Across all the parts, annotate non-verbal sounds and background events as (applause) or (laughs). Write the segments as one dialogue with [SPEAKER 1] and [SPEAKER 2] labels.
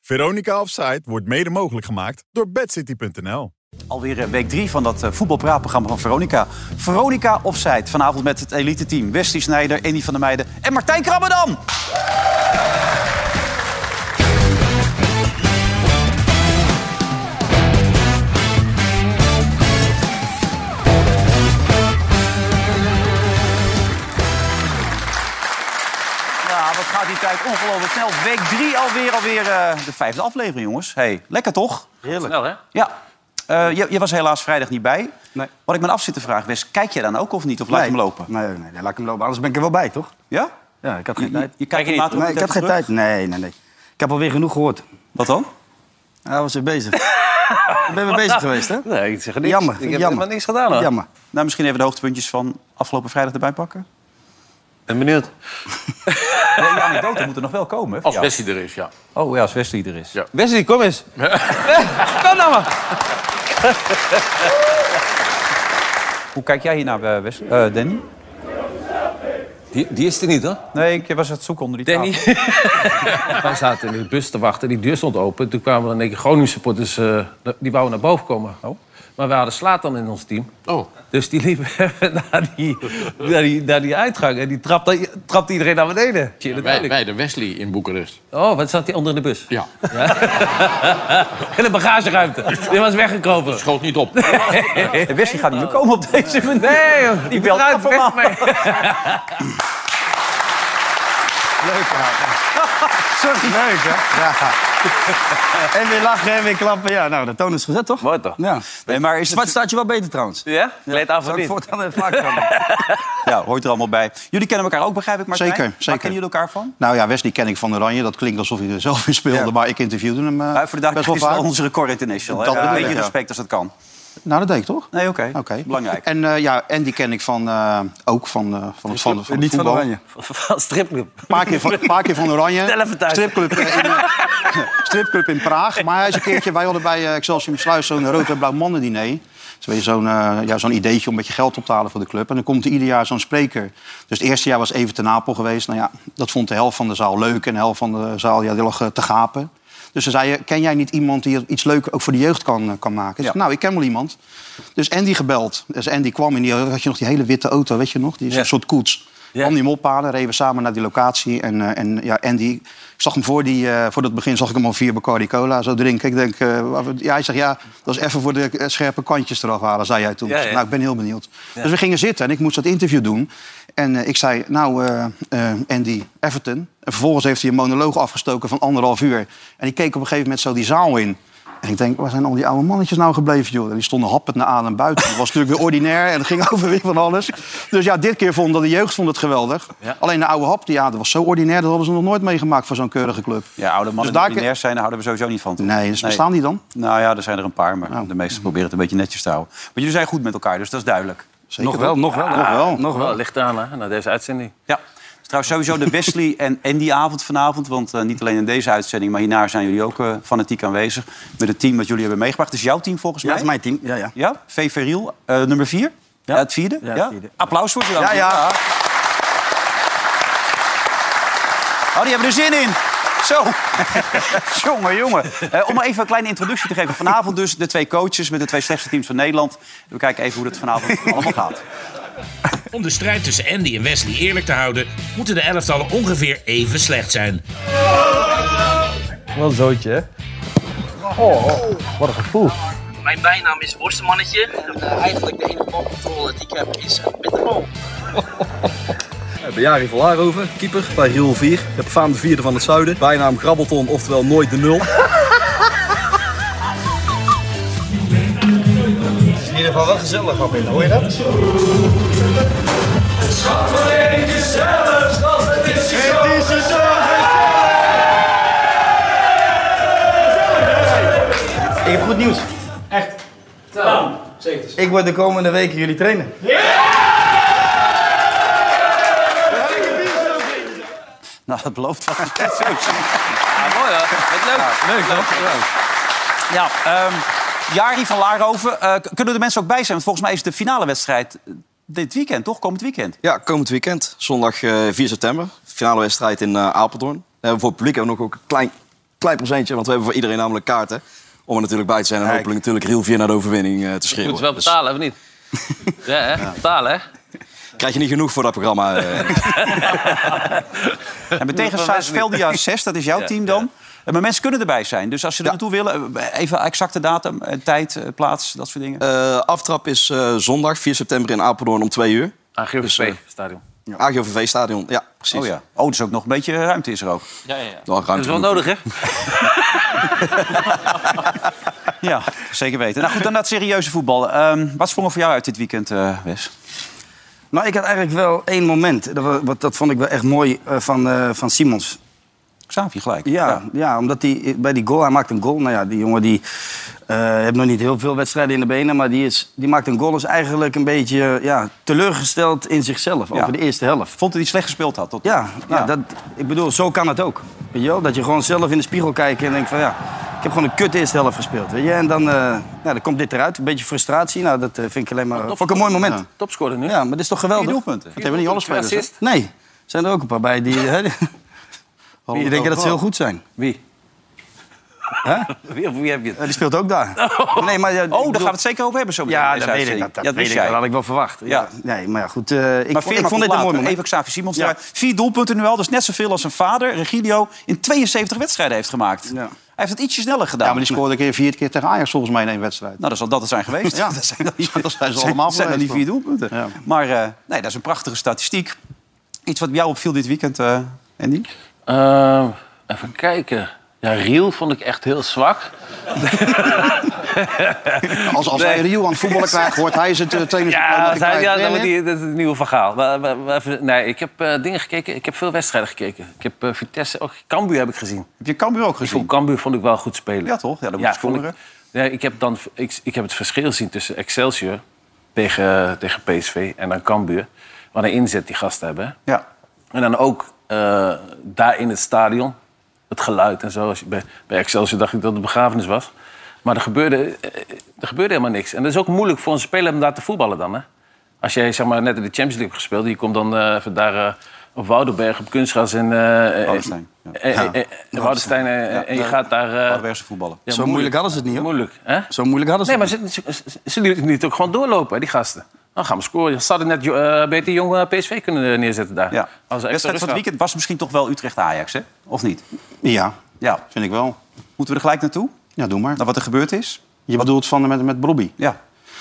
[SPEAKER 1] Veronica Offside wordt mede mogelijk gemaakt door bedcity.nl.
[SPEAKER 2] Alweer eh, week drie van dat eh, voetbalpraatprogramma van Veronica. Veronica Offside, vanavond met het elite team. Wesley Snijder, Andy van der Meijden en Martijn Krabbedam. Ja, wat gaat die tijd ongelooflijk snel. Week drie alweer, alweer eh, de vijfde aflevering, jongens. hey, lekker toch? Heerlijk.
[SPEAKER 3] Snel, hè?
[SPEAKER 2] Ja. Eh, je, je was helaas vrijdag niet bij.
[SPEAKER 4] Nee.
[SPEAKER 2] Wat ik me af zit te vragen, Wes, kijk je dan ook of niet? Of laat je hem lopen?
[SPEAKER 4] Nee, nee, nee, laat ik hem lopen. Anders ben ik er wel bij, toch?
[SPEAKER 2] Ja?
[SPEAKER 4] Ja, ik had
[SPEAKER 2] Je,
[SPEAKER 4] geen
[SPEAKER 2] je,
[SPEAKER 4] tijd.
[SPEAKER 2] je kijkt
[SPEAKER 3] je niet?
[SPEAKER 2] later
[SPEAKER 4] Nee,
[SPEAKER 2] ook
[SPEAKER 4] ik had
[SPEAKER 2] even
[SPEAKER 4] geen
[SPEAKER 2] terug?
[SPEAKER 4] tijd. Nee, nee, nee. Ik heb alweer genoeg gehoord.
[SPEAKER 2] Wat dan?
[SPEAKER 4] Hij was weer
[SPEAKER 3] (laughs)
[SPEAKER 4] bezig. ik ben weer bezig geweest, hè?
[SPEAKER 3] Nee, ik zeg niks.
[SPEAKER 4] Jammer,
[SPEAKER 3] ik heb
[SPEAKER 4] jammer.
[SPEAKER 3] helemaal niks gedaan. Hoor.
[SPEAKER 4] Jammer.
[SPEAKER 2] Nou, misschien even de hoogtepuntjes van afgelopen vrijdag erbij pakken.
[SPEAKER 3] Ben benieuwd.
[SPEAKER 2] Nee,
[SPEAKER 5] (laughs)
[SPEAKER 2] die anekdote moet er nog wel komen. hè,
[SPEAKER 3] Als
[SPEAKER 2] voor jou.
[SPEAKER 3] Bessie er is, ja.
[SPEAKER 2] Oh ja, als Wesley er is.
[SPEAKER 3] Ja.
[SPEAKER 6] Wesley, kom eens.
[SPEAKER 3] Kan nou maar.
[SPEAKER 2] Hoe kijk jij hiernaar, eh, Wes? eh, Danny?
[SPEAKER 6] Die, die is er niet, hoor.
[SPEAKER 2] Nee, ik was het zoeken onder die
[SPEAKER 3] Danny.
[SPEAKER 2] tafel.
[SPEAKER 6] (laughs) Wij zaten in de bus te wachten, die deur stond open. Toen kwamen er in één keer Groningen supporters, eh, die wouden naar boven komen. Maar we hadden Slatan in ons team.
[SPEAKER 3] Oh.
[SPEAKER 6] Dus die liepen (laughs) even naar die, naar die, naar die uitgang en die trapte, trapte iedereen naar beneden. Tje,
[SPEAKER 7] Bij,
[SPEAKER 6] natuurlijk.
[SPEAKER 7] bij de Wesley in Boekarest.
[SPEAKER 6] Oh, wat zat hij onder in de bus?
[SPEAKER 7] Ja,
[SPEAKER 6] (laughs) In de bagageruimte. Die was weggekropen.
[SPEAKER 7] schoot niet op.
[SPEAKER 2] Eh, Wesley gaat niet meer komen op deze manier.
[SPEAKER 6] Nee, joh.
[SPEAKER 2] Die belt
[SPEAKER 6] Eruit,
[SPEAKER 2] af,
[SPEAKER 6] weg
[SPEAKER 2] man.
[SPEAKER 6] mee.
[SPEAKER 4] Sorry. Leuk, hè? Ja. En weer lachen en weer klappen. Ja, nou, de toon is gezet, toch?
[SPEAKER 3] Mooi, toch?
[SPEAKER 4] Ja.
[SPEAKER 2] Nee, maar is
[SPEAKER 4] Zwart
[SPEAKER 2] het...
[SPEAKER 4] staat je wel beter, trouwens.
[SPEAKER 3] Ja? Leed aan
[SPEAKER 4] Zou
[SPEAKER 3] van
[SPEAKER 4] ik
[SPEAKER 3] dit.
[SPEAKER 4] voortaan even
[SPEAKER 3] (laughs)
[SPEAKER 4] vaak
[SPEAKER 3] Oh.
[SPEAKER 4] komen?
[SPEAKER 2] Ja, hoort er allemaal bij. Jullie kennen elkaar ook, begrijp ik, Martijn?
[SPEAKER 5] Zeker,
[SPEAKER 2] Waar
[SPEAKER 5] zeker.
[SPEAKER 2] kennen jullie elkaar van?
[SPEAKER 5] Nou ja, Wesley ken ik van Oranje. Dat klinkt alsof hij er zelf in speelde,
[SPEAKER 4] Ja.
[SPEAKER 5] maar ik interviewde hem eh,
[SPEAKER 2] Maar voor de
[SPEAKER 5] best
[SPEAKER 2] dag
[SPEAKER 5] wel
[SPEAKER 2] is wel
[SPEAKER 5] vaak.
[SPEAKER 2] onze record international.
[SPEAKER 5] Dat
[SPEAKER 2] hè? een
[SPEAKER 5] bedoel ik,
[SPEAKER 2] beetje
[SPEAKER 5] ja.
[SPEAKER 2] respect als dat kan.
[SPEAKER 5] Nou, dat deed ik toch?
[SPEAKER 2] Nee, oké.
[SPEAKER 5] Oké.
[SPEAKER 2] Belangrijk.
[SPEAKER 5] En eh, ja, Andy ken ik van, eh, ook van, eh, van het van, van het
[SPEAKER 4] Niet van
[SPEAKER 5] voetbal.
[SPEAKER 4] Oranje.
[SPEAKER 3] Van stripclub.
[SPEAKER 5] Een paar keer van, paar keer van Oranje.
[SPEAKER 3] Vertel even thuis.
[SPEAKER 5] Stripclub, eh, in, eh, (laughs) stripclub in Praag. Maar hij is een keertje, wij hadden bij eh, Excelsior Sluis zo'n rood en blauw mannen diner. Dat is weer zo'n eh, ja, zo'n ideetje om een beetje geld op te halen voor de club. En dan komt er ieder jaar zo'n spreker. Dus het eerste jaar was even te Napel geweest. Nou ja, dat vond de helft van de zaal leuk. En de helft van de zaal ja, die lag eh, te gapen. Dus ze zei, eh, ken jij niet iemand die iets leuk ook voor de jeugd kan, eh, kan maken? Ik zeg, nou, ik ken wel iemand. Dus Andy gebeld. Dus Andy kwam in die, had je nog die hele witte auto, weet je nog? Die is een soort koets. Kwam die hem ophalen, reden we samen naar die locatie. En, eh, en ja, Andy, ik zag hem voor, die, eh, voor dat begin zag ik hem al vier Bacardi Cola zo drinken. Ik denk, eh, waar we- ja, hij zegt, ja, dat is even voor de eh, scherpe kantjes eraf halen, zei jij toen.
[SPEAKER 3] Ja,
[SPEAKER 5] Ik zeg,
[SPEAKER 3] ja.
[SPEAKER 5] Nou, ik ben heel benieuwd. Dus we gingen zitten en ik moest dat interview doen. En eh, ik zei, nou, eh, eh, Andy, Everton. En vervolgens heeft hij een monoloog afgestoken van anderhalf uur. En ik keek op een gegeven moment zo die zaal in. En ik denk, waar zijn al die oude mannetjes nou gebleven, joh? En die stonden happend naar aan en buiten. Het was natuurlijk weer ordinair en het ging (laughs) over weer van alles. Dus ja, dit keer vond dat de jeugd vond het geweldig. Alleen de oude hap, die, ja, dat was zo ordinair, dat hadden ze nog nooit meegemaakt voor zo'n keurige club.
[SPEAKER 2] Ja, oude mannen
[SPEAKER 5] Dus
[SPEAKER 2] die
[SPEAKER 5] daar-
[SPEAKER 2] ordinair zijn, daar houden we sowieso niet van. toch?
[SPEAKER 5] Nee, dus bestaan die dan?
[SPEAKER 2] Nou ja, er zijn er een paar, maar de meesten proberen het een beetje netjes te houden. Maar jullie zijn goed met elkaar, dus dat is duidelijk.
[SPEAKER 5] Zeker. Nog wel, Ah, nog wel. nog wel.
[SPEAKER 4] Nog wel.
[SPEAKER 3] Wel, ligt aan, hè, na deze uitzending.
[SPEAKER 2] Ja, het is trouwens sowieso de Wesley en Andy-avond vanavond. Want eh, niet alleen in deze uitzending, maar hierna zijn jullie ook eh, fanatiek aanwezig. Met het team wat jullie hebben meegebracht. Het is jouw team volgens
[SPEAKER 4] Ja, dat
[SPEAKER 2] mij.
[SPEAKER 4] is mijn team. Ja, ja.
[SPEAKER 2] Ja, VV Riel, eh, nummer vier. Ja. het vierde.
[SPEAKER 4] Ja,
[SPEAKER 2] Ja,
[SPEAKER 4] het vierde.
[SPEAKER 2] Applaus voor ze dan.
[SPEAKER 4] Ja, ja.
[SPEAKER 2] Oh, die hebben er zin in. Zo. (laughs) jongen, jongen. Eh, om maar even een kleine introductie te geven. Vanavond dus de twee coaches met de twee slechtste teams van Nederland. We kijken even hoe dat (laughs) vanavond allemaal gaat.
[SPEAKER 8] Om de strijd tussen Andy en Wesley eerlijk te houden, moeten de elftallen ongeveer even slecht zijn.
[SPEAKER 6] Wel een zootje, hè? Oh,
[SPEAKER 9] Mijn bijnaam is Worstenmannetje. En eh, eigenlijk de enige balcontrole die ik heb is eh, met de bal.
[SPEAKER 10] Ik ben Jari van Laarhoven, keeper bij Riel 4. De befaamde vierde van het zuiden. Bijnaam Grabbelton, oftewel nooit de nul. Het is in ieder geval wel gezellig, Robin. Hoor je dat?
[SPEAKER 4] Ik heb goed nieuws. Echt. Ik word de komende weken jullie trainen.
[SPEAKER 2] Nou, dat belooft wel. Zo.
[SPEAKER 3] Ja, mooi hoor. Wat leuk. Leuk, leuk.
[SPEAKER 2] Ja, ehm Jari van Laarhoven. eh, k- kunnen de mensen ook bij zijn? Want volgens mij is de finale wedstrijd dit weekend, toch? Komend weekend.
[SPEAKER 10] Ja, komend Eh, weekend. Zondag eh, 4 september. Finale wedstrijd in eh, Apeldoorn. Daar hebben we voor het publiek hebben we nog ook een klein klein procentje, want we hebben voor iedereen namelijk kaarten. Om er natuurlijk bij te zijn en hopelijk natuurlijk heel veel naar de overwinning eh, te
[SPEAKER 6] Je moet
[SPEAKER 10] schreeuwen.
[SPEAKER 6] wel betalen, of (laughs) niet? dus- Ja, hè? Betalen, hè?
[SPEAKER 10] Krijg je niet genoeg voor dat
[SPEAKER 4] (laughs)
[SPEAKER 10] programma? eh.
[SPEAKER 2] En
[SPEAKER 4] (laughs)
[SPEAKER 2] tegen Saasveldia 6, dat is jouw
[SPEAKER 10] Ja,
[SPEAKER 2] team dan. Eh, Maar mensen kunnen erbij zijn. Dus als ze er naartoe willen, eh, even exacte datum, eh, tijd, eh, plaats, dat soort dingen.
[SPEAKER 10] Eh, aftrap is eh, zondag 4 september in Apeldoorn om 2 uur.
[SPEAKER 6] stadion.
[SPEAKER 10] AGOVV-stadion, ja, precies.
[SPEAKER 2] Oh ja. Oh, dus ook nog een beetje ruimte is er
[SPEAKER 4] (laughs)
[SPEAKER 2] ook.
[SPEAKER 6] Ja, ja, ja.
[SPEAKER 10] Nou,
[SPEAKER 6] Dat is wel nodig, hè?
[SPEAKER 2] Ja, zeker weten. Nou goed, dan dat serieuze voetbal. Ehm, wat sprong er voor jou uit dit weekend, eh, Wes?
[SPEAKER 4] Nou, ik had eigenlijk wel één moment. Dat, wa- wat, dat vond ik wel echt mooi eh, van, eh, van Simons.
[SPEAKER 2] Xavi gelijk.
[SPEAKER 4] Ja, ja. omdat hij bij die goal, hij maakt een goal. Nou ja, die jongen die eh, heeft nog niet heel veel wedstrijden in de benen. Maar die, is, die maakt een goal, is eigenlijk een beetje eh, ja, teleurgesteld in zichzelf. Over de eerste helft.
[SPEAKER 2] Vond hij slecht gespeeld had? Tot...
[SPEAKER 4] Ja, nou,
[SPEAKER 2] Ja.
[SPEAKER 4] Dat, ik bedoel, zo kan het ook. Weet je wel? Dat je gewoon zelf in de spiegel kijkt en denkt van ja, ik heb gewoon een kut eerste helft gespeeld. Weet je? En dan, eh, nou, dan komt dit eruit. Een beetje frustratie. Nou, dat eh, vind ik alleen maar. Vond ik een mooi moment.
[SPEAKER 6] Topscorer nu.
[SPEAKER 4] Ja, maar dit is toch geweldig?
[SPEAKER 2] Vier doelpunten.
[SPEAKER 4] Dat hebben niet alle
[SPEAKER 6] Vier
[SPEAKER 4] spelers.
[SPEAKER 6] doelpunten,
[SPEAKER 4] hè? Nee, er zijn er ook een paar bij die... hè, (laughs) die- die denken dat ze heel goed zijn.
[SPEAKER 6] Wie?
[SPEAKER 4] Hè?
[SPEAKER 6] (laughs) Wie, of wie heb je het?
[SPEAKER 4] Eh, die speelt ook daar. Nee, maar, ja, ik
[SPEAKER 2] Oh, daar
[SPEAKER 4] bedoel-
[SPEAKER 2] gaan we het zeker over hebben zo meteen
[SPEAKER 4] Ja,
[SPEAKER 2] in
[SPEAKER 4] dat
[SPEAKER 2] deze
[SPEAKER 4] weet ik. Dat,
[SPEAKER 2] uitzending.
[SPEAKER 4] dat,
[SPEAKER 2] Ja,
[SPEAKER 4] weet
[SPEAKER 2] wist
[SPEAKER 4] ik. Dat
[SPEAKER 2] jij.
[SPEAKER 4] had ik wel verwacht. Ja.
[SPEAKER 2] Ja.
[SPEAKER 4] Nee, maar ja, goed. eh, ik,
[SPEAKER 2] maar
[SPEAKER 4] vond-
[SPEAKER 2] Veerman
[SPEAKER 4] ik vond dit
[SPEAKER 2] komt
[SPEAKER 4] een mooi
[SPEAKER 2] later.
[SPEAKER 4] moment.
[SPEAKER 2] Even Xavi Simons.
[SPEAKER 4] Ja.
[SPEAKER 2] eruit. Vier doelpunten nu al. Dat is net zoveel als zijn vader, Regilio, in 72 wedstrijden heeft gemaakt. Hij heeft het ietsje sneller gedaan.
[SPEAKER 5] Ja, maar die scoorde een keer vier keer tegen Ajax volgens mij in één wedstrijd.
[SPEAKER 2] Nou, dat zal dat het zijn geweest.
[SPEAKER 5] Ja.
[SPEAKER 2] (laughs) dat zijn dan die,
[SPEAKER 5] Dat zijn ze allemaal
[SPEAKER 2] zijn dan die vier
[SPEAKER 5] geweest,
[SPEAKER 2] doelpunten.
[SPEAKER 5] Ja.
[SPEAKER 2] Maar eh, nee, dat is een prachtige statistiek. Iets wat jou opviel dit weekend, eh, Andy?
[SPEAKER 6] Ehm, even kijken. Ja, Riel vond ik echt heel zwak.
[SPEAKER 5] Als, als hij Rio aan het voetballen krijgt, wordt hij zijn eh, trainer.
[SPEAKER 6] Ja,
[SPEAKER 5] wat
[SPEAKER 6] dat,
[SPEAKER 5] ik
[SPEAKER 6] ja,
[SPEAKER 5] krijg.
[SPEAKER 6] dat,
[SPEAKER 5] Nee,
[SPEAKER 6] wordt
[SPEAKER 5] nee.
[SPEAKER 6] die- dat is het nieuwe verhaal. Maar, maar- maar even- nee, ik heb eh, dingen gekeken. Ik heb veel wedstrijden gekeken. Ik heb eh, Vitesse, ook Cambuur heb ik gezien.
[SPEAKER 2] Heb je Cambuur ook
[SPEAKER 6] gezien? Cambuur vond ik wel goed spelen.
[SPEAKER 2] Ja, toch? Ja, dat moet je
[SPEAKER 6] vond
[SPEAKER 2] scoren.
[SPEAKER 6] ik, nee, ik, heb dan, ik, ik heb het verschil gezien tussen Excelsior tegen, eh, tegen PSV en dan Cambuur. Wat een inzet die gasten hebben. hè.
[SPEAKER 2] Ja.
[SPEAKER 6] En dan ook eh, daar in het stadion. Het geluid en zo. Als je, bij, bij Excelsior dacht ik dat het een begrafenis was. Maar er gebeurde, eh, er gebeurde helemaal niks. En dat is ook moeilijk voor een speler om daar te voetballen dan. Hè? Als jij zeg maar, net in de Champions League hebt gespeeld... je komt dan eh, even daar eh, op Woudenberg, op kunstgras in... eh, eh,
[SPEAKER 2] Woudenstein, ja.
[SPEAKER 6] eh, eh, eh, Woudenstein, eh,
[SPEAKER 2] Ja,
[SPEAKER 6] en je
[SPEAKER 2] daar-
[SPEAKER 6] gaat daar... eh,
[SPEAKER 2] Waardbergse voetballen.
[SPEAKER 6] ja,
[SPEAKER 4] Zo moeilijk hadden ze het niet, hoor.
[SPEAKER 6] Moeilijk, hè?
[SPEAKER 4] Zo moeilijk hadden ze
[SPEAKER 6] Nee, maar ze, ze, ze- ze lieten het ook gewoon doorlopen, hè, die gasten. Dan gaan we scoren. Ze hadden net eh, beter jong eh, PSV kunnen neerzetten daar.
[SPEAKER 2] Ja.
[SPEAKER 6] Als
[SPEAKER 2] Wedstrijd van het weekend was misschien toch wel Utrecht-Ajax, hè? Of niet?
[SPEAKER 5] Ja,
[SPEAKER 2] Ja.
[SPEAKER 5] vind ik wel.
[SPEAKER 2] Moeten we er gelijk naartoe?
[SPEAKER 5] Ja, doe maar.
[SPEAKER 2] Naar Nou, wat er gebeurd is?
[SPEAKER 5] Je bedoelt van met, met Bobby.
[SPEAKER 2] Ja.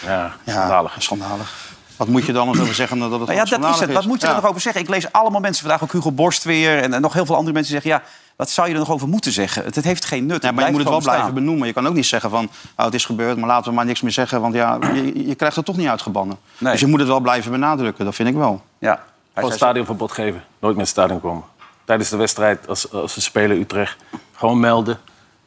[SPEAKER 2] Nou
[SPEAKER 6] Ja,
[SPEAKER 5] schandalig. Schandalig. Wat moet je dan nog over zeggen dat het
[SPEAKER 2] Nou ja, dat is
[SPEAKER 5] schandalig
[SPEAKER 2] het. Wat moet je
[SPEAKER 5] Ja.
[SPEAKER 2] er nog over zeggen? Ik lees allemaal mensen vandaag, ook Hugo Borst weer... en, en nog heel veel andere mensen zeggen... ja, wat zou je er nog over moeten zeggen? Het, het heeft geen nut.
[SPEAKER 5] Ja, maar je moet het wel
[SPEAKER 2] gewoon
[SPEAKER 5] blijven
[SPEAKER 2] staan.
[SPEAKER 5] benoemen. Je kan ook niet zeggen van, oh, het is gebeurd, maar laten we maar niks meer zeggen. Want ja, je, je krijgt het toch niet uitgebannen.
[SPEAKER 2] Nee.
[SPEAKER 5] Dus je moet het wel blijven benadrukken, dat vind ik wel.
[SPEAKER 2] Ja.
[SPEAKER 6] Gewoon
[SPEAKER 2] zei-
[SPEAKER 6] stadionverbod geven. Nooit meer het stadion komen. Tijdens de wedstrijd, als, als ze spelen Utrecht, gewoon melden.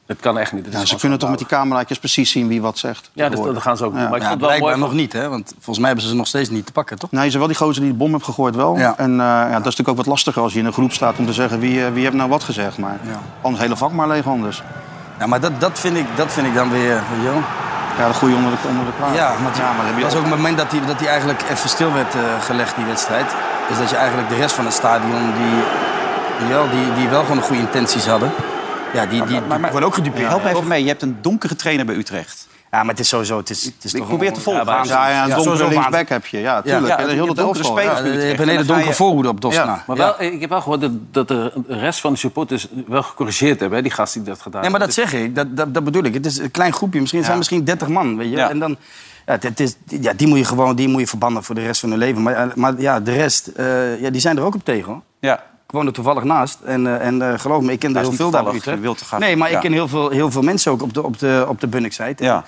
[SPEAKER 6] Dat kan echt niet. Dat is
[SPEAKER 5] Ja, ze
[SPEAKER 6] gewoon
[SPEAKER 5] kunnen toch met die
[SPEAKER 6] schandalig.
[SPEAKER 5] cameraatjes precies zien wie wat zegt.
[SPEAKER 6] Ja, dat, dat gaan ze ook doen.
[SPEAKER 5] Ja.
[SPEAKER 6] Maar ik
[SPEAKER 4] Ja,
[SPEAKER 6] vond het wel mooi.
[SPEAKER 4] blijkbaar nog niet, hè? Want volgens mij hebben ze ze nog steeds niet te pakken, toch?
[SPEAKER 5] Nee, ze wel die gozer die de bom heeft gegooid wel.
[SPEAKER 4] Ja.
[SPEAKER 5] En eh, ja, dat is natuurlijk ook wat lastiger als je in een groep staat om te zeggen wie, eh, wie heeft nou wat gezegd. Maar anders hele vak maar leeg anders.
[SPEAKER 4] Ja, maar dat, dat, vind, ik, dat vind ik dan weer... Weet je wel?
[SPEAKER 5] Ja, de goede onder de, onder de
[SPEAKER 2] Ah,
[SPEAKER 5] klaar.
[SPEAKER 4] Ja, want
[SPEAKER 5] ja, maar dat heb
[SPEAKER 4] dat
[SPEAKER 5] je
[SPEAKER 4] was
[SPEAKER 5] al-
[SPEAKER 4] ook het moment dat hij dat die eigenlijk even stil werd eh, gelegd, die wedstrijd. Is dat je eigenlijk de rest van het stadion, die, die, wel, die, die wel gewoon goede intenties hadden... Ja, die, die,
[SPEAKER 2] Maar, maar,
[SPEAKER 4] worden ook gedupeerd.
[SPEAKER 2] help me even mee. Je hebt een donkere trainer bij Utrecht.
[SPEAKER 4] Ja, maar het is sowieso... Het is, het is
[SPEAKER 2] Ik
[SPEAKER 4] toch
[SPEAKER 2] probeer
[SPEAKER 4] een-
[SPEAKER 2] te volgen.
[SPEAKER 4] Ja,
[SPEAKER 5] Ja, ja, een
[SPEAKER 4] Ja,
[SPEAKER 5] donkere
[SPEAKER 4] sowieso
[SPEAKER 5] linksback heb je. Ja, tuurlijk.
[SPEAKER 2] Ja,
[SPEAKER 5] Ja,
[SPEAKER 2] ja,
[SPEAKER 5] heel
[SPEAKER 2] je
[SPEAKER 5] dat
[SPEAKER 2] donkere
[SPEAKER 5] elftal.
[SPEAKER 2] spelers.
[SPEAKER 5] Ja.
[SPEAKER 4] Ja, je hebt
[SPEAKER 2] En
[SPEAKER 4] een hele
[SPEAKER 2] dan ga
[SPEAKER 4] donkere
[SPEAKER 2] je-
[SPEAKER 4] voorhoede op Dosna.
[SPEAKER 6] Maar wel, ik heb wel gehoord dat, dat de rest van de supporters wel gecorrigeerd hebben. Hè, die gast die dat gedaan
[SPEAKER 4] Nee, maar dat
[SPEAKER 6] heeft.
[SPEAKER 4] zeg ik. Dat, dat, dat bedoel ik. Het is een klein groepje. Misschien het zijn misschien 30 man. Weet je?
[SPEAKER 2] Ja.
[SPEAKER 4] En dan, ja, het, het is, ja, die moet je gewoon die moet je verbannen voor de rest van hun leven. Maar, eh, maar ja, de rest, eh, ja, die zijn er ook op tegen. Hoor.
[SPEAKER 2] Ja.
[SPEAKER 4] Ik woon er toevallig naast. En, eh, en eh, geloof me, ik ken er
[SPEAKER 2] is
[SPEAKER 4] heel
[SPEAKER 2] niet
[SPEAKER 4] veel daar bij
[SPEAKER 2] toevallig,
[SPEAKER 4] Utrecht.
[SPEAKER 2] je wilt er graag-
[SPEAKER 4] Nee, maar
[SPEAKER 2] ja.
[SPEAKER 4] ik ken heel veel, heel veel mensen ook op de, op de, op de Bunniksite.
[SPEAKER 2] Ja.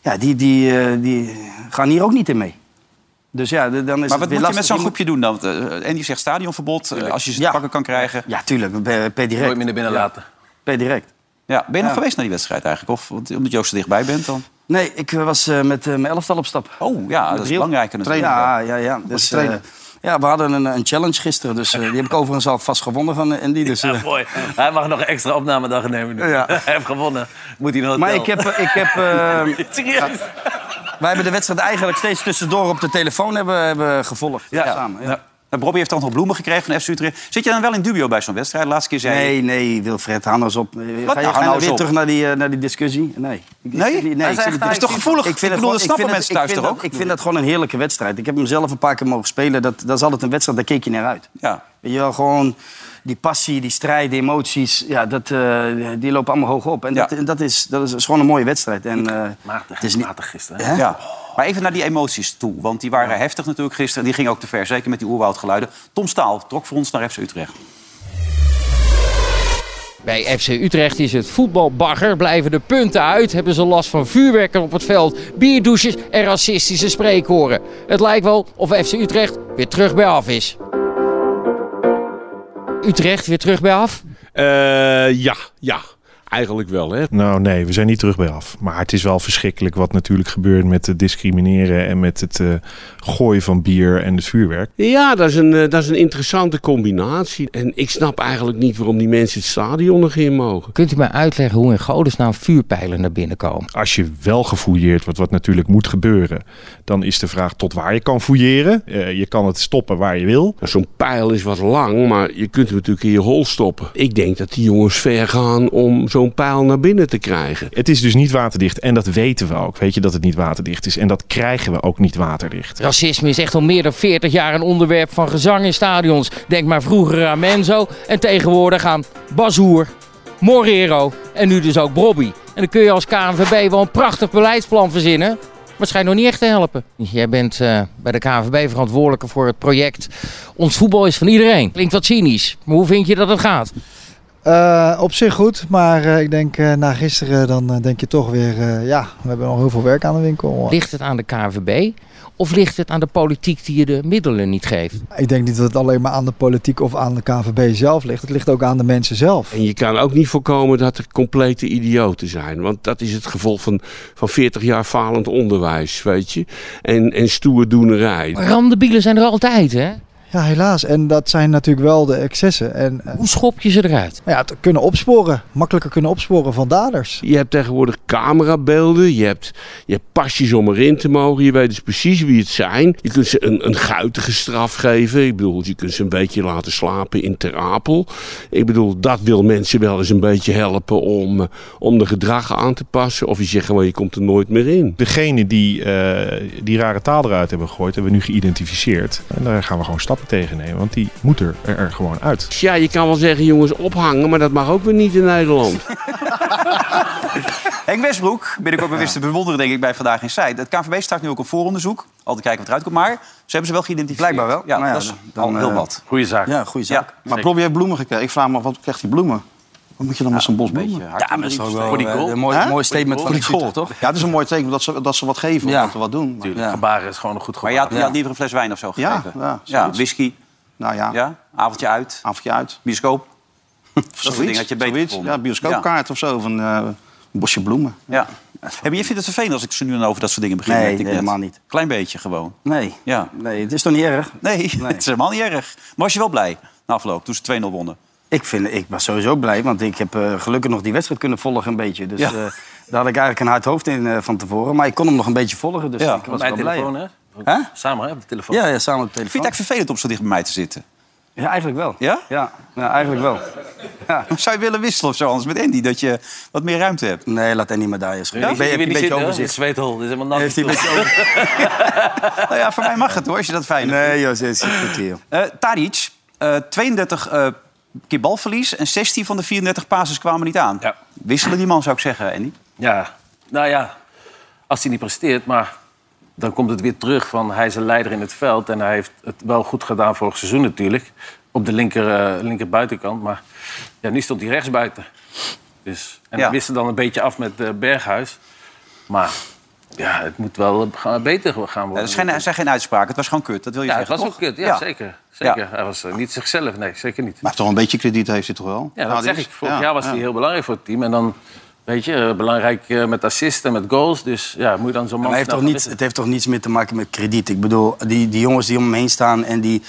[SPEAKER 4] ja, die, die, eh, die gaan hier ook niet in mee. Dus ja, d- dan is het
[SPEAKER 2] Maar
[SPEAKER 4] weer
[SPEAKER 2] wat moet je
[SPEAKER 4] lastig.
[SPEAKER 2] met zo'n
[SPEAKER 4] Die moet-
[SPEAKER 2] groepje doen dan? Want, eh, Andy zegt stadionverbod, eh, als je ze te
[SPEAKER 4] Ja.
[SPEAKER 2] pakken kan krijgen.
[SPEAKER 4] Ja, tuurlijk. Per, per direct.
[SPEAKER 6] Nooit meer naar binnen laten.
[SPEAKER 4] Per direct.
[SPEAKER 2] Ja. Ben je nog
[SPEAKER 4] Ja.
[SPEAKER 2] geweest naar die wedstrijd eigenlijk? Of want- omdat Joost er dichtbij bent dan?
[SPEAKER 4] Nee, ik eh, was eh, met eh, mijn elftal op stap.
[SPEAKER 2] Oh ja, dat is
[SPEAKER 4] Riel.
[SPEAKER 2] belangrijker natuurlijk.
[SPEAKER 4] Ja, ja, ja.
[SPEAKER 5] Was je
[SPEAKER 4] Dus,
[SPEAKER 5] trainer?
[SPEAKER 4] eh, ja, we hadden een, een challenge gisteren. Dus eh, die heb ik overigens al vast gewonnen van eh, Andy. Dus, eh,
[SPEAKER 6] Ja, mooi. Hij mag nog een extra opnamedag nemen nu.
[SPEAKER 4] Ja.
[SPEAKER 6] (laughs) Hij heeft gewonnen. Moet hij nog
[SPEAKER 4] maar ik heb... eh, Ik
[SPEAKER 2] (laughs)
[SPEAKER 4] heb eh,
[SPEAKER 6] Serieus?
[SPEAKER 4] wij hebben de wedstrijd eigenlijk steeds tussendoor op de telefoon hebben, hebben gevolgd.
[SPEAKER 6] Ja.
[SPEAKER 4] Samen, ja.
[SPEAKER 6] Nou,
[SPEAKER 2] Nou, Bobby heeft dan nog bloemen gekregen van FC Utrecht. Zit je dan wel in dubio bij zo'n wedstrijd? De laatste keer zei
[SPEAKER 4] Nee,
[SPEAKER 2] je...
[SPEAKER 4] nee, Wilfred, hou nou eens op. Ga je,
[SPEAKER 2] nou,
[SPEAKER 4] ga je
[SPEAKER 2] hou nou
[SPEAKER 4] nou
[SPEAKER 2] eens
[SPEAKER 4] weer
[SPEAKER 2] op?
[SPEAKER 4] terug naar die, eh, naar die discussie? Nee.
[SPEAKER 2] Nee?
[SPEAKER 4] Ik-
[SPEAKER 2] Hij is
[SPEAKER 4] ik-
[SPEAKER 2] echt- hij is toch gevoelig? Ik bedoel,
[SPEAKER 4] gewoon-
[SPEAKER 2] dat snappen
[SPEAKER 4] vind
[SPEAKER 2] mensen thuis
[SPEAKER 4] ik vind
[SPEAKER 2] toch
[SPEAKER 4] dat-
[SPEAKER 2] ook?
[SPEAKER 4] Ik vind dat gewoon een heerlijke wedstrijd. Ik heb hem zelf een paar keer mogen spelen. Dat, dat is altijd een wedstrijd, daar keek je naar uit.
[SPEAKER 2] Ja.
[SPEAKER 4] Weet je wel, gewoon die passie, die strijd, die emoties. Ja, dat, eh, die lopen allemaal hoog op. En dat, en dat, is, dat, is, is gewoon een mooie wedstrijd. En, eh,
[SPEAKER 6] Matig,
[SPEAKER 4] het is niet...
[SPEAKER 6] matig gisteren. hè?
[SPEAKER 4] Hè?
[SPEAKER 2] Ja. Maar even naar die emoties toe. Want die waren heftig natuurlijk gisteren. Die gingen ook te ver, zeker met die oerwoudgeluiden. Tom Staal trok voor ons naar FC Utrecht.
[SPEAKER 7] Bij FC Utrecht is het voetbalbagger, blijven de punten uit, hebben ze last van vuurwerken op het veld, bierdouches en racistische spreekhoren. Het lijkt wel of FC Utrecht weer terug bij af is. Utrecht weer terug bij af?
[SPEAKER 11] (laughs) Eh, ja, ja. Eigenlijk wel, hè?
[SPEAKER 12] Nou nee, we zijn niet terug bij af. Maar het is wel verschrikkelijk wat natuurlijk gebeurt met het discrimineren en met het eh, gooien van bier en het vuurwerk.
[SPEAKER 11] Ja, dat is, een, eh, dat is een interessante combinatie. En ik snap eigenlijk niet waarom die mensen het stadion nog in mogen.
[SPEAKER 7] Kunt u mij uitleggen hoe in godesnaam vuurpijlen naar binnen komen?
[SPEAKER 12] Als je wel gefouilleerd wordt, wat natuurlijk moet gebeuren, dan is de vraag tot waar je kan fouilleren. Eh, je kan het stoppen waar je wil.
[SPEAKER 11] Nou, Zo'n pijl is wat lang, maar je kunt hem natuurlijk in je hol stoppen. Ik denk dat die jongens ver gaan om zo'n pijl naar binnen te krijgen.
[SPEAKER 12] Het is dus niet waterdicht en dat weten we ook. Weet je dat het niet waterdicht is en dat krijgen we ook niet waterdicht.
[SPEAKER 7] Racisme is echt al meer dan 40 jaar een onderwerp van gezang in stadions. Denk maar vroeger aan Menzo en tegenwoordig aan Bazoer, Morero en nu dus ook Bobby. En dan kun je als KNVB wel een prachtig beleidsplan verzinnen, maar het schijnt nog niet echt te helpen. Jij bent eh, bij de KNVB verantwoordelijke voor het project Ons voetbal is van iedereen. Klinkt wat cynisch, maar hoe vind je dat het gaat?
[SPEAKER 13] Eh, op zich goed, maar eh, ik denk eh, na gisteren dan eh, denk je toch weer, eh, ja, we hebben nog heel veel werk aan de winkel.
[SPEAKER 7] Ligt het aan de KNVB of ligt het aan de politiek die je de middelen niet geeft?
[SPEAKER 13] Ik denk niet dat het alleen maar aan de politiek of aan de KVB zelf ligt. Het ligt ook aan de mensen zelf.
[SPEAKER 11] En je kan ook niet voorkomen dat er complete idioten zijn. Want dat is het gevolg van, van 40 jaar falend onderwijs, weet je. En, en stoerdoenerij.
[SPEAKER 7] Randebielen zijn er altijd, hè?
[SPEAKER 13] Ja, helaas. En dat zijn natuurlijk wel de excessen. En, Hoe
[SPEAKER 7] schop je ze eruit?
[SPEAKER 13] Ja, het kunnen opsporen. Makkelijker kunnen opsporen van daders.
[SPEAKER 11] Je hebt tegenwoordig camerabeelden, je hebt, je hebt pasjes om erin te mogen, je weet dus precies wie het zijn. Je kunt ze een, een guitige straf geven, ik bedoel, je kunt ze een beetje laten slapen in Ter Apel. Ik bedoel, dat wil mensen wel eens een beetje helpen om, eh, om de gedragen aan te passen. Of je zegt gewoon, je komt er nooit meer in.
[SPEAKER 12] Degene die eh, die rare taal eruit hebben gegooid, hebben we nu geïdentificeerd. En daar gaan we gewoon stappen tegen nemen, want die moet er, er, er gewoon uit.
[SPEAKER 11] Ja, je kan wel zeggen, jongens, ophangen, maar dat mag ook weer niet in Nederland.
[SPEAKER 2] Henk Westbroek, ben (laughs) ik ook weer wist te bewonderen denk ik bij Vandaag in Zij. Het KNVB start nu ook een vooronderzoek. Altijd kijken wat eruit komt. Maar ze hebben ze wel geïdentificeerd. Blijkbaar wel. Ja,
[SPEAKER 5] Nou ja,
[SPEAKER 2] dat is
[SPEAKER 5] dan,
[SPEAKER 2] al heel
[SPEAKER 5] eh,
[SPEAKER 2] wat.
[SPEAKER 6] Goeie zaak.
[SPEAKER 2] Ja,
[SPEAKER 5] goede zaak. maar Bobby heeft bloemen gekregen. Ik vraag me af, wat krijgt die bloemen? Wat moet je dan met zo'n bos bloemen?
[SPEAKER 4] hard Ja, maar dat is toch wel, Voor die eh, goal. een mooi-
[SPEAKER 5] Hè?
[SPEAKER 4] mooi statement
[SPEAKER 5] Voor die
[SPEAKER 4] van de
[SPEAKER 5] goal,
[SPEAKER 4] keeper,
[SPEAKER 5] toch? Ja, het is een mooi teken dat ze, dat ze wat geven of dat ze wat doen. Maar,
[SPEAKER 6] Tuurlijk, gebaren is gewoon een goed
[SPEAKER 2] Maar
[SPEAKER 6] gebaar.
[SPEAKER 2] je had, je had liever een fles wijn of zo
[SPEAKER 5] Ja,
[SPEAKER 2] gegeven?
[SPEAKER 5] ja,
[SPEAKER 2] ja
[SPEAKER 5] zoiets.
[SPEAKER 2] whisky.
[SPEAKER 5] Nou ja.
[SPEAKER 2] Avondje uit.
[SPEAKER 5] Avondje uit.
[SPEAKER 2] Bioscoop. (laughs) dat soort
[SPEAKER 5] zoiets,
[SPEAKER 2] dingen had je beter
[SPEAKER 5] zoiets.
[SPEAKER 2] gevonden.
[SPEAKER 5] Ja, bioscoopkaart of zo, van eh, een bosje bloemen.
[SPEAKER 2] Ja. Heb je vindt het vervelend als ik zo nu en over dat soort dingen begin?
[SPEAKER 5] Nee,
[SPEAKER 2] merkte ik
[SPEAKER 5] nee,
[SPEAKER 2] net.
[SPEAKER 5] helemaal niet.
[SPEAKER 2] Klein beetje gewoon.
[SPEAKER 4] Nee.
[SPEAKER 2] Ja.
[SPEAKER 4] nee, het is toch niet erg?
[SPEAKER 2] Nee, (laughs) het is helemaal niet erg. Maar was je wel blij na afloop toen ze 2-0 wonnen?
[SPEAKER 4] Ik, vind, ik was sowieso blij, want ik heb eh, gelukkig nog die wedstrijd kunnen volgen een beetje. Dus
[SPEAKER 2] Ja.
[SPEAKER 4] eh, daar had ik eigenlijk een hard hoofd in eh, van tevoren. Maar ik kon hem nog een beetje volgen, dus
[SPEAKER 2] Ja,
[SPEAKER 4] ik was
[SPEAKER 6] Bij
[SPEAKER 4] wel
[SPEAKER 6] de
[SPEAKER 4] blij.
[SPEAKER 6] telefoon, hè?
[SPEAKER 4] Hè?
[SPEAKER 6] Samen, hè? Op de telefoon.
[SPEAKER 4] Ja, ja, samen op de
[SPEAKER 2] Vind je
[SPEAKER 4] telefoon.
[SPEAKER 2] het echt vervelend om zo dicht bij mij te zitten?
[SPEAKER 4] Ja, eigenlijk wel.
[SPEAKER 2] Ja?
[SPEAKER 4] Ja, ja eigenlijk wel. Ja.
[SPEAKER 2] Zou je willen wisselen of zo anders met Andy? Dat je wat meer ruimte hebt?
[SPEAKER 4] Nee, laat Andy maar daar eens.
[SPEAKER 2] Ja?
[SPEAKER 4] Ik ben, heb je een beetje overzicht.
[SPEAKER 6] zweethol. Dit is helemaal nat.
[SPEAKER 4] Heeft hij een beetje
[SPEAKER 2] Nou ja, voor mij mag het hoor, als je dat fijn vindt.
[SPEAKER 4] Nee, joh, dit is goed hier.
[SPEAKER 2] Eh, Tadic, eh, 32 eh, keer balverlies en 16 van de 34 passes kwamen niet aan. Wisselen die man, zou ik zeggen, Andy.
[SPEAKER 6] Ja, nou ja, als hij niet presteert, maar dan komt het weer terug van hij is een leider in het veld en hij heeft het wel goed gedaan vorig seizoen natuurlijk. Op de linker, eh, linkerbuitenkant, maar ja, nu stond hij rechtsbuiten. Dus, en
[SPEAKER 2] Ja.
[SPEAKER 6] hij wist dan een beetje af met eh, Berghuis. Maar ja, het moet wel eh, gaan- beter gaan worden.
[SPEAKER 2] Ja, dat zijn, dat zijn geen uitspraken, het was gewoon kut, dat wil je
[SPEAKER 6] Ja, het
[SPEAKER 2] zeggen,
[SPEAKER 6] was ook
[SPEAKER 2] toch?
[SPEAKER 6] kut. Ja, zeker. zeker. Hij was eh, niet zichzelf, nee, zeker niet.
[SPEAKER 5] Maar toch een beetje krediet heeft hij toch wel?
[SPEAKER 6] Ja, dat
[SPEAKER 5] Nou, die
[SPEAKER 6] zeg
[SPEAKER 5] is-
[SPEAKER 6] ik. Vorig
[SPEAKER 5] ja,
[SPEAKER 6] jaar was hij
[SPEAKER 5] ja.
[SPEAKER 6] heel belangrijk voor het team. En dan, weet je, eh, belangrijk eh, met assisten, met goals. Dus ja, moet je dan zo'n man
[SPEAKER 4] Maar hij heeft
[SPEAKER 6] snel
[SPEAKER 4] toch niet,
[SPEAKER 6] gaan
[SPEAKER 4] het heeft toch niets meer te maken met krediet? Ik bedoel, die, die jongens die om hem heen staan en die,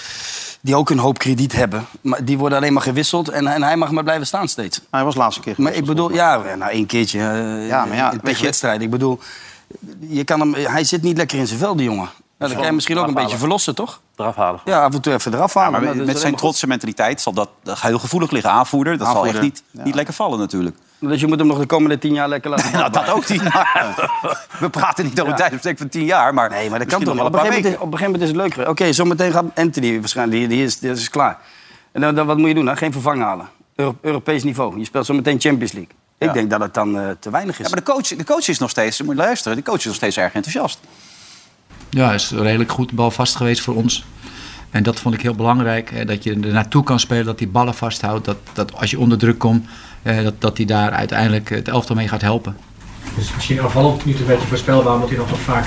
[SPEAKER 4] die ook een hoop krediet hebben... Maar die worden alleen maar gewisseld en, en hij mag maar blijven staan steeds.
[SPEAKER 5] Hij was laatste keer.
[SPEAKER 4] Maar ik bedoel, ja, nou één keertje. eh,
[SPEAKER 5] Ja, maar ja,
[SPEAKER 4] in
[SPEAKER 5] weet
[SPEAKER 4] je,
[SPEAKER 5] je-
[SPEAKER 4] wedstrijd. Ik bedoel, je kan hem, hij zit niet lekker in zijn vel, die jongen. Nou, dan kan je hem misschien ook een beetje verlossen, toch?
[SPEAKER 6] wisselen. eraf halen.
[SPEAKER 4] Ja, af en toe even eraf halen.
[SPEAKER 2] maar
[SPEAKER 4] Nou,
[SPEAKER 2] met,
[SPEAKER 4] dat is
[SPEAKER 2] met zijn
[SPEAKER 4] helemaal
[SPEAKER 2] trotse mentaliteit zal dat eh, heel gevoelig liggen. Aanvoerder, dat zal echt
[SPEAKER 4] Aanvoerder,
[SPEAKER 2] niet, niet lekker vallen natuurlijk.
[SPEAKER 4] goed. Dus je moet hem nog de komende tien jaar lekker (laughs) laten
[SPEAKER 2] Nou, dat ook niet. maar (laughs) We praten niet over een
[SPEAKER 4] Ja.
[SPEAKER 2] tijdsbestek van tien jaar, maar... Nee,
[SPEAKER 4] maar dat kan toch wel. Op een, gegeven moment is, op een gegeven moment is het leuk geweest. Oké, zometeen gaat Anthony waarschijnlijk. Die, die, is, die is klaar. En dan, dan wat moet je doen? Dan? Geen vervang halen. Euro- Europees niveau. Je speelt zometeen Champions League. Ik
[SPEAKER 2] Ja.
[SPEAKER 4] denk dat het dan eh, te weinig is.
[SPEAKER 2] Ja, maar de coach, de coach is nog steeds, moet je luisteren, de coach is nog steeds erg enthousiast.
[SPEAKER 14] Ja, hij is redelijk goed balvast geweest voor ons. En dat vond ik heel belangrijk. Hè, dat je er naartoe kan spelen, dat hij ballen vasthoudt. Dat, dat als je onder druk komt, eh, dat, dat hij daar uiteindelijk het elftal mee gaat helpen.
[SPEAKER 15] Dus misschien afvallend niet een beetje voorspelbaar, omdat hij dan toch vaak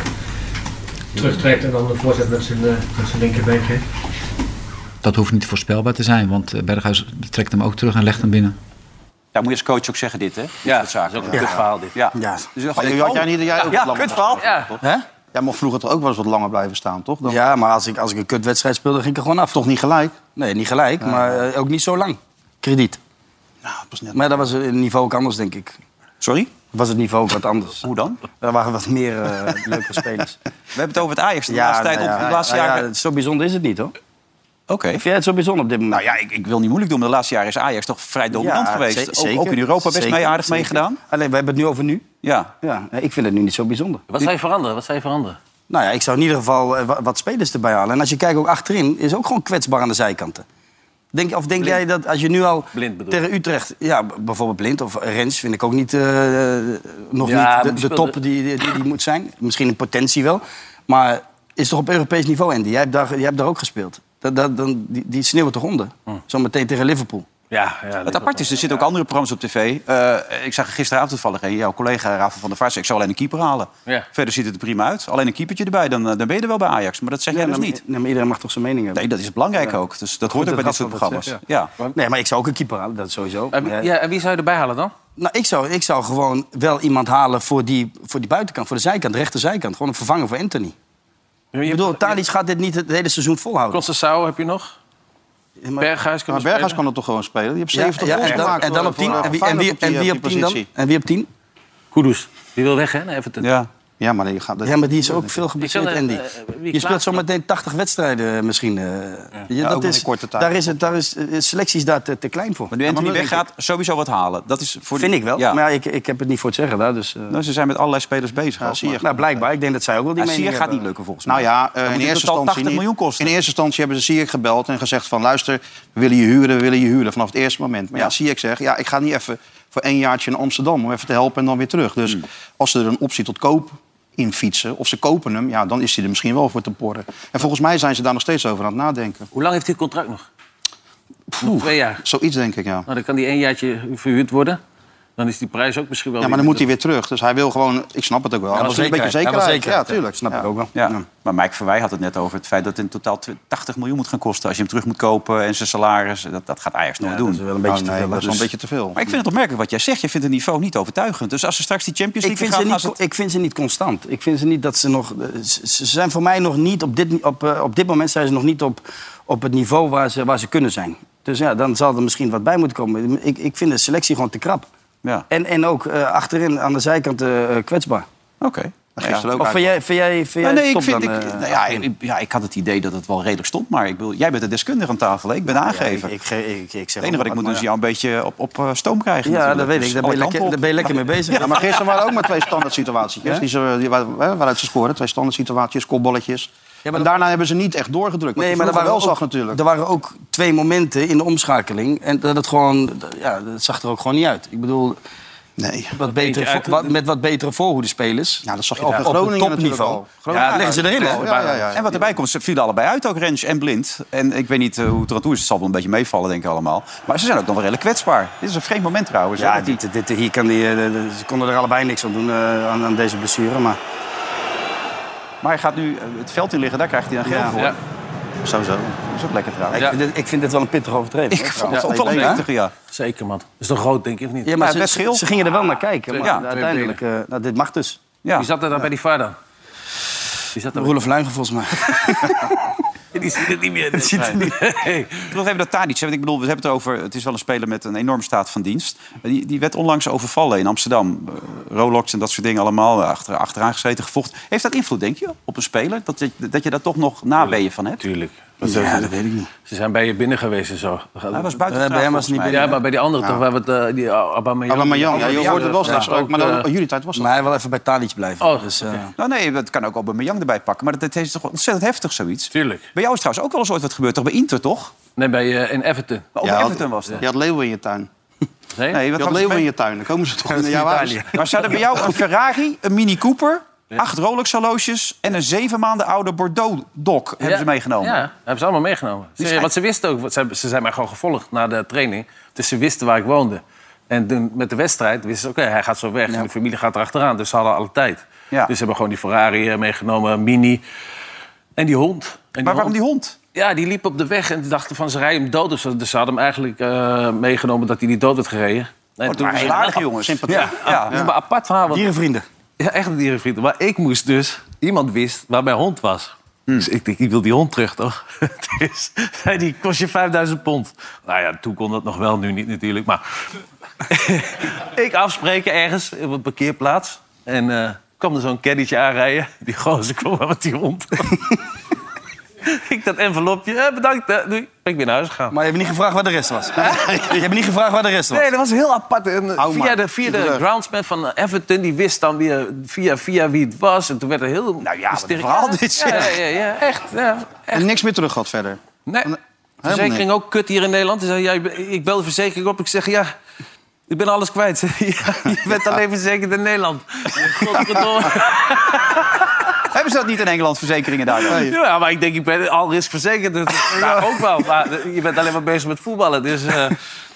[SPEAKER 15] terugtrekt en dan de voorzet met zijn, eh, met zijn linkerbeen geeft.
[SPEAKER 14] Dat hoeft niet voorspelbaar te zijn, want eh, Berghuis trekt hem ook terug en legt hem binnen.
[SPEAKER 2] Daar moet je als coach ook zeggen dit, hè?
[SPEAKER 6] Ja, dat is ook een kut verhaal dit.
[SPEAKER 2] Ja.
[SPEAKER 5] Dus dan had jij niet dat jij ook
[SPEAKER 2] Ja,
[SPEAKER 5] wat langer
[SPEAKER 2] kut verhaal.
[SPEAKER 5] blijven, toch? Jij mocht vroeger toch ook wel eens wat langer blijven staan, toch? Dan
[SPEAKER 4] Ja, maar als ik, als ik een kutwedstrijd speelde, ging ik er gewoon af.
[SPEAKER 5] Toch niet gelijk?
[SPEAKER 4] Nee, niet gelijk, maar eh, ook niet zo lang. Krediet.
[SPEAKER 5] Nou,
[SPEAKER 4] Maar dat was het niveau ook anders, denk ik.
[SPEAKER 2] Sorry?
[SPEAKER 4] Was het niveau ook wat anders.
[SPEAKER 2] Hoe dan?
[SPEAKER 4] Er waren wat meer eh (laughs) leuke spelers. nou We
[SPEAKER 2] hebben het over het Ajax de laatste tijd op- de laatste jaren.
[SPEAKER 4] zo bijzonder is het niet, hoor.
[SPEAKER 2] Oké.
[SPEAKER 4] Vind jij het zo bijzonder op dit moment?
[SPEAKER 2] Nou ja, ik, ik wil niet moeilijk doen, maar de laatste jaren is Ajax toch vrij dominant
[SPEAKER 4] Ja,
[SPEAKER 2] geweest.
[SPEAKER 4] ze-
[SPEAKER 2] Ook-
[SPEAKER 4] zeker.
[SPEAKER 2] ook in Europa best
[SPEAKER 4] Zeker,
[SPEAKER 2] mee aardig
[SPEAKER 4] zeker.
[SPEAKER 2] meegedaan.
[SPEAKER 4] Alleen, we hebben het nu over nu.
[SPEAKER 2] Ja.
[SPEAKER 4] ja. Ik vind het nu niet zo bijzonder.
[SPEAKER 6] Wat zou je veranderen? Wat zou je veranderen?
[SPEAKER 4] Nou ja, ik zou in ieder geval eh, wa- wat spelers erbij halen. En als je kijkt ook achterin, is ook gewoon kwetsbaar aan de zijkanten. Denk, of denk jij dat als je nu al tegen Utrecht... Ja, b- bijvoorbeeld Blind of Rens vind ik ook niet, eh, eh, nog
[SPEAKER 6] Ja, maar
[SPEAKER 4] niet de,
[SPEAKER 6] die
[SPEAKER 4] de
[SPEAKER 6] speelde-
[SPEAKER 4] top die, die, die, die moet zijn. Misschien in potentie wel. Maar is toch op Europees niveau, Andy? Jij hebt daar, jij hebt daar ook gespeeld. Dat, dat, dan, die, die sneeuwen toch onder?
[SPEAKER 2] Hmm.
[SPEAKER 4] Zometeen tegen Liverpool.
[SPEAKER 6] Ja, ja,
[SPEAKER 2] Het apart is, er zitten ook andere programma's op tv. Eh, ik zag gisteravond toevallig een jouw collega Rafa van der Vaart zei... ik zou alleen een keeper halen.
[SPEAKER 6] Ja.
[SPEAKER 2] Verder ziet het er prima uit. Alleen een keepertje erbij, dan, eh, dan ben je er wel bij Ajax. Maar dat zeg jij
[SPEAKER 4] Ja,
[SPEAKER 2] dus
[SPEAKER 4] maar-
[SPEAKER 2] niet.
[SPEAKER 4] nee, maar iedereen mag toch zijn mening hebben.
[SPEAKER 2] Nee, dat is belangrijk
[SPEAKER 4] Ja.
[SPEAKER 2] ook. Dus dat
[SPEAKER 4] Goed
[SPEAKER 2] hoort ook bij
[SPEAKER 4] Rafa
[SPEAKER 2] dit soort
[SPEAKER 4] dat
[SPEAKER 2] programma's.
[SPEAKER 4] zegt,
[SPEAKER 2] ja.
[SPEAKER 4] Nee, maar ik zou ook een keeper halen, dat sowieso.
[SPEAKER 6] En wie-
[SPEAKER 4] Maar, eh,
[SPEAKER 6] ja, en wie zou je erbij halen dan?
[SPEAKER 4] Nou, ik zou, ik zou gewoon wel iemand halen voor die, voor die buitenkant, voor de zijkant, de rechterzijkant. Gewoon een vervanger voor Anthony. Ik bedoel, Tadic gaat dit niet het hele seizoen volhouden.
[SPEAKER 6] Concessao heb je nog? Berghuis kan
[SPEAKER 5] Maar
[SPEAKER 6] nog
[SPEAKER 5] Berghuis
[SPEAKER 6] spelen.
[SPEAKER 5] kan het toch gewoon spelen? Die heeft
[SPEAKER 4] Ja,
[SPEAKER 5] 70
[SPEAKER 4] ja,
[SPEAKER 5] goals
[SPEAKER 4] en dan-
[SPEAKER 5] gemaakt
[SPEAKER 4] en dan
[SPEAKER 5] voor-
[SPEAKER 4] op 10.
[SPEAKER 5] voor, eh,
[SPEAKER 4] En wie- en wie-
[SPEAKER 5] Feyenoord
[SPEAKER 4] en wie
[SPEAKER 5] die,
[SPEAKER 4] op
[SPEAKER 5] eh,
[SPEAKER 4] 10 dan?
[SPEAKER 5] positie.
[SPEAKER 4] En wie op 10?
[SPEAKER 6] Kudus, die wil weg hè, naar Everton.
[SPEAKER 2] Ja.
[SPEAKER 5] Ja, maar die gaat...
[SPEAKER 4] Ja, maar die is ook veel
[SPEAKER 6] Ik
[SPEAKER 4] geblesseerd,
[SPEAKER 6] zal, eh,
[SPEAKER 4] Andy.
[SPEAKER 6] eh, wie
[SPEAKER 4] Je
[SPEAKER 6] Klaas-
[SPEAKER 4] speelt zometeen 80 wedstrijden misschien. eh. Ja,
[SPEAKER 2] Ja, ook
[SPEAKER 4] dat
[SPEAKER 2] maar
[SPEAKER 4] is,
[SPEAKER 2] in korte tijd.
[SPEAKER 4] Daar is, het, daar is eh, selecties daar te, te klein voor.
[SPEAKER 2] Maar nu Anthony
[SPEAKER 4] Ja, maar dat
[SPEAKER 2] weggaat, sowieso wat halen. Dat is voor
[SPEAKER 4] Vind
[SPEAKER 2] die-
[SPEAKER 4] ik wel,
[SPEAKER 2] Ja.
[SPEAKER 4] maar ja, ik, ik heb het niet voor het zeggen daar. Dus, eh.
[SPEAKER 2] Nou, ze zijn met allerlei spelers bezig. Ja,
[SPEAKER 5] Ziyech
[SPEAKER 4] nou, blijkbaar. Ik denk dat zij ook wel die
[SPEAKER 2] Ja,
[SPEAKER 4] mening
[SPEAKER 2] Ziyech gaat
[SPEAKER 4] hebben.
[SPEAKER 2] niet lukken volgens mij.
[SPEAKER 5] Nou ja, eh,
[SPEAKER 2] Dan moet
[SPEAKER 5] in
[SPEAKER 2] je
[SPEAKER 5] eerste
[SPEAKER 2] totaal
[SPEAKER 5] instantie
[SPEAKER 2] 80
[SPEAKER 5] niet.
[SPEAKER 2] miljoen kosten.
[SPEAKER 5] In eerste instantie hebben ze Ziyech gebeld en gezegd van... luister, we willen je huren, we willen je huren. Vanaf het eerste moment. Maar ja, Ziyech zegt, ja, ik ga niet even voor één jaartje naar Amsterdam... om even te helpen en dan weer terug. Dus als ze er een optie tot koop in fietsen, of ze kopen hem... ja, dan is hij er misschien wel voor te porren. En volgens mij zijn ze daar nog steeds over aan het nadenken.
[SPEAKER 6] Hoe lang heeft hij contract nog? Nog twee jaar.
[SPEAKER 5] Zoiets denk ik, ja.
[SPEAKER 6] Nou, dan kan die één jaartje verhuurd worden. Dan is die prijs ook misschien wel...
[SPEAKER 5] Ja, maar dan moet hij weer terug. Dus hij wil gewoon... Ik snap het ook wel. Hij wil een beetje zekerheid. Ja, tuurlijk. Ja.
[SPEAKER 4] wel.
[SPEAKER 2] Maar Mike Verwij had het net over het feit dat het in totaal tw- 80 miljoen moet gaan kosten. Als je hem terug moet kopen en zijn salaris. Dat, dat gaat Ajax nooit doen.
[SPEAKER 4] is wel een beetje
[SPEAKER 2] Oh,
[SPEAKER 4] te
[SPEAKER 2] nee,
[SPEAKER 4] veel,
[SPEAKER 5] Dat is wel een
[SPEAKER 2] dus-
[SPEAKER 5] beetje te veel.
[SPEAKER 2] Maar ik vind het opmerkelijk wat jij zegt. Je vindt het niveau niet overtuigend. Dus als ze straks die Champions
[SPEAKER 4] Ik
[SPEAKER 2] League
[SPEAKER 4] vind, ze
[SPEAKER 2] gaan,
[SPEAKER 4] niet,
[SPEAKER 2] gaan
[SPEAKER 4] ik vind ze niet constant. Ik vind ze niet dat ze nog. Ze ze zijn voor mij nog niet op dit, op, eh, op dit moment zijn ze nog niet op, op het niveau waar ze, waar ze kunnen zijn. Dus ja, dan zal er misschien wat bij moeten komen. Ik, ik vind de selectie gewoon te krap.
[SPEAKER 2] Ja.
[SPEAKER 4] En, en ook eh, achterin aan de zijkant eh, eh, kwetsbaar.
[SPEAKER 2] Oké.
[SPEAKER 4] Ja. Of vind jij, vind jij, vind jij
[SPEAKER 2] Nou, nee, ik,
[SPEAKER 4] top
[SPEAKER 2] vind,
[SPEAKER 4] dan,
[SPEAKER 2] ik-
[SPEAKER 4] eh,
[SPEAKER 2] nou ja, ik, ja, ik had het idee dat het wel redelijk stond. Maar ik bedoel, jij bent de deskundige aan tafel. hè? Ik ben de aangever.
[SPEAKER 4] ik, ge- ik, ik zeg
[SPEAKER 2] het enige wat ik
[SPEAKER 4] ook
[SPEAKER 2] moet doen
[SPEAKER 4] wat,
[SPEAKER 2] is jou een beetje op, op eh, stoom krijgen.
[SPEAKER 4] Ja,
[SPEAKER 2] natuurlijk.
[SPEAKER 4] dat weet ik.
[SPEAKER 2] Dus
[SPEAKER 4] Daar ben je
[SPEAKER 2] alle
[SPEAKER 4] lekker-
[SPEAKER 2] kanten op.
[SPEAKER 4] daar ben je lekker mee bezig.
[SPEAKER 5] Ja, maar gisteren waren ook maar twee standaard
[SPEAKER 2] (laughs)
[SPEAKER 5] situaties.
[SPEAKER 4] Ja?
[SPEAKER 5] Die ze, die, waar- waar- waaruit ze scoren. Twee standaard situaties, kopballetjes. en daarna hebben ze niet echt doorgedrukt.
[SPEAKER 4] Nee, maar
[SPEAKER 5] dat
[SPEAKER 4] er waren,
[SPEAKER 5] wel
[SPEAKER 4] ook,
[SPEAKER 5] zag natuurlijk.
[SPEAKER 4] er waren ook twee momenten in de omschakeling. En dat het gewoon, ja, dat zag er ook gewoon niet uit. Ik bedoel,
[SPEAKER 5] nee.
[SPEAKER 4] wat betere,
[SPEAKER 6] uit-
[SPEAKER 4] vo- wat- met wat betere voorhoedespelers. Ja,
[SPEAKER 5] dat zag
[SPEAKER 4] op,
[SPEAKER 2] bij
[SPEAKER 4] op het
[SPEAKER 2] Groningen
[SPEAKER 4] topniveau.
[SPEAKER 2] natuurlijk al.
[SPEAKER 4] Ja, leggen ze erin, hè?
[SPEAKER 2] En wat erbij komt, ze vielen allebei uit, ook Rens en Blind. En ik weet niet eh, hoe het er aan toe is. Het zal wel een beetje meevallen, denk ik allemaal. Maar ze zijn ook nog wel redelijk kwetsbaar. Dit is een vreemd moment trouwens. hè,
[SPEAKER 4] Ja,
[SPEAKER 2] dat die-
[SPEAKER 4] dit, dit, hier kan die, eh, de- de- ze konden er allebei niks aan doen eh, aan, aan deze blessure. Maar
[SPEAKER 2] Maar hij gaat nu eh, het veld in liggen, daar krijgt hij dan geld
[SPEAKER 4] Ja.
[SPEAKER 2] voor.
[SPEAKER 4] Ja.
[SPEAKER 2] Sowieso. Dat is ook lekker trouwens.
[SPEAKER 4] ik, vind dit, ik vind dit wel een pittige overtreding.
[SPEAKER 2] Ik
[SPEAKER 4] hoor,
[SPEAKER 2] vond het
[SPEAKER 4] trouwens.
[SPEAKER 2] ook wel een
[SPEAKER 4] Ja?
[SPEAKER 2] prettige, ja.
[SPEAKER 6] Zeker, man. Is toch groot, denk ik, of niet?
[SPEAKER 4] Ja, maar
[SPEAKER 2] Ja, best
[SPEAKER 4] ze,
[SPEAKER 2] geel.
[SPEAKER 4] ze gingen er wel naar kijken. Maar
[SPEAKER 6] Ja, twee
[SPEAKER 4] uiteindelijk, eh, nou, dit mag dus.
[SPEAKER 2] Ja.
[SPEAKER 6] Wie zat er dan bij die VAR dan? Wie zat er
[SPEAKER 4] Roelof Luijgen volgens mij. (laughs)
[SPEAKER 6] (laughs) Die ziet het niet meer. dus
[SPEAKER 2] Dat ziet er niet. Ik wil nog even dat Tadic, hè, want ik bedoel, we hebben het over... Het is wel een speler met een enorme staat van dienst. Die, die werd onlangs overvallen in Amsterdam. Eh, Rolex en dat soort dingen allemaal, eh, achter, achteraan gezeten, gevochten. Heeft dat invloed, denk je, op een speler? Dat, dat, dat je daar toch nog nabeeën van hebt?
[SPEAKER 6] Tuurlijk. Want
[SPEAKER 4] Ja,
[SPEAKER 6] ze-
[SPEAKER 4] dat weet ik niet.
[SPEAKER 6] Ze zijn bij je binnen geweest en zo.
[SPEAKER 4] Hij was buiten Eh, bij hem was hij niet
[SPEAKER 6] volgens mij.
[SPEAKER 4] binnen.
[SPEAKER 6] Ja, maar bij die andere
[SPEAKER 4] Ja.
[SPEAKER 6] toch, waar we het, eh, die Aubameyang...
[SPEAKER 5] Aubameyang, ja, je hoorde wel
[SPEAKER 6] Ja,
[SPEAKER 5] straks ook, maar dan-
[SPEAKER 6] eh,
[SPEAKER 5] oh, jullie tijd was dat.
[SPEAKER 4] Maar hij wil even bij Tadic blijven.
[SPEAKER 2] Oh,
[SPEAKER 4] dus, eh,
[SPEAKER 2] Nou nee, dat kan ook Aubameyang erbij pakken. Maar dat, dat is toch ontzettend heftig, zoiets?
[SPEAKER 6] Tuurlijk.
[SPEAKER 2] Bij jou is trouwens ook wel eens ooit wat gebeurd, toch? Bij Inter, toch?
[SPEAKER 6] Nee, bij, eh, in Everton.
[SPEAKER 2] Maar ook
[SPEAKER 5] Ja,
[SPEAKER 2] bij
[SPEAKER 5] had-
[SPEAKER 2] Everton was dat.
[SPEAKER 5] Je had leeuwen in je tuin.
[SPEAKER 6] Nee,
[SPEAKER 2] Oh, Nee,
[SPEAKER 5] Je
[SPEAKER 2] wat
[SPEAKER 5] had
[SPEAKER 2] hadden ze
[SPEAKER 5] leeuwen
[SPEAKER 2] bij-
[SPEAKER 5] in je tuin, dan komen ze toch in jouw huis.
[SPEAKER 2] Maar ze hadden bij jou een Ferrari, een Mini Cooper, acht Rolex horloges en een zeven maanden oude Bordeaux dok hebben
[SPEAKER 6] Ja,
[SPEAKER 2] ze meegenomen.
[SPEAKER 6] Ja, hebben ze allemaal meegenomen. Ze-
[SPEAKER 2] schijnt-
[SPEAKER 6] want ze wisten ook, want ze, hebben- ze zijn mij gewoon gevolgd na de training. Dus ze wisten waar ik woonde. En toen met de wedstrijd wisten ze, oké, hij gaat zo weg. En de familie gaat erachteraan, dus ze hadden alle tijd. Dus ze hebben gewoon die Ferrari eh, meegenomen, Mini en die hond. En die
[SPEAKER 2] Maar waarom die hond?
[SPEAKER 6] Ja, die liep op de weg en die dachten van ze rijden hem dood. of zo. Dus ze hadden hem eigenlijk eh, meegenomen dat hij niet dood werd gereden. Nee,
[SPEAKER 2] toen
[SPEAKER 6] maar
[SPEAKER 2] is het
[SPEAKER 6] helemaal-
[SPEAKER 2] aardig, jongens. Sympathiek.
[SPEAKER 6] Ja,
[SPEAKER 2] Ja.
[SPEAKER 6] ja. maar apart verhaal. want-
[SPEAKER 4] Dierenvrienden.
[SPEAKER 6] ja, echt een dierenvriend. Maar ik moest dus... Iemand wist waar mijn hond was. Dus ik denk, ik wil die hond terug, toch? (laughs) dus zei die kost je 5000 pond. Nou ja, toen kon dat nog wel, nu niet natuurlijk. Maar (laughs) ik afspreken ergens op een parkeerplaats. En eh, kwam er zo'n caddietje aanrijden. Die gozer kwam maar met die hond. (laughs) ik dat envelopje, eh, bedankt, eh, doei. Ben ik weer naar huis gegaan.
[SPEAKER 4] Maar je hebt niet gevraagd waar de rest
[SPEAKER 2] (laughs)
[SPEAKER 4] was. je hebt niet gevraagd waar de rest was.
[SPEAKER 6] Nee, dat was heel apart. En, eh,
[SPEAKER 4] Hou
[SPEAKER 6] via
[SPEAKER 4] maar.
[SPEAKER 6] de, via
[SPEAKER 4] Niet
[SPEAKER 6] de
[SPEAKER 4] leuk.
[SPEAKER 6] groundsman van Everton, die wist dan weer via, via wie het was. En toen werd er heel... Nou ja,
[SPEAKER 5] een verhaal dit,
[SPEAKER 6] Ja, ja,
[SPEAKER 5] zeg.
[SPEAKER 6] ja, ja, echt. Ja.
[SPEAKER 5] En niks meer terug gehad verder.
[SPEAKER 6] Nee, verzekering ook kut hier in Nederland. Ze zei, ja, ik be- ik bel de verzekering op. Ik zeg, ja, ik ben alles kwijt. (laughs) Ja, je bent alleen verzekerd in Nederland.
[SPEAKER 5] (laughs)
[SPEAKER 6] Godverdomme.
[SPEAKER 2] Hebben ze dat niet in Engeland, verzekeringen daar? dan?
[SPEAKER 6] Ja, maar ik denk, ik ben al risk verzekerd. Dat is- ja, ook wel. Maar eh, je bent alleen maar bezig met voetballen. Dus eh,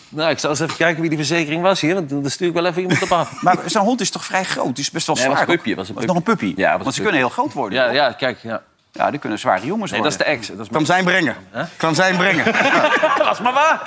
[SPEAKER 6] nou, ik zal eens even kijken wie die verzekering was hier. Want dan stuur ik wel even iemand op af.
[SPEAKER 2] Maar zo'n hond is toch vrij groot? Die is best wel
[SPEAKER 6] Nee,
[SPEAKER 2] zwaar.
[SPEAKER 6] was een
[SPEAKER 2] toch?
[SPEAKER 6] puppy, was een
[SPEAKER 2] nog een puppy.
[SPEAKER 6] Ja, was een
[SPEAKER 2] Want ze
[SPEAKER 6] puppy.
[SPEAKER 2] kunnen heel groot worden.
[SPEAKER 6] Ja, ja kijk, ja.
[SPEAKER 2] Ja, die kunnen zware jongens
[SPEAKER 6] Nee, dat is
[SPEAKER 2] worden.
[SPEAKER 6] de ex. Dat is
[SPEAKER 4] Kwam zijn brengen. Kwam zijn brengen.
[SPEAKER 6] Dat was maar waar.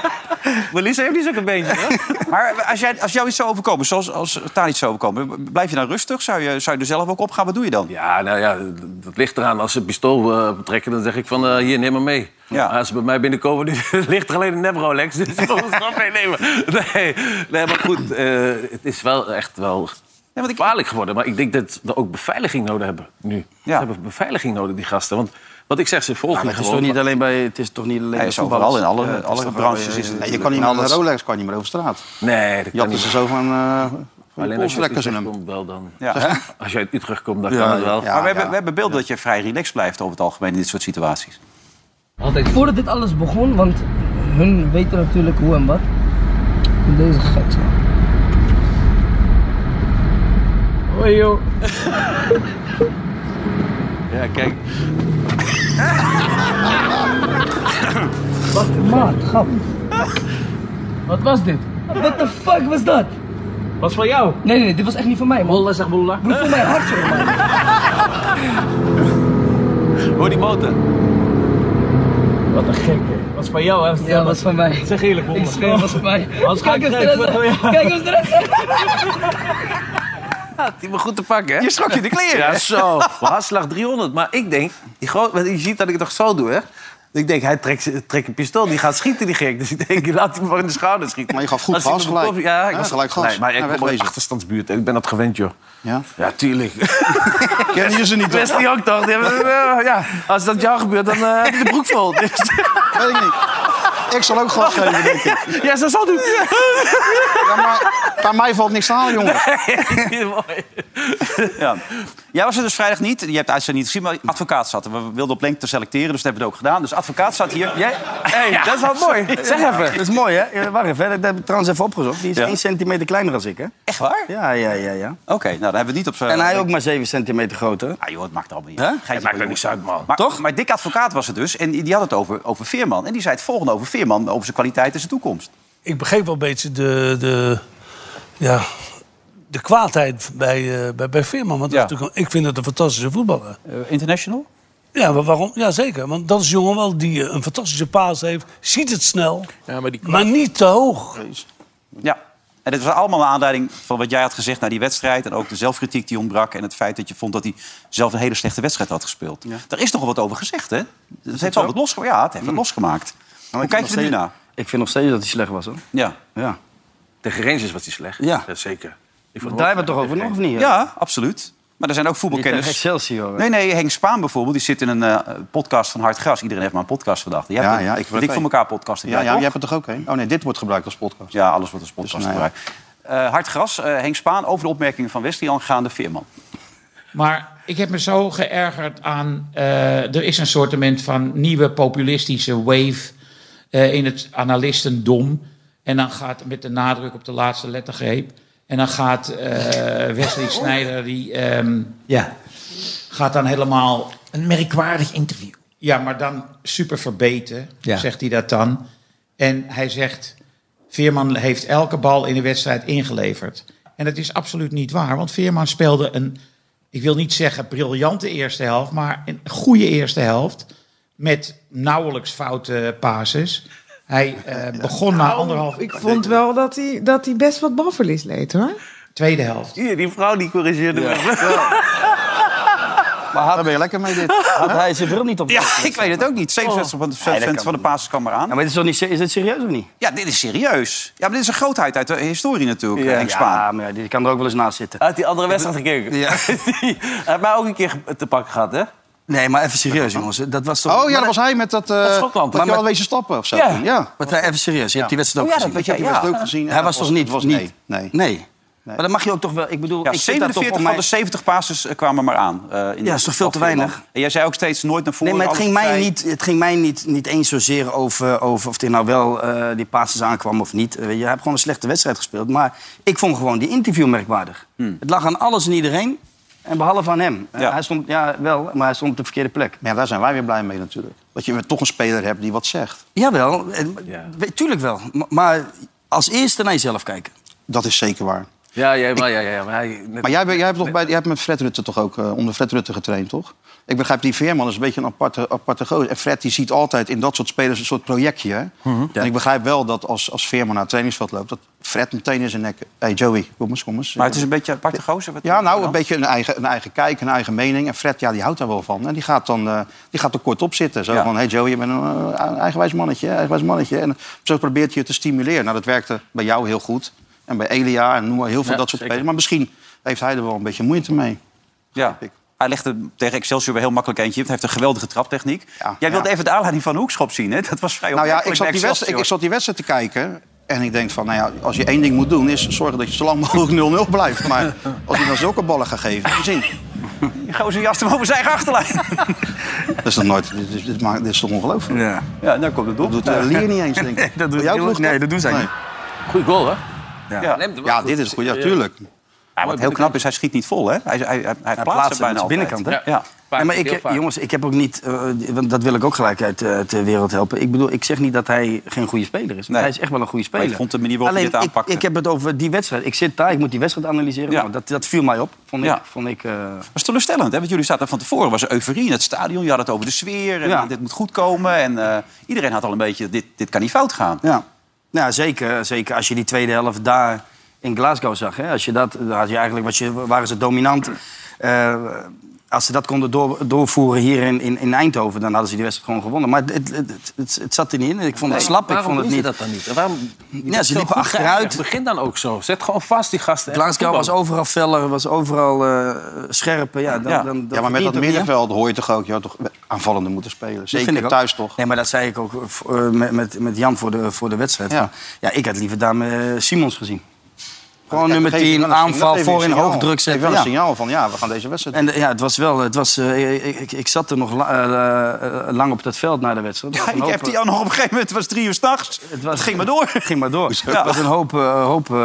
[SPEAKER 6] (laughs) Melissa heeft niet zo'n beentje, hoor.
[SPEAKER 2] (laughs) Maar als, jij, als jou iets zou overkomen, zoals als Tadic zou overkomen... blijf je dan rustig? Zou je, zou je er zelf ook op gaan? Wat doe je dan?
[SPEAKER 6] Ja, nou ja, dat ligt eraan. Als ze het pistool eh, betrekken, dan zeg ik van, eh, hier, neem maar mee. Als ze bij mij binnenkomen, (laughs) nu ligt er alleen een Nebrolex. Dus ik moet het meenemen. (laughs) Nee, nee, maar goed, eh, het is wel echt wel gevaarlijk geworden. Maar ik denk dat we ook beveiliging nodig hebben nu. Ze hebben beveiliging nodig, die gasten. Want wat ik zeg, ze volgen
[SPEAKER 4] het, is toch niet alleen bij, het is toch niet alleen
[SPEAKER 6] Hij
[SPEAKER 4] bij
[SPEAKER 6] is
[SPEAKER 4] voetballers?
[SPEAKER 6] overal in alle-
[SPEAKER 4] Ja, het
[SPEAKER 6] alle
[SPEAKER 4] toch
[SPEAKER 6] branches
[SPEAKER 4] wel,
[SPEAKER 6] is het
[SPEAKER 4] eh,
[SPEAKER 5] Nee, je kan niet meer met een Rolex kan je niet meer over straat.
[SPEAKER 6] Nee, dat
[SPEAKER 5] Je had
[SPEAKER 6] kan
[SPEAKER 5] dus
[SPEAKER 6] niet.
[SPEAKER 5] zo van... eh, van je
[SPEAKER 6] Alleen als
[SPEAKER 5] pols
[SPEAKER 6] je uit
[SPEAKER 5] trekken ze
[SPEAKER 6] Utrecht
[SPEAKER 5] hem.
[SPEAKER 6] komt, wel dan.
[SPEAKER 2] Ja.
[SPEAKER 6] Als je uit Utrecht komt, dan
[SPEAKER 2] Ja,
[SPEAKER 6] kan het wel.
[SPEAKER 2] maar we, hebben, we hebben beelden dat je vrij relaxed blijft over het algemeen in dit soort situaties.
[SPEAKER 16] Voordat dit alles begon, want hun weten natuurlijk hoe en wat. Deze gek. Hoi joh.
[SPEAKER 6] Ja, kijk.
[SPEAKER 16] Wat maat, grap. Wat was dit? What the fuck was dat? Was van jou? Nee, nee, nee, dit was echt niet van mij. Bolla zeg bolla. Broer, voor mijn hartje, man.
[SPEAKER 6] Hoor die motor.
[SPEAKER 16] Wat een gek, Was van jou, hè? Ja, was van mij. Zeg eerlijk, bolla. Ik zweer, was van mij.
[SPEAKER 6] Anders
[SPEAKER 16] Kijk
[SPEAKER 6] kijk
[SPEAKER 16] eens
[SPEAKER 6] ik gek.
[SPEAKER 16] eruit.
[SPEAKER 6] Ja.
[SPEAKER 16] Kijk eens eruit.
[SPEAKER 6] Ja, die me goed te pakken, hè?
[SPEAKER 2] Je schrok je de kleren.
[SPEAKER 6] Ja, zo. Hartslag 300. Maar ik denk, die gro- want je ziet dat ik het toch zo doe, hè? Ik denk, hij trekt, trekt een pistool, die gaat schieten, die gek. Dus ik denk, laat hem maar in de schouder schieten.
[SPEAKER 5] Maar je gaf goed
[SPEAKER 6] Als hij
[SPEAKER 5] gas
[SPEAKER 6] me bekop-
[SPEAKER 5] gelijk.
[SPEAKER 6] Ja, ik
[SPEAKER 5] Ja,
[SPEAKER 6] was
[SPEAKER 5] gelijk
[SPEAKER 6] gelijk
[SPEAKER 5] gas.
[SPEAKER 6] gas. maar
[SPEAKER 5] Ja,
[SPEAKER 6] ik kom uit
[SPEAKER 5] wegwezen.
[SPEAKER 6] achterstandsbuurt. Ik ben dat gewend, joh.
[SPEAKER 5] Ja?
[SPEAKER 6] Ja, tuurlijk. (laughs)
[SPEAKER 5] Kennen je ze
[SPEAKER 2] (laughs)
[SPEAKER 5] niet, toch?
[SPEAKER 6] Best die ook, toch? Die hebben- eh, (laughs) ja, als dat jou gebeurt, dan eh, heb je de broek
[SPEAKER 2] (laughs)
[SPEAKER 6] vol. Dus-
[SPEAKER 5] Weet ik niet. Ik zal ook gas geven, denk ik.
[SPEAKER 6] ja, zo zal doen.
[SPEAKER 5] Ja, maar bij mij valt niks aan, jongen.
[SPEAKER 6] Mooi.
[SPEAKER 2] Ja. Jij was er dus vrijdag niet. Je hebt de uitzending niet gezien, maar advocaat zat er. We wilden op lengte selecteren, dus dat hebben we het ook gedaan. Dus advocaat zat hier. Jij? Hey,
[SPEAKER 6] Ja.
[SPEAKER 2] Dat is wel mooi. Zeg
[SPEAKER 4] Ja,
[SPEAKER 2] even.
[SPEAKER 4] Dat is mooi, hè? Ja, Wacht even, hè. dat heb ik trouwens even opgezocht. Die is
[SPEAKER 2] Ja.
[SPEAKER 4] 1 centimeter kleiner dan ik, hè?
[SPEAKER 2] Echt waar?
[SPEAKER 4] Ja, ja, ja, ja.
[SPEAKER 2] Oké, nou, daar hebben we het niet op zijn.
[SPEAKER 4] En hij ook maar 7 centimeter groter.
[SPEAKER 2] Ah joh, het maakt allemaal niet
[SPEAKER 4] Hè?
[SPEAKER 2] uit. Geitje,
[SPEAKER 6] maakt er niks uit, man.
[SPEAKER 2] Maar, Toch? Maar dik advocaat was het dus. En die die had het over, over Veerman. En die zei het volgende over Veerman, over zijn kwaliteit en zijn toekomst.
[SPEAKER 17] ik begreep wel een beetje de, de, ja, de kwaadheid bij, eh, bij, bij Veerman. Want dat is natuurlijk een- ik vind het een fantastische voetballer.
[SPEAKER 2] international?
[SPEAKER 17] Ja, maar waarom? Ja, zeker. Want dat is een jongen wel die eh, een fantastische paas heeft. Ziet het snel, maar, niet te hoog.
[SPEAKER 2] Ja. En dit was allemaal naar aanleiding van wat jij had gezegd na die wedstrijd. En ook de zelfkritiek die ontbrak. En het feit dat je vond dat hij zelf een hele slechte wedstrijd had gespeeld. Daar is toch wel wat over gezegd, hè? Het heeft wel wat losgemaakt. Ja, het
[SPEAKER 5] Hmm.
[SPEAKER 2] heeft wat
[SPEAKER 5] Nou,
[SPEAKER 2] losgemaakt. Hoe kijk je er nu naar?
[SPEAKER 4] Ik vind nog steeds dat hij slecht was, hoor.
[SPEAKER 2] Ja.
[SPEAKER 4] Ja.
[SPEAKER 6] Tegen Rangers was hij slecht.
[SPEAKER 4] Ja.
[SPEAKER 6] zeker. Ik
[SPEAKER 4] Daar hebben we het toch over nog, of niet? hè?
[SPEAKER 2] Ja, absoluut. Maar er zijn ook voetbalkenners.
[SPEAKER 4] Niet tegen Excelsior, hè?
[SPEAKER 2] Nee, nee, Henk Spaan bijvoorbeeld. Die zit in een eh, podcast van Hard Gras. Iedereen heeft maar een podcast vandaag. Jij hebt
[SPEAKER 5] Ja,
[SPEAKER 2] een-
[SPEAKER 5] ja, ik heb er
[SPEAKER 2] Dik
[SPEAKER 5] ook
[SPEAKER 2] voor
[SPEAKER 5] een.
[SPEAKER 2] elkaar podcast. heb
[SPEAKER 5] Ja,
[SPEAKER 2] jij
[SPEAKER 5] ja
[SPEAKER 2] toch?
[SPEAKER 5] jij hebt het toch ook heen? Oh nee, dit wordt gebruikt als podcast.
[SPEAKER 2] Ja, alles wordt als podcast
[SPEAKER 5] Dus, nou ja.
[SPEAKER 2] gebruikt. Eh, hard Gras, eh, Henk Spaan over de opmerkingen van Wesley aangaande Veerman.
[SPEAKER 18] Maar ik heb me zo geërgerd aan. eh, er is een soortement van nieuwe populistische wave eh, in het analistendom. En dan gaat met de nadruk op de laatste lettergreep. En dan gaat eh, Wesley
[SPEAKER 16] (laughs)
[SPEAKER 18] Snijder, die ehm,
[SPEAKER 16] Ja.
[SPEAKER 18] gaat dan helemaal.
[SPEAKER 16] Een merkwaardig interview.
[SPEAKER 18] Ja, maar dan super verbeten,
[SPEAKER 16] Ja.
[SPEAKER 18] zegt hij dat dan. En hij zegt. Veerman heeft elke bal in de wedstrijd ingeleverd. En dat is absoluut niet waar, want Veerman speelde een ik wil niet zeggen briljante eerste helft, maar een goede eerste helft. Met nauwelijks foute pases. Hij eh, begon na anderhalf
[SPEAKER 19] Nou, Ik vond wel dat hij, dat hij best wat balverlies leed, hoor.
[SPEAKER 18] tweede helft.
[SPEAKER 6] Zie je, die vrouw die
[SPEAKER 19] (laughs)
[SPEAKER 6] corrigeerde me.
[SPEAKER 5] Maar had, ben je lekker mee
[SPEAKER 19] (laughs)
[SPEAKER 5] dit.
[SPEAKER 4] Had hij zijn bril niet op?
[SPEAKER 2] Ja, (laughs) ik weet het ook niet.
[SPEAKER 4] Oh.
[SPEAKER 2] 67% van de pases kwam eraan.
[SPEAKER 4] maar is, niet, is dit serieus of niet?
[SPEAKER 2] Ja, dit is serieus. Ja, maar dit is een grootheid uit de historie natuurlijk, eh, Henk Spaan.
[SPEAKER 4] Ja, maar ja, die kan er ook wel eens naast zitten.
[SPEAKER 6] Uit die andere wedstrijd gekeken. (laughs)
[SPEAKER 4] Ja.
[SPEAKER 2] (laughs)
[SPEAKER 6] Hij heeft mij ook een keer te pakken gehad, hè?
[SPEAKER 4] Nee, maar even serieus, jongens. Dat was toch...
[SPEAKER 5] Oh ja, dat was hij met dat... eh
[SPEAKER 4] Op
[SPEAKER 5] dat
[SPEAKER 4] Schotland.
[SPEAKER 5] je
[SPEAKER 4] Maar met-
[SPEAKER 5] al wezen stappen of zo.
[SPEAKER 4] Ja.
[SPEAKER 5] toen, ja.
[SPEAKER 4] Maar even serieus, je hebt die wedstrijd ook
[SPEAKER 5] Oh ja,
[SPEAKER 4] gezien.
[SPEAKER 5] dat weet jij, Ik heb die ja. wedstrijd ook gezien en
[SPEAKER 4] Hij
[SPEAKER 5] dat
[SPEAKER 4] was toch niet...
[SPEAKER 5] was- was
[SPEAKER 4] niet
[SPEAKER 5] nee, nee.
[SPEAKER 4] Maar dan mag je ook toch wel... Ik bedoel,
[SPEAKER 2] Ja,
[SPEAKER 4] ik zit daar toch
[SPEAKER 2] 47
[SPEAKER 4] om
[SPEAKER 2] van
[SPEAKER 4] mijn-
[SPEAKER 2] de 70 pases eh, kwamen maar aan. eh, in
[SPEAKER 4] Ja,
[SPEAKER 2] de-
[SPEAKER 4] is toch veel te
[SPEAKER 2] van Veerman.
[SPEAKER 4] weinig?
[SPEAKER 2] En jij zei ook steeds nooit naar voren.
[SPEAKER 4] Nee, maar het ging
[SPEAKER 2] alles
[SPEAKER 4] mij
[SPEAKER 2] opzij.
[SPEAKER 4] niet, het ging mij niet, niet eens zozeer over, over of hij nou wel eh, die passes aankwam of niet. Eh, weet je, hij heeft gewoon een slechte wedstrijd gespeeld. Maar ik vond gewoon die interview merkwaardig.
[SPEAKER 2] Hmm.
[SPEAKER 4] Het lag aan alles en iedereen. En behalve aan hem. Eh, hij stond, ja, wel, maar hij stond op de verkeerde plek.
[SPEAKER 5] Ja, daar zijn wij weer blij mee natuurlijk. Dat je toch een speler hebt die wat zegt.
[SPEAKER 4] Jawel, en, we- tuurlijk wel. M- Maar als eerste naar jezelf kijken.
[SPEAKER 5] Dat is zeker waar.
[SPEAKER 6] Ja, ja, maar, ja, ja, maar hij...
[SPEAKER 5] Maar jij, bent- jij, hebt toch bij, jij hebt met Fred Rutte toch ook eh, onder Fred Rutte getraind, toch? Ik begrijp, die Veerman is een beetje een aparte, aparte gozer. En Fred die ziet altijd in dat soort spelers een soort projectje. hè?
[SPEAKER 2] Mhm.
[SPEAKER 5] En ik begrijp wel dat als, als Veerman naar het trainingsveld loopt... dat Fred meteen in zijn nek... Hé, hey Joey, kom eens, kom eens.
[SPEAKER 2] Maar het is een beetje een aparte gozer. wat-
[SPEAKER 5] Ja, nou, een beetje een eigen, een eigen kijk, een eigen mening. En Fred, ja, die houdt daar wel van. En die gaat, dan, eh, die gaat er kort op zitten. Zo
[SPEAKER 2] Ja.
[SPEAKER 5] van, hé hey Joey, je bent een eh, eigenwijs mannetje, hè, eigenwijs mannetje. En zo probeert je te stimuleren. Nou, dat werkte bij jou heel goed. En bij Elia en noem maar heel veel
[SPEAKER 2] Ja,
[SPEAKER 5] dat soort
[SPEAKER 2] zeker.
[SPEAKER 5] spelers. Maar misschien heeft hij er wel een beetje moeite mee.
[SPEAKER 2] Ja. Hij legde tegen Excelsior weer heel makkelijk eentje. in. Hij heeft een geweldige traptechniek. Jij wilde
[SPEAKER 5] ja.
[SPEAKER 2] even de aanleiding van de hoekschop zien, hè? Dat was vrij
[SPEAKER 5] Nou ja, ik
[SPEAKER 2] opmerkelijk
[SPEAKER 5] zat,
[SPEAKER 2] bij
[SPEAKER 5] die wedstrijd, ik
[SPEAKER 2] Excelsior.
[SPEAKER 5] zat die wedstrijd te kijken. En ik denk van, nou ja, als je één ding moet doen... is zorgen dat je zo lang mogelijk (laughs) 0-0 blijft. Maar als je dan zulke ballen gaat geven, heb je zin.
[SPEAKER 2] Die gozer jas hem over zijn eigen (laughs) achterlijn.
[SPEAKER 5] Dat is toch nooit... Dit is, dit maakt- dit is toch ongelooflijk?
[SPEAKER 2] Ja, ja nou komt het op.
[SPEAKER 5] Dat doet eh, Lier niet eens, denk ik.
[SPEAKER 2] (laughs) dat doet
[SPEAKER 5] Bij jou
[SPEAKER 2] die-
[SPEAKER 5] vloog
[SPEAKER 2] nee,
[SPEAKER 5] dat?
[SPEAKER 2] dat doen zij
[SPEAKER 5] Nee.
[SPEAKER 2] niet.
[SPEAKER 6] Goeie goal, hè?
[SPEAKER 2] Ja,
[SPEAKER 6] Neemt hem wel
[SPEAKER 5] Ja,
[SPEAKER 6] goed.
[SPEAKER 5] dit is goed. Ja,
[SPEAKER 6] Ja.
[SPEAKER 5] tuurlijk.
[SPEAKER 2] Ja, wat heel knap is, hij schiet niet vol, hè? Hij, hij, hij, hij plaatst,
[SPEAKER 4] plaatsen
[SPEAKER 2] hem bijna
[SPEAKER 4] met de
[SPEAKER 2] altijd.
[SPEAKER 4] binnenkant, hè?
[SPEAKER 2] Ja.
[SPEAKER 4] Nee, maar ik, jongens, ik heb ook niet... eh, want dat wil ik ook gelijk uit eh, de wereld helpen. Ik bedoel, ik zeg niet dat hij geen goede speler is.
[SPEAKER 2] Nee.
[SPEAKER 4] Hij is echt wel een goede
[SPEAKER 2] Maar
[SPEAKER 4] speler.
[SPEAKER 2] ik vond de manier waarop hij
[SPEAKER 4] Alleen,
[SPEAKER 2] dit
[SPEAKER 4] ik-
[SPEAKER 2] aanpakte.
[SPEAKER 4] Ik, heb het over die wedstrijd. Ik zit daar, ik moet die wedstrijd analyseren. Nou, dat, dat viel mij op, vond ik.
[SPEAKER 2] Ja.
[SPEAKER 4] Vond ik eh,
[SPEAKER 2] Dat is teleurstellend, hè? Want jullie zaten van tevoren, was er euforie in het stadion. Je had het over de sfeer en
[SPEAKER 4] Ja.
[SPEAKER 2] dit moet goed komen. En eh, iedereen had al een beetje, dit, dit kan niet fout gaan.
[SPEAKER 4] Ja, nou, zeker, zeker als je die tweede helft daar in Glasgow zag. Hè? Als je dat, daar had je eigenlijk, was je, waren ze dominant. Eh, als ze dat konden door, doorvoeren hier in, in, in Eindhoven, dan hadden ze die wedstrijd gewoon gewonnen. Maar het, het, het, het, het zat er niet in. Ik vond het
[SPEAKER 6] Nee,
[SPEAKER 4] slap, ik
[SPEAKER 6] waarom
[SPEAKER 4] vond het
[SPEAKER 6] doen
[SPEAKER 4] niet.
[SPEAKER 6] Ze dat dan niet? En Waarom, eh,
[SPEAKER 4] Ja, ze liepen achteruit.
[SPEAKER 6] Begin dan ook zo. Zet gewoon vast die gasten.
[SPEAKER 5] Eh,
[SPEAKER 4] Glasgow was
[SPEAKER 6] ook.
[SPEAKER 4] overal feller, was overal eh scherp. Ja, dan,
[SPEAKER 5] Ja.
[SPEAKER 4] Dan, dan
[SPEAKER 5] ja, maar met
[SPEAKER 4] verdient
[SPEAKER 5] dat
[SPEAKER 4] ook meer.
[SPEAKER 5] middenveld hoor je toch ook... je had toch aanvallende moeten spelen.
[SPEAKER 4] Dat
[SPEAKER 5] Zeker
[SPEAKER 4] vind ik ook.
[SPEAKER 5] thuis toch.
[SPEAKER 4] Nee, maar dat zei ik ook eh, met, met, met Jan voor de, voor de wedstrijd. Ja. ja, ik had liever daar eh, Simons gezien. Gewoon
[SPEAKER 5] Ja,
[SPEAKER 4] nummer
[SPEAKER 5] dat geeft
[SPEAKER 4] 10,
[SPEAKER 5] wel een signaal-
[SPEAKER 4] aanval,
[SPEAKER 5] dat geeft
[SPEAKER 4] voor in
[SPEAKER 5] een signaal.
[SPEAKER 4] hoogdruk
[SPEAKER 5] Geeft
[SPEAKER 4] zetten.
[SPEAKER 5] wel een
[SPEAKER 4] ja.
[SPEAKER 5] signaal van, ja, we gaan deze wedstrijd
[SPEAKER 4] En de- ja, het was wel, het was, eh, ik, ik, ik zat er nog la- eh, eh, lang op dat veld na de wedstrijd. Het was
[SPEAKER 2] Ik
[SPEAKER 4] een
[SPEAKER 2] heb
[SPEAKER 4] hoop- eh,
[SPEAKER 2] die al nog op een gegeven moment, het was drie uur s'nachts.
[SPEAKER 4] Het, was,
[SPEAKER 2] ging maar door.
[SPEAKER 4] Het ging
[SPEAKER 5] (laughs)
[SPEAKER 4] maar door.
[SPEAKER 2] Ja.
[SPEAKER 4] Het was een hoop, eh, hoop eh,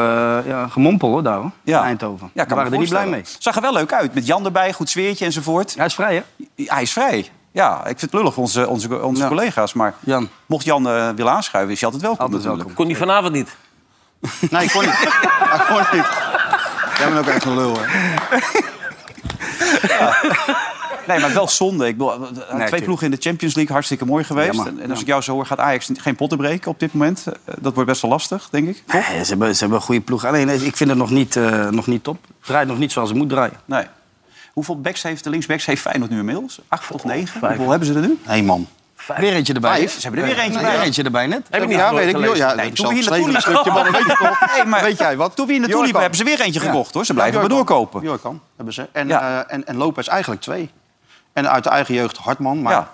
[SPEAKER 4] ja, gemompel hoor, daar hoor.
[SPEAKER 2] Ja.
[SPEAKER 4] in Eindhoven. Ja,
[SPEAKER 2] Ja, kan me
[SPEAKER 4] waren er niet blij
[SPEAKER 2] voorstellen.
[SPEAKER 4] mee.
[SPEAKER 2] Zag er wel leuk uit. Met Jan erbij, goed sfeertje enzovoort. Hij
[SPEAKER 4] is vrij,
[SPEAKER 2] hè? Hij is vrij. Ja, ik vind het lullig, onze, onze, onze collega's. Maar
[SPEAKER 4] Jan.
[SPEAKER 2] mocht Jan eh, willen aanschuiven, is hij altijd welkom natuurlijk.
[SPEAKER 6] Kon die vanavond niet.
[SPEAKER 5] Nee, ik kon
[SPEAKER 4] (laughs)
[SPEAKER 5] niet. ik kon niet. Jij bent ook echt een lul, hè?
[SPEAKER 2] Nee, maar wel zonde. Ik bedoel, eh, twee
[SPEAKER 4] tuurlijk.
[SPEAKER 2] ploegen in de Champions League, hartstikke mooi geweest.
[SPEAKER 4] Jammer.
[SPEAKER 2] en, en als ik jou zo hoor, gaat Ajax geen potten breken op dit moment. Eh, Dat wordt best wel lastig, denk ik. Toch?
[SPEAKER 4] Nee, ze, hebben, ze hebben een goede ploeg. Alleen eh, ik vind het nog niet, eh, nog niet top. Het draait nog niet zoals het moet draaien.
[SPEAKER 2] Nee. Hoeveel backs heeft de linksbacks heeft Feyenoord nu inmiddels? Acht of negen? Hoeveel hebben ze er nu?
[SPEAKER 5] Eén man.
[SPEAKER 4] Weerentje erbij.
[SPEAKER 2] Vijf? Ze hebben er weer eentje bij.
[SPEAKER 4] Weer eentje erbij net.
[SPEAKER 2] Heb ik niet
[SPEAKER 5] ja,
[SPEAKER 2] nooit
[SPEAKER 5] weet ik niet.
[SPEAKER 2] gelezen.
[SPEAKER 5] Ja,
[SPEAKER 2] Nee,
[SPEAKER 5] dat
[SPEAKER 2] toen
[SPEAKER 5] zal
[SPEAKER 2] we hier
[SPEAKER 5] stelen,
[SPEAKER 2] naartoe
[SPEAKER 5] een stukje, maar dat weet ik
[SPEAKER 4] (laughs)
[SPEAKER 5] toch.
[SPEAKER 2] Nee, maar
[SPEAKER 5] weet jij wat?
[SPEAKER 2] toen we hier naartoe liepen, hebben ze weer eentje gekocht, hoor. Ze blijven maar doorkopen.
[SPEAKER 5] Jorkan hebben ze. En, eh, en, en Lopez eigenlijk twee. En uit de eigen jeugd Hartman, maar...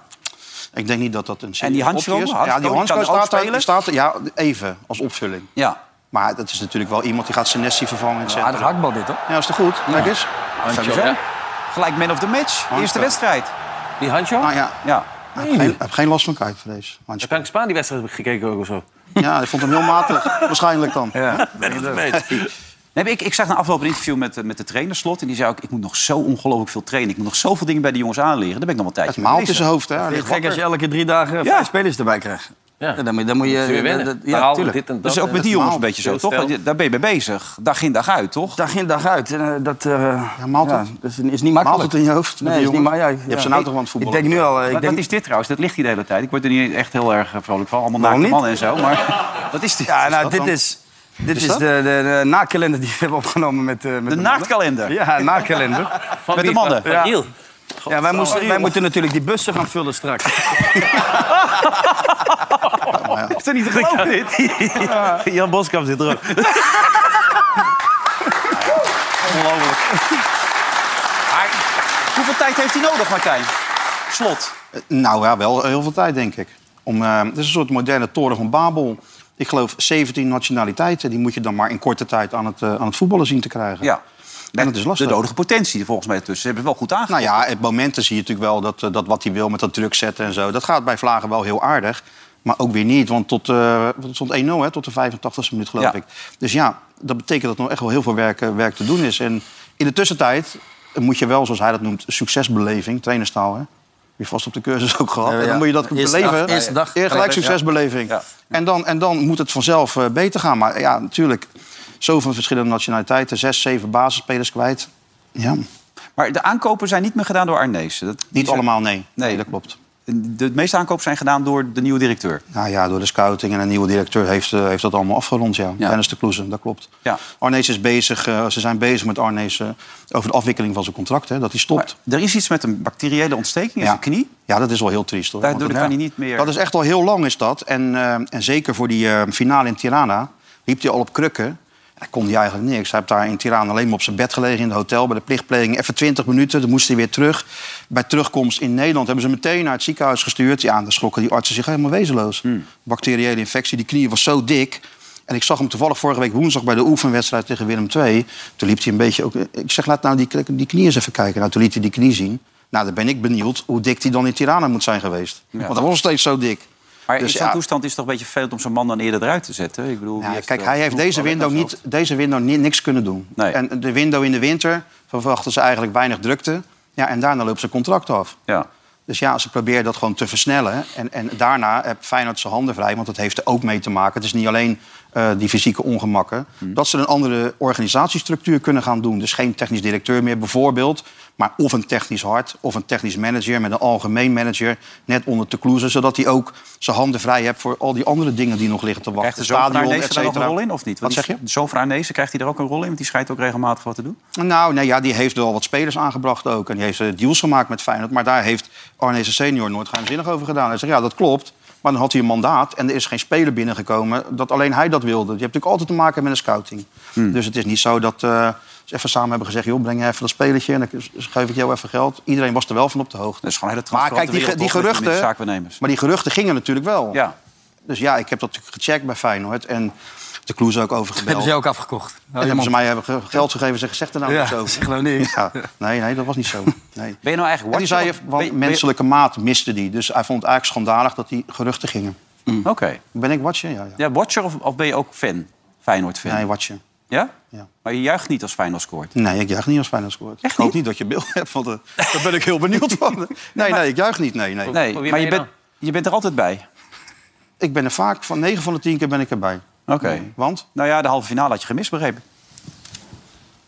[SPEAKER 5] Ik denk niet dat dat een serieus
[SPEAKER 2] Hansko,
[SPEAKER 5] optie is. Ja, die
[SPEAKER 2] Hansko, die
[SPEAKER 5] Hansko
[SPEAKER 2] kan ook
[SPEAKER 5] staat, daar-
[SPEAKER 2] spelen.
[SPEAKER 5] staat er- ja, even als opvulling.
[SPEAKER 2] Ja.
[SPEAKER 5] Maar dat is natuurlijk wel iemand die gaat Senesi vervangen in het centrum.
[SPEAKER 2] aardig hakbal dit, hoor.
[SPEAKER 5] Ja, is toch goed? Kijk eens.
[SPEAKER 2] Sowieso. Gelijk man of the match.
[SPEAKER 5] Hansko.
[SPEAKER 2] Eerste wedstrijd.
[SPEAKER 6] Die handje?
[SPEAKER 5] Nou ja.
[SPEAKER 2] ja.
[SPEAKER 5] Ik heb geen- heb geen last van kuitvrees.
[SPEAKER 6] Dan kan ik Spaan die wedstrijd heb ik gekeken ook of zo.
[SPEAKER 5] Ja, ik vond hem heel
[SPEAKER 2] (laughs)
[SPEAKER 5] matig. Waarschijnlijk dan.
[SPEAKER 2] Nee, maar ik, ik zag na afloop een interview met, eh, met de trainerslot. En die zei ook, ik moet nog zo ongelooflijk veel trainen. Ik moet nog zoveel dingen bij de jongens aanleren. Daar ben ik nog wel een tijdje mee
[SPEAKER 4] maalt in
[SPEAKER 2] bezig.
[SPEAKER 4] zijn hoofd, hè. Hij ligt gek als je elke drie dagen eh,
[SPEAKER 2] Ja.
[SPEAKER 4] vijf spelers erbij krijgt.
[SPEAKER 6] Ja.
[SPEAKER 4] Dan, moet- dan moet je...
[SPEAKER 2] Moet je weer wennen.
[SPEAKER 4] dat-
[SPEAKER 2] Taal,
[SPEAKER 4] ja, tuurlijk.
[SPEAKER 2] dit en dat. Dus ook met die jongens een beetje zo, toch? Want je- Daar ben je mee bezig. Dag in, dag uit, toch?
[SPEAKER 4] Dag in, dag uit. En, eh, dat eh,
[SPEAKER 5] maalt
[SPEAKER 4] ja,
[SPEAKER 5] het.
[SPEAKER 4] dus is niet makkelijk.
[SPEAKER 5] Maalt het in je hoofd met
[SPEAKER 4] Nee,
[SPEAKER 5] die
[SPEAKER 4] is niet,
[SPEAKER 5] jongen?
[SPEAKER 4] maar, ja,
[SPEAKER 5] Je hebt ze nou toch aan het
[SPEAKER 4] Ik
[SPEAKER 5] voetballen.
[SPEAKER 4] denk nu al... eh, Ik
[SPEAKER 2] Wat,
[SPEAKER 4] denk,
[SPEAKER 2] wat is dit trouwens? Dat ligt hier de hele tijd. Ik word er niet echt heel erg eh, vrolijk van. Allemaal
[SPEAKER 4] Waarom
[SPEAKER 2] naakte
[SPEAKER 4] niet?
[SPEAKER 2] mannen en zo. Maar (laughs) wat is dit?
[SPEAKER 4] Ja, nou,
[SPEAKER 2] dat
[SPEAKER 4] dit
[SPEAKER 2] dan?
[SPEAKER 4] is, dit
[SPEAKER 2] Is
[SPEAKER 4] is,
[SPEAKER 2] dat?
[SPEAKER 4] de, de, de naakkalender die we hebben opgenomen met, eh, met
[SPEAKER 2] De naaktkalender?
[SPEAKER 4] Ja, naakkalender.
[SPEAKER 2] Van Met wie? de mannen? Van
[SPEAKER 4] Ja,
[SPEAKER 2] Giel?
[SPEAKER 4] ja wij, moesten,
[SPEAKER 2] Giel.
[SPEAKER 4] wij moeten natuurlijk die bussen gaan vullen straks.
[SPEAKER 2] Is dat niet te geloven, dit? Jan Boskamp zit er ook. Ongelooflijk. Maar hoeveel tijd heeft hij nodig, Martijn? Slot.
[SPEAKER 5] Eh, Nou ja, wel heel veel tijd, denk ik. Om, eh, het is een soort moderne toren van Babel. Ik geloof 17 nationaliteiten. Die moet je dan maar in korte tijd aan het, eh, aan het voetballen zien te krijgen.
[SPEAKER 2] Ja.
[SPEAKER 5] En dat is lastig.
[SPEAKER 2] De nodige potentie volgens mij ertussen. Ze hebben het wel goed aangepakt.
[SPEAKER 5] Nou ja, op momenten zie je natuurlijk wel dat, eh, dat wat hij wil met dat druk zetten en zo. Dat gaat bij Vlagen wel heel aardig. Maar ook weer niet, want tot, eh, want het stond 1-0 hè, tot de 85e minuut, geloof
[SPEAKER 2] Ja.
[SPEAKER 5] ik. Dus ja, dat betekent dat er nog echt wel heel veel werk, eh, werk te doen is. En in de tussentijd moet je wel, zoals hij dat noemt, succesbeleving, trainerstaal. Hè? Heb je vast op de cursus ook gehad.
[SPEAKER 4] Ja,
[SPEAKER 5] En
[SPEAKER 4] ja.
[SPEAKER 5] dan moet je dat
[SPEAKER 4] Eerste
[SPEAKER 5] beleven.
[SPEAKER 4] dag- eerste dag.
[SPEAKER 5] Eer gelijk
[SPEAKER 4] Ja.
[SPEAKER 5] succesbeleving. En, dan, en dan moet het vanzelf eh, beter gaan. Maar ja, natuurlijk, zoveel verschillende nationaliteiten. Zes, zeven basisspelers kwijt. Ja.
[SPEAKER 2] Maar de aankopen zijn niet meer gedaan door Arnezen. Dat,
[SPEAKER 5] Niet
[SPEAKER 2] die zijn-
[SPEAKER 5] allemaal, nee.
[SPEAKER 2] Nee,
[SPEAKER 5] Dat klopt.
[SPEAKER 2] De meeste aankopen zijn gedaan door de nieuwe directeur.
[SPEAKER 5] Nou ja, door de scouting en een nieuwe directeur heeft, eh, heeft dat allemaal afgerond, ja. Dennis de Kloeze, dat klopt.
[SPEAKER 2] Ja.
[SPEAKER 5] Arnees is bezig, eh, ze zijn bezig met Arnees eh, over de afwikkeling van zijn contract, hè, dat hij stopt.
[SPEAKER 2] Er is iets met een bacteriële ontsteking in
[SPEAKER 5] Ja.
[SPEAKER 2] zijn knie.
[SPEAKER 5] Ja, dat is wel heel triest, hoor.
[SPEAKER 2] Daardoor
[SPEAKER 5] Want
[SPEAKER 2] kan hij niet meer-
[SPEAKER 5] Dat is echt al heel lang, is dat. En, eh, en zeker voor die eh, finale in Tirana liep hij al op krukken. Hij kon hij eigenlijk niks. Hij heeft daar in Tirana alleen maar op zijn bed gelegen in het hotel... bij de plichtpleging, even 20 minuten, dan moest hij weer terug. Bij terugkomst in Nederland hebben ze hem meteen naar het ziekenhuis gestuurd. Ja, en daar schrokken die artsen zich helemaal wezenloos.
[SPEAKER 2] Hmm.
[SPEAKER 5] Bacteriële infectie, die knie was zo dik... En ik zag hem toevallig vorige week woensdag bij de oefenwedstrijd tegen Willem II. Toen liep hij een beetje ook... Ik zeg, laat nou die, die knie eens even kijken. Nou, toen liet hij die knie zien. Nou, dan ben ik benieuwd hoe dik die dan in Tirana moet zijn geweest.
[SPEAKER 2] Ja.
[SPEAKER 5] Want dat was nog steeds zo dik.
[SPEAKER 2] Maar
[SPEAKER 5] Dus
[SPEAKER 2] in zo'n
[SPEAKER 5] ja.
[SPEAKER 2] toestand is het toch een beetje vervelend om zo'n man dan eerder eruit te zetten? Ik bedoel, die
[SPEAKER 5] Ja, kijk,
[SPEAKER 2] eh,
[SPEAKER 5] hij heeft
[SPEAKER 2] genoeg
[SPEAKER 5] deze
[SPEAKER 2] talent
[SPEAKER 5] window,
[SPEAKER 2] aan
[SPEAKER 5] niet, deze window ni- niks kunnen doen.
[SPEAKER 2] Nee.
[SPEAKER 5] En de window in de winter verwachten ze eigenlijk weinig drukte. Ja, en daarna loopt zijn contract af.
[SPEAKER 2] Ja.
[SPEAKER 5] Dus ja, ze proberen dat gewoon te versnellen. En, en daarna heb Feyenoord zijn handen vrij, want dat heeft er ook mee te maken. Het is niet alleen eh, die fysieke ongemakken.
[SPEAKER 2] Hmm.
[SPEAKER 5] Dat ze een andere organisatiestructuur kunnen gaan doen. Dus geen technisch directeur meer bijvoorbeeld. Maar of een technisch hart, of een technisch manager... met een algemeen manager net onder te kloezen. Zodat hij ook zijn handen vrij hebt voor al die andere dingen die nog liggen te wachten.
[SPEAKER 2] Krijgt de zoon van
[SPEAKER 5] Stadion,
[SPEAKER 2] Arnezen
[SPEAKER 5] et
[SPEAKER 2] daar nog een
[SPEAKER 5] cetera.
[SPEAKER 2] rol in of niet?
[SPEAKER 5] Wat
[SPEAKER 2] Want
[SPEAKER 5] zeg
[SPEAKER 2] die-
[SPEAKER 5] je?
[SPEAKER 2] De zoon van Arnezen, krijgt hij er ook een rol in? Want die schijnt ook regelmatig wat te doen.
[SPEAKER 5] Nou, nee, ja, die heeft wel wat spelers aangebracht ook. En die heeft eh, deals gemaakt met Feyenoord. Maar daar heeft Arnezen senior nooit geheimzinnig over gedaan. Hij zegt, ja, dat klopt. Maar dan had hij een mandaat en er is geen speler binnengekomen... dat alleen hij dat wilde. Je hebt natuurlijk altijd te maken met een scouting.
[SPEAKER 2] Hmm.
[SPEAKER 5] Dus het is niet zo dat eh, ze even samen hebben gezegd... joh, breng even dat spelertje en dan geef ik jou even geld. Iedereen was er wel van op de hoogte.
[SPEAKER 2] Dat is gewoon een hele
[SPEAKER 5] Maar kijk,
[SPEAKER 2] transparante
[SPEAKER 5] die, ge- die
[SPEAKER 2] wereld, toch, met
[SPEAKER 5] geruchten...
[SPEAKER 2] tenminste zaakwaarnemers.
[SPEAKER 5] Maar die geruchten gingen natuurlijk wel.
[SPEAKER 2] Ja.
[SPEAKER 5] Dus ja, ik heb dat natuurlijk gecheckt bij Feyenoord. En de Kloes ook overgebeld.
[SPEAKER 4] hebben ze ook afgekocht. Oh,
[SPEAKER 5] En
[SPEAKER 2] Nou,
[SPEAKER 5] hebben ze mij hebben ge- geld gegeven en zeggen, zeg er nou
[SPEAKER 4] Ja,
[SPEAKER 5] niks
[SPEAKER 2] (laughs)
[SPEAKER 5] over.
[SPEAKER 4] zeg nou niks.
[SPEAKER 5] Ja. Nee, nee, dat was niet zo. Nee.
[SPEAKER 2] Ben je nou eigenlijk
[SPEAKER 5] En die zei, eh,
[SPEAKER 2] watcher of- ben
[SPEAKER 5] want
[SPEAKER 2] je-
[SPEAKER 5] menselijke maat miste die. Dus hij vond het eigenlijk schandalig dat die geruchten gingen.
[SPEAKER 2] Oké.
[SPEAKER 5] Ben ik watcher? Ja, ja.
[SPEAKER 2] Ja, watcher of, of ben je ook fan? Feyenoord-fan?
[SPEAKER 5] Nee, watcher.
[SPEAKER 2] Ja? Maar je juicht niet als Feyenoord scoort?
[SPEAKER 5] Nee, ik juich niet als Feyenoord scoort. ik hoop niet dat je beeld (laughs) hebt, want eh, (laughs) daar ben ik heel benieuwd
[SPEAKER 2] (laughs)
[SPEAKER 5] van. Nee, nee, ik juich niet. Nee, nee.
[SPEAKER 2] Nee, maar je bent, je bent er altijd bij.
[SPEAKER 5] Ik ben er vaak, van 9 van de 10 keer ben ik erbij.
[SPEAKER 2] Oké.
[SPEAKER 5] Want?
[SPEAKER 2] Nou ja, de halve finale had je gemist, begrepen.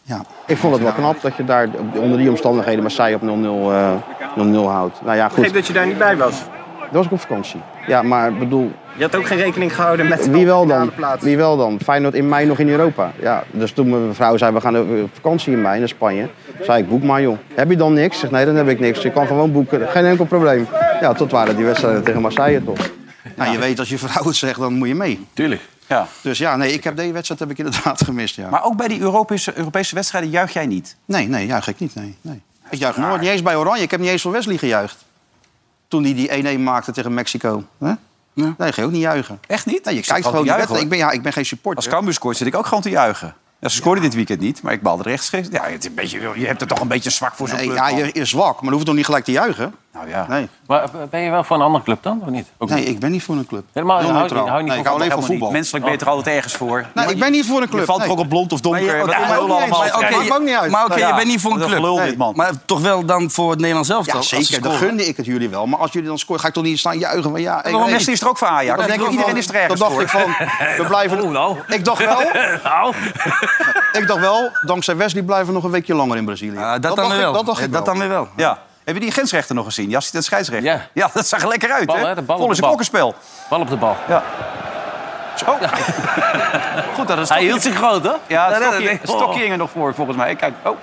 [SPEAKER 5] Ja. Ik vond het wel knap dat je daar onder die omstandigheden Marseille op 0-0, eh, 0-0 houdt. Nou ja, goed.
[SPEAKER 1] dat je daar niet bij was.
[SPEAKER 5] Dat was ik op vakantie. Ja, maar bedoel,
[SPEAKER 1] Je had ook geen rekening gehouden met
[SPEAKER 5] Wie wel dan?
[SPEAKER 1] plaats.
[SPEAKER 5] Wie wel dan? Feyenoord in mei nog in Europa. Ja, dus toen mijn vrouw zei, we gaan op vakantie in mei naar Spanje. Zei ik, boek maar joh. Heb je dan niks? Ik Zeg, nee, dan heb ik niks. Je kan gewoon boeken. Geen enkel probleem. Ja, tot waren die wedstrijden tegen Marseille toch. Nou, je weet, als je vrouw het zegt, dan moet je mee.
[SPEAKER 6] Tuurlijk.
[SPEAKER 5] Ja. Dus ja, nee, ik heb deze wedstrijd heb ik inderdaad (laughs) gemist, ja.
[SPEAKER 2] Maar ook bij die Europese, Europese wedstrijden juich jij niet?
[SPEAKER 5] Nee, nee, juich ik niet, nee. nee. Ik juich nooit, niet eens bij Oranje. Ik heb niet eens voor Wesley gejuicht. Toen hij die 1-1 maakte tegen Mexico. hè? Nee, ik ga ook niet juichen.
[SPEAKER 2] Echt niet?
[SPEAKER 5] Nee, je
[SPEAKER 2] Ik zat
[SPEAKER 5] kijkt gewoon
[SPEAKER 2] te
[SPEAKER 5] die
[SPEAKER 2] juichen,
[SPEAKER 5] wedstrijd. Ik ben, ja, ik ben geen supporter.
[SPEAKER 2] Als Cambuur scoort zit ik ook gewoon te juichen. Ja, ze scoorden dit weekend niet, maar ik balde rechtsgericht. Ja, het is een beetje, je hebt er toch een beetje zwak voor zo'n
[SPEAKER 5] Nee,
[SPEAKER 2] club,
[SPEAKER 5] ja,
[SPEAKER 2] man.
[SPEAKER 5] je is zwak, maar dan hoeft toch niet gelijk te juichen?
[SPEAKER 2] Nou ja.
[SPEAKER 5] Nee,
[SPEAKER 6] Maar eh, ben je wel voor een andere club dan, of niet?
[SPEAKER 5] nee ik ben niet voor een club.
[SPEAKER 6] Helemaal
[SPEAKER 5] Heel
[SPEAKER 6] hou je niet-
[SPEAKER 5] neutraal.
[SPEAKER 6] hou je niet
[SPEAKER 5] Nee,
[SPEAKER 6] van
[SPEAKER 5] ik hou alleen van
[SPEAKER 6] voetbal?
[SPEAKER 5] voetbal.
[SPEAKER 2] Menselijk ben je er altijd ergens voor.
[SPEAKER 5] Nee, Oh. Nou, ik ben niet voor een club.
[SPEAKER 2] Je valt er
[SPEAKER 5] nee.
[SPEAKER 2] ook op blond of donker.
[SPEAKER 5] Maar je-
[SPEAKER 2] dat
[SPEAKER 5] dat
[SPEAKER 2] komt
[SPEAKER 5] maakt
[SPEAKER 2] allemaal
[SPEAKER 5] ook niet uit.
[SPEAKER 2] allemaal te
[SPEAKER 5] Maar oké,
[SPEAKER 2] kijken.
[SPEAKER 5] maakt ook niet uit.
[SPEAKER 4] Maar oké,
[SPEAKER 5] Nou ja,
[SPEAKER 4] je bent niet voor een
[SPEAKER 5] dat
[SPEAKER 4] club.
[SPEAKER 5] gelul dit,
[SPEAKER 4] Nee.
[SPEAKER 5] man.
[SPEAKER 4] Maar toch wel dan voor het Nederlands zelf.
[SPEAKER 5] Ja, zeker. Dan gunde ik het jullie wel. Maar als jullie dan scoren, ga ik toch niet staan juichen van ja... ik
[SPEAKER 2] Waarom
[SPEAKER 5] weet
[SPEAKER 2] Messi
[SPEAKER 5] niet.
[SPEAKER 2] is er ook voor Ajax?
[SPEAKER 5] Dan
[SPEAKER 2] Ik
[SPEAKER 5] denk
[SPEAKER 2] bedoel, iedereen is er ergens
[SPEAKER 5] Dan dacht ik van,
[SPEAKER 2] voor.
[SPEAKER 5] we
[SPEAKER 6] (laughs)
[SPEAKER 5] blijven... Ik dacht wel... Ik dacht wel, dankzij Wesley blijven we nog een weekje langer in Brazilië.
[SPEAKER 4] Ah,
[SPEAKER 5] dat,
[SPEAKER 2] dan
[SPEAKER 5] dacht
[SPEAKER 2] weer wel.
[SPEAKER 5] Ik, dat dacht
[SPEAKER 2] Ja,
[SPEAKER 5] ik
[SPEAKER 2] dat dan
[SPEAKER 5] weer wel.
[SPEAKER 2] Ja. Heb je die grensrechter nog gezien? Jassi, dat scheidsrechter. Ja. dat zag er lekker uit,
[SPEAKER 6] Bal,
[SPEAKER 2] hè?
[SPEAKER 6] hè? De bal op
[SPEAKER 2] Volgens
[SPEAKER 6] de
[SPEAKER 2] een
[SPEAKER 6] bal.
[SPEAKER 2] kokkenspel.
[SPEAKER 6] Bal op de bal.
[SPEAKER 2] Ja. Zo. (laughs) Goed, dat is
[SPEAKER 6] Hij hield zich groot, hè?
[SPEAKER 2] Ja, het
[SPEAKER 6] Nee, nee,
[SPEAKER 2] stokje,
[SPEAKER 6] nee. Oh.
[SPEAKER 2] het stokje hing er nog voor, volgens mij. Kijk, oh.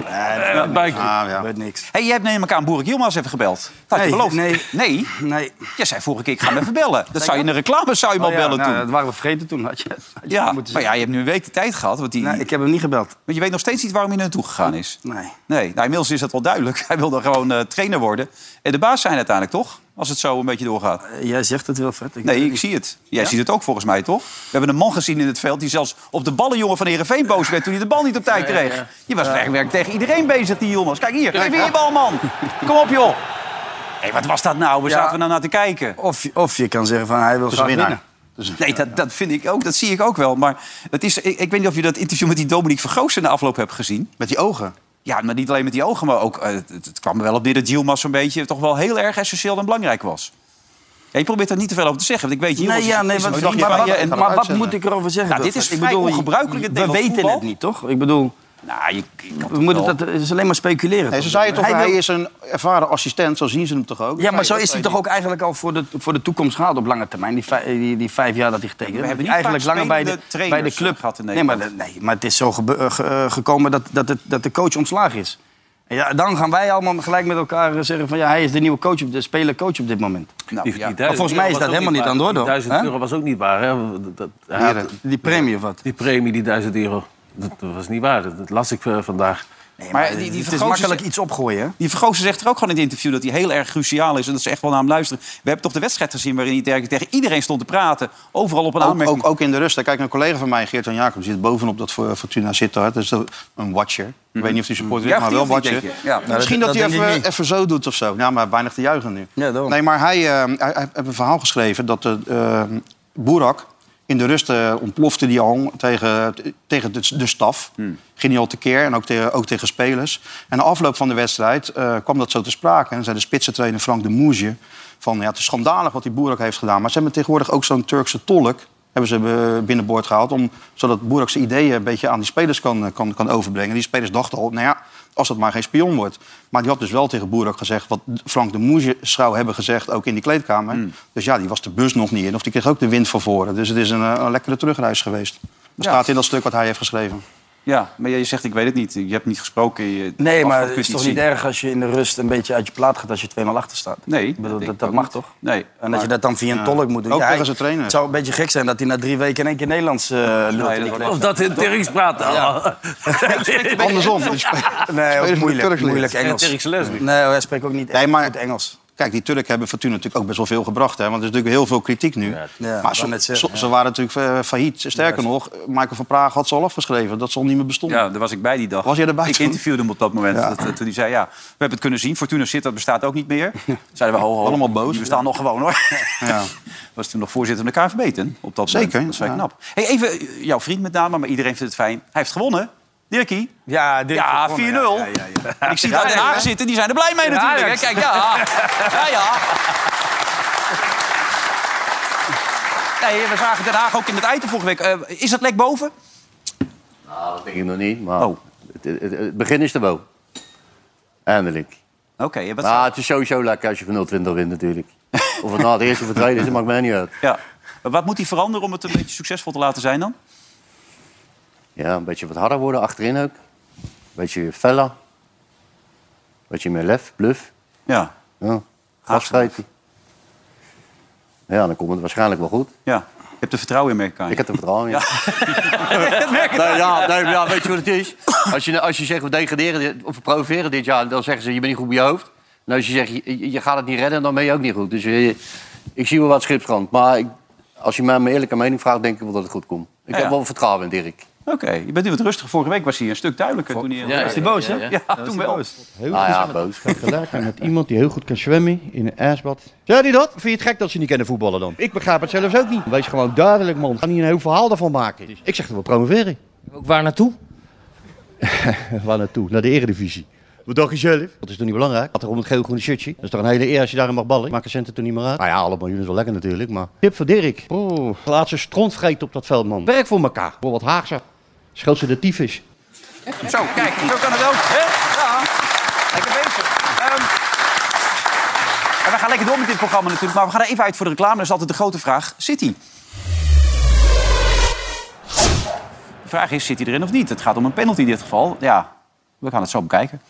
[SPEAKER 6] dat buikje.
[SPEAKER 5] Ah, ja.
[SPEAKER 4] niks.
[SPEAKER 2] Hey, jij hebt neem ik aan Boerik Yilmaz even gebeld. Dat had je
[SPEAKER 4] Nee,
[SPEAKER 2] beloofd.
[SPEAKER 4] nee.
[SPEAKER 2] Nee?
[SPEAKER 4] Nee.
[SPEAKER 2] Jij zei vorige keer, ik ga hem even bellen. Dat zou je in de reclame zou je hem
[SPEAKER 4] Oh
[SPEAKER 2] al
[SPEAKER 4] ja,
[SPEAKER 2] bellen
[SPEAKER 4] nou,
[SPEAKER 2] toen.
[SPEAKER 4] Dat waren we vergeten toen. Had je, had je
[SPEAKER 2] Ja,
[SPEAKER 4] moeten
[SPEAKER 2] maar ja, je hebt nu een week de tijd gehad. Want die...
[SPEAKER 5] Nou,
[SPEAKER 4] Nee, ik heb hem niet gebeld.
[SPEAKER 2] Want je weet nog steeds niet waarom hij naartoe gegaan is.
[SPEAKER 4] Nee.
[SPEAKER 2] Nee, nou, inmiddels is dat wel duidelijk. (laughs) Hij wilde gewoon eh, trainer worden. En de baas zijn uiteindelijk, toch? Als het zo een beetje
[SPEAKER 6] Eh,
[SPEAKER 2] doorgaat.
[SPEAKER 4] Jij zegt het wel, Fred.
[SPEAKER 2] Nee, ik zie het. Jij ziet het ook volgens mij, toch? We hebben een man gezien in het veld die zelfs op de ballenjongen van Heerenveen boos werd... toen hij de bal niet op tijd
[SPEAKER 6] Ja, ja, ja.
[SPEAKER 2] kreeg. Je was werk tegen iedereen bezig, die jongens. Kijk hier, geef hier je bal, man. Kom op, joh. Hé, wat was dat nou? Waar
[SPEAKER 4] Ja.
[SPEAKER 2] zaten we nou naar te kijken?
[SPEAKER 4] Of, of je kan zeggen van hij
[SPEAKER 5] Dus
[SPEAKER 4] wil graag winnen.
[SPEAKER 2] Nee, dat, dat vind ik ook. Dat zie ik ook wel. Maar het is, ik, ik weet niet of je dat interview met die Dominique Vergoos in de afloop hebt gezien.
[SPEAKER 5] Met die ogen?
[SPEAKER 2] Ja, maar niet alleen met die ogen, maar ook... eh, het, het kwam er wel op neer dat Yilmaz zo'n beetje... toch wel heel erg essentieel en belangrijk was. Ja, je probeert daar niet te veel over te zeggen. Want ik weet, Yilmaz
[SPEAKER 4] Nee,
[SPEAKER 2] is-
[SPEAKER 4] ja, nee,
[SPEAKER 2] is
[SPEAKER 4] want-
[SPEAKER 2] een vriendje
[SPEAKER 4] maar,
[SPEAKER 2] van je
[SPEAKER 4] wat-
[SPEAKER 2] en-
[SPEAKER 4] maar wat moet ik erover zeggen?
[SPEAKER 2] Nou, dit
[SPEAKER 4] Wilfred?
[SPEAKER 2] is vrij ongebruikelijk in het
[SPEAKER 4] We
[SPEAKER 2] Nederlands
[SPEAKER 4] weten
[SPEAKER 2] voetbal.
[SPEAKER 4] het niet, toch? Ik bedoel,
[SPEAKER 2] Nou, je, je kan
[SPEAKER 4] we
[SPEAKER 2] toch
[SPEAKER 4] moeten
[SPEAKER 2] wel-
[SPEAKER 4] dat, het is alleen maar speculeren.
[SPEAKER 5] Nee, ze zeiden toch,
[SPEAKER 4] Hij
[SPEAKER 5] hij,
[SPEAKER 4] wil-
[SPEAKER 5] is een ervaren assistent. Zo zien ze hem toch ook?
[SPEAKER 4] Ja, maar zo
[SPEAKER 5] Nee,
[SPEAKER 4] is hij
[SPEAKER 5] dat
[SPEAKER 4] toch ook eigenlijk al voor de, voor de toekomst gehaald op lange termijn. Die, vij- die, die vijf jaar dat hij getekend heeft.
[SPEAKER 2] We hebben
[SPEAKER 4] Dat hij
[SPEAKER 2] niet
[SPEAKER 4] eigenlijk langer
[SPEAKER 2] vaak
[SPEAKER 4] bij de,
[SPEAKER 2] spelende trainers,
[SPEAKER 4] bij de club
[SPEAKER 2] eh, gehad in
[SPEAKER 4] nee maar, de- nee, maar het is zo gebe- eh, ge- eh, gekomen dat, dat, het, dat de coach ontslagen is. En ja, dan gaan wij allemaal gelijk met elkaar eh, zeggen van ja, hij is de nieuwe coach, op de speler coach op dit moment.
[SPEAKER 2] Nou, ja.
[SPEAKER 4] Maar volgens mij is dat helemaal niet aan de orde. hoor.
[SPEAKER 6] 1000
[SPEAKER 4] Hè?
[SPEAKER 6] euro was ook niet waar. Hè? Dat, dat- hij had-
[SPEAKER 4] Die premie of wat?
[SPEAKER 6] die premie, die 1000 euro, dat, dat was niet waar. Dat las ik eh, vandaag.
[SPEAKER 2] Maar die, die
[SPEAKER 4] het is
[SPEAKER 2] Vergozen
[SPEAKER 4] makkelijk
[SPEAKER 2] zegt-
[SPEAKER 4] iets opgooien. hè?
[SPEAKER 2] Die Vergozen zegt er ook gewoon in het interview dat hij heel erg cruciaal is. En dat ze echt wel naar hem luisteren. We hebben toch de wedstrijd gezien waarin hij tegen- tegen iedereen stond te praten. Overal op een
[SPEAKER 5] Ook,
[SPEAKER 2] aanmerking.
[SPEAKER 5] ook, ook in de rust. Daar Kijk, een collega van mij, Geert-Jan Jacobs, zit bovenop dat voor- Fortuna Sittard. Dat is de- een watcher. Ik weet niet of die supporter is,
[SPEAKER 2] Juicht
[SPEAKER 5] maar
[SPEAKER 2] hij
[SPEAKER 5] wel
[SPEAKER 2] of niet,
[SPEAKER 5] watcher.
[SPEAKER 2] denk je? Ja. Nou,
[SPEAKER 5] Misschien
[SPEAKER 2] dat-
[SPEAKER 5] dat,
[SPEAKER 2] dat
[SPEAKER 5] hij
[SPEAKER 2] denk ik
[SPEAKER 5] even, even zo doet of zo. Ja, maar weinig te juichen nu.
[SPEAKER 4] daarom.
[SPEAKER 5] nee, maar hij, eh, hij, hij heeft een verhaal geschreven dat eh, eh, Boerak... In de rust eh, ontplofte die al tegen, tegen de, de staf. Ging hij al tekeer en ook, tegen ook tegen spelers. En na afloop van de wedstrijd eh, kwam dat zo te sprake. En zei de spitsentrainer Frank de Moesje... van ja, het is schandalig wat die Boerak heeft gedaan. Maar ze hebben tegenwoordig ook zo'n Turkse tolk hebben ze eh, binnenboord gehaald... Om, zodat Boerak zijn ideeën een beetje aan die spelers kan, eh, kan, kan overbrengen. Die spelers dachten al, nou ja, als dat maar geen spion wordt. Maar die had dus wel tegen Boerak gezegd... wat Frank de Moesje zou hebben gezegd, ook in die kleedkamer.
[SPEAKER 2] Hmm.
[SPEAKER 5] Dus ja, die was de bus nog niet in. Of die kreeg ook de wind van voren. Dus het is een, eh, een lekkere terugreis geweest. Dat
[SPEAKER 2] Ja.
[SPEAKER 5] staat in dat stuk wat hij heeft geschreven.
[SPEAKER 2] Ja, maar jij zegt ik weet het niet. Je hebt niet gesproken. Je,
[SPEAKER 4] Nee,
[SPEAKER 2] af-
[SPEAKER 4] maar
[SPEAKER 2] kun
[SPEAKER 4] het
[SPEAKER 2] je
[SPEAKER 4] is
[SPEAKER 2] niet
[SPEAKER 4] toch
[SPEAKER 2] zien.
[SPEAKER 4] niet erg als je in de rust een beetje uit je plaat gaat als je 2-0 achter staat?
[SPEAKER 2] Nee,
[SPEAKER 4] Ik bedoel,
[SPEAKER 2] dat
[SPEAKER 4] dat,
[SPEAKER 2] denk ik
[SPEAKER 4] dat
[SPEAKER 2] ook
[SPEAKER 4] mag
[SPEAKER 2] niet.
[SPEAKER 4] toch?
[SPEAKER 2] Nee.
[SPEAKER 4] En dat je dat dan via een
[SPEAKER 2] Ja.
[SPEAKER 4] tolk moet doen.
[SPEAKER 2] Ook
[SPEAKER 4] hij-
[SPEAKER 2] tegen zijn trainer.
[SPEAKER 4] Het zou een beetje gek zijn dat hij na drie weken in één keer Nederlands eh lult.
[SPEAKER 2] dat
[SPEAKER 4] in die
[SPEAKER 2] wordt-
[SPEAKER 4] klas.
[SPEAKER 6] Of dat in Turks praat.
[SPEAKER 5] Andersom.
[SPEAKER 4] (laughs) Nee, ook
[SPEAKER 5] moeten
[SPEAKER 4] moeilijk,
[SPEAKER 5] Turks
[SPEAKER 4] moeilijk
[SPEAKER 5] leren.
[SPEAKER 4] Engels.
[SPEAKER 5] Ja, Turks les niet.
[SPEAKER 4] Nee, hij spreekt ook niet
[SPEAKER 5] Nee, maar-
[SPEAKER 4] goed Engels.
[SPEAKER 5] Kijk, die Turken hebben Fortuna natuurlijk ook best wel veel gebracht. Hè? Want er is natuurlijk heel veel kritiek nu.
[SPEAKER 4] Ja,
[SPEAKER 5] maar
[SPEAKER 4] wou
[SPEAKER 5] ze,
[SPEAKER 4] net
[SPEAKER 5] ze,
[SPEAKER 4] zeggen, ja.
[SPEAKER 5] ze waren natuurlijk eh, failliet. Sterker nog, Michael van Praag had ze al afgeschreven. Dat ze al niet meer bestond.
[SPEAKER 2] Ja, daar was ik bij die dag.
[SPEAKER 5] Was jij erbij
[SPEAKER 2] Ik
[SPEAKER 5] toen?
[SPEAKER 2] interviewde hem op dat moment.
[SPEAKER 5] Ja.
[SPEAKER 2] Dat, eh, toen hij zei, ja, we hebben het kunnen zien. Fortuna Sittard bestaat ook niet meer. Zeiden we, ho, ho,
[SPEAKER 5] Allemaal boos.
[SPEAKER 2] Die bestaan nog gewoon, hoor.
[SPEAKER 5] Ja.
[SPEAKER 2] (laughs) Was toen nog voorzitter van de KNVB, toen, op dat
[SPEAKER 5] Zeker,
[SPEAKER 2] moment. Dat is wel
[SPEAKER 5] ja.
[SPEAKER 2] knap. Hey, even eh, jouw vriend met name, maar iedereen vindt het fijn. Hij heeft gewonnen. Dirkie.
[SPEAKER 4] Ja,
[SPEAKER 2] Dirkie ja 4-0. En Ik zie daar Den Haag zitten, die zijn er blij
[SPEAKER 4] Ja,
[SPEAKER 2] mee natuurlijk. hè.
[SPEAKER 4] Ajax.
[SPEAKER 2] Kijk, ja. Ja, ja. (laughs) Nee, we zagen Den Haag ook in het einde vorige week. Eh, is dat lek boven?
[SPEAKER 20] Nou, dat denk ik nog niet, maar
[SPEAKER 4] Oh.
[SPEAKER 20] het, het- het begin is er wel. Eindelijk.
[SPEAKER 2] Oké, ja, wat-
[SPEAKER 5] Nou,
[SPEAKER 20] Maar het is sowieso lekker als je van 020 wint natuurlijk. Of het nou het eerste of het tweede is, dat maakt mij niet uit.
[SPEAKER 2] Ja. Maar Wat moet hij veranderen om het een beetje succesvol te laten zijn dan?
[SPEAKER 20] Ja, een beetje wat harder worden achterin ook. Een beetje feller. Een beetje meer lef, bluff.
[SPEAKER 2] Ja.
[SPEAKER 20] Ja, gasgeiten. Ja, dan komt het waarschijnlijk wel goed.
[SPEAKER 2] Ja. Je hebt er vertrouwen in, merk ik
[SPEAKER 20] Ik heb er vertrouwen in.
[SPEAKER 2] Dat merk ik
[SPEAKER 20] (laughs) nee, ja, nee, ja, weet je wat het is? Als je, als je zegt we degraderen dit- of we promoveren dit jaar, dan zeggen ze je bent niet goed bij je hoofd. En als je zegt je, je gaat het niet redden, dan ben je ook niet goed. Dus eh, ik zie wel wat schipskrant. Maar ik, als je mij mijn eerlijke mening vraagt, denk ik wel dat het goed komt. Ik
[SPEAKER 2] Ja,
[SPEAKER 20] heb
[SPEAKER 2] ja.
[SPEAKER 20] wel vertrouwen in Dirk.
[SPEAKER 2] Oké, je bent nu wat rustiger. Vorige week was hij een stuk duidelijker. Toen hij
[SPEAKER 20] ja,
[SPEAKER 2] was hij
[SPEAKER 20] ja,
[SPEAKER 2] boos,
[SPEAKER 20] ja,
[SPEAKER 2] hè?
[SPEAKER 20] ja.
[SPEAKER 2] Ja, toen wel.
[SPEAKER 21] Heel
[SPEAKER 20] Nou
[SPEAKER 21] goed
[SPEAKER 20] ja,
[SPEAKER 21] is
[SPEAKER 20] boos.
[SPEAKER 21] het vergelijken met iemand die heel goed kan zwemmen in een ijsbad. Zei hij dat? Vind je het gek dat ze niet kennen voetballen dan? Ik begrijp het zelfs ook niet. Wees gewoon duidelijk, man. Ga niet een heel verhaal daarvan maken. Ik zeg dat we promoveren. Eh,
[SPEAKER 7] Ook waar naartoe?
[SPEAKER 21] Waar naartoe? Naar de eredivisie. Wat dacht je zelf? Dat is toch niet belangrijk? Gaat er om het geel-groene shirtje. Dat is toch een hele eer als je daarin mag ballen. Maak een cent er toch niet meer uit? Nou ja, alle miljoenen is wel lekker natuurlijk, maar... Tip van Dirk. Oh, laatste stront vreten op dat veld, man. Werk voor elkaar. Voor wat Haagse. Scheld ze de tyfus.
[SPEAKER 2] Zo, kijk, zo kan het ook. Hè? Ja, lekker bezig. Ehm, en we gaan lekker door met dit programma natuurlijk. Maar we gaan er even uit voor de reclame. Dat is altijd de grote vraag. Zit hij? De vraag is, zit hij erin of niet? Het gaat om een penalty in dit geval. Ja, we gaan het zo bekijken.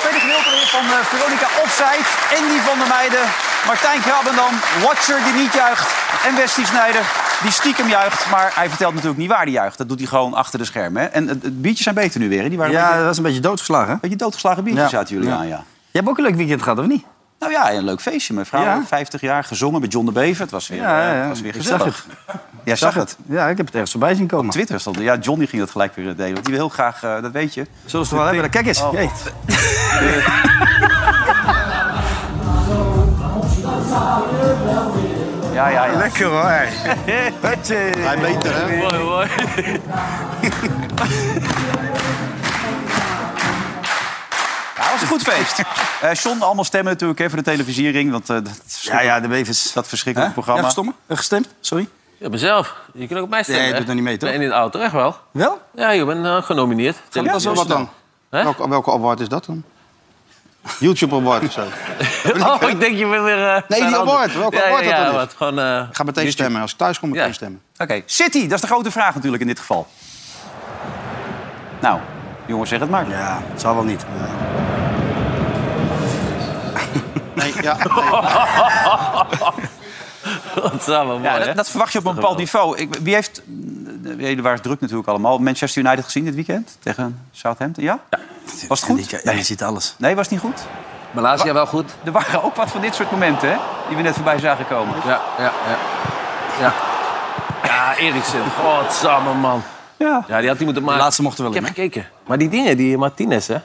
[SPEAKER 2] Tweede gedeelte weer van eh, Veronica Offside. Andy van der Meijden. Martijn Krabbendam. Watcher die niet juicht. En Westie Snijder die stiekem juicht. Maar hij vertelt natuurlijk niet waar hij juicht. Dat doet hij gewoon achter de schermen. Hè? En het, het biertjes zijn beter nu weer. Hè? Die waren
[SPEAKER 4] Ja,
[SPEAKER 2] een beetje-
[SPEAKER 4] dat was een beetje doodgeslagen. Een
[SPEAKER 2] beetje doodgeslagen biertjes zaten jullie aan, ja.
[SPEAKER 4] Je hebt ook een leuk weekend gehad, of niet?
[SPEAKER 2] Nou ja, een leuk feestje. Mijn vrouw,
[SPEAKER 4] Ja.
[SPEAKER 2] 50 jaar, gezongen met John de Bever. Het was weer,
[SPEAKER 4] Ja, ja,
[SPEAKER 2] eh,
[SPEAKER 4] ja.
[SPEAKER 2] Het was weer
[SPEAKER 4] Ik
[SPEAKER 2] gezellig.
[SPEAKER 4] zag het.
[SPEAKER 2] Jij zag het?
[SPEAKER 4] Ja, ik heb het ergens voorbij zien komen.
[SPEAKER 2] Twitter stond Ja, John die ging dat gelijk weer delen. Want die wil heel graag, eh, dat weet je. Oh.
[SPEAKER 4] Zullen ze het wel hebben? Kijk eens. Jeet.
[SPEAKER 2] Ja, ja, ja.
[SPEAKER 4] Lekker hoor.
[SPEAKER 2] Hij
[SPEAKER 4] beter, hè?
[SPEAKER 2] Mooi, mooi. Ja, het was een goed feest. Eh John, allemaal stemmen natuurlijk hè, voor de televisiering. Want, eh, dat ja, ja, de Bevers. Dat verschrikkelijke programma.
[SPEAKER 4] Ja, gestommen? Eh, Gestemd? Sorry?
[SPEAKER 6] Ja, mezelf. Je kunt ook op mij stemmen.
[SPEAKER 4] Nee, je
[SPEAKER 6] hè?
[SPEAKER 4] doet nog niet mee, toch?
[SPEAKER 6] Nee, in de auto, echt wel.
[SPEAKER 4] Wel?
[SPEAKER 6] Ja, je bent eh, genomineerd.
[SPEAKER 5] dat is wel wat dan? Welke, welke award is dat dan? YouTube award of zo?
[SPEAKER 6] (laughs) Oh, ik denk je bent weer... eh,
[SPEAKER 5] Nee,
[SPEAKER 6] naar
[SPEAKER 5] die
[SPEAKER 6] de andere-
[SPEAKER 5] award. Welke
[SPEAKER 6] ja,
[SPEAKER 5] award
[SPEAKER 6] ja,
[SPEAKER 5] dat
[SPEAKER 6] ja,
[SPEAKER 5] dan
[SPEAKER 4] dus?
[SPEAKER 5] is?
[SPEAKER 6] wat, gewoon, eh,
[SPEAKER 5] Ik ga meteen
[SPEAKER 6] YouTube.
[SPEAKER 5] stemmen. Als ik thuis kom, meteen stemmen.
[SPEAKER 2] Oké, City, dat is de grote vraag natuurlijk in dit geval. Nou, jongens, zeg het maar.
[SPEAKER 4] Ja, het zal wel niet.
[SPEAKER 5] Nee,
[SPEAKER 4] (laughs)
[SPEAKER 5] ja.
[SPEAKER 6] Dat is wel mooi,
[SPEAKER 2] Ja,
[SPEAKER 6] hè?
[SPEAKER 2] Nou, dat, dat verwacht je op een bepaald niveau. Ik, wie heeft, eh, jullie waren druk natuurlijk allemaal, Manchester United gezien dit weekend tegen Southampton? Ja? Was het goed?
[SPEAKER 4] Ja, je ziet alles.
[SPEAKER 2] Nee, was het niet goed?
[SPEAKER 6] Malaysia wel goed.
[SPEAKER 2] Er waren ook wat van dit soort momenten, hè? Die we net voorbij zagen komen.
[SPEAKER 6] Ja, ja, ja. Ja, ja Eriksen. Godsamme, man.
[SPEAKER 2] Ja.
[SPEAKER 6] ja, die had hij moeten maken. De laatste mochten wel Ik heb gekeken. Maar die dingen, die Martinez, hè?
[SPEAKER 2] 83%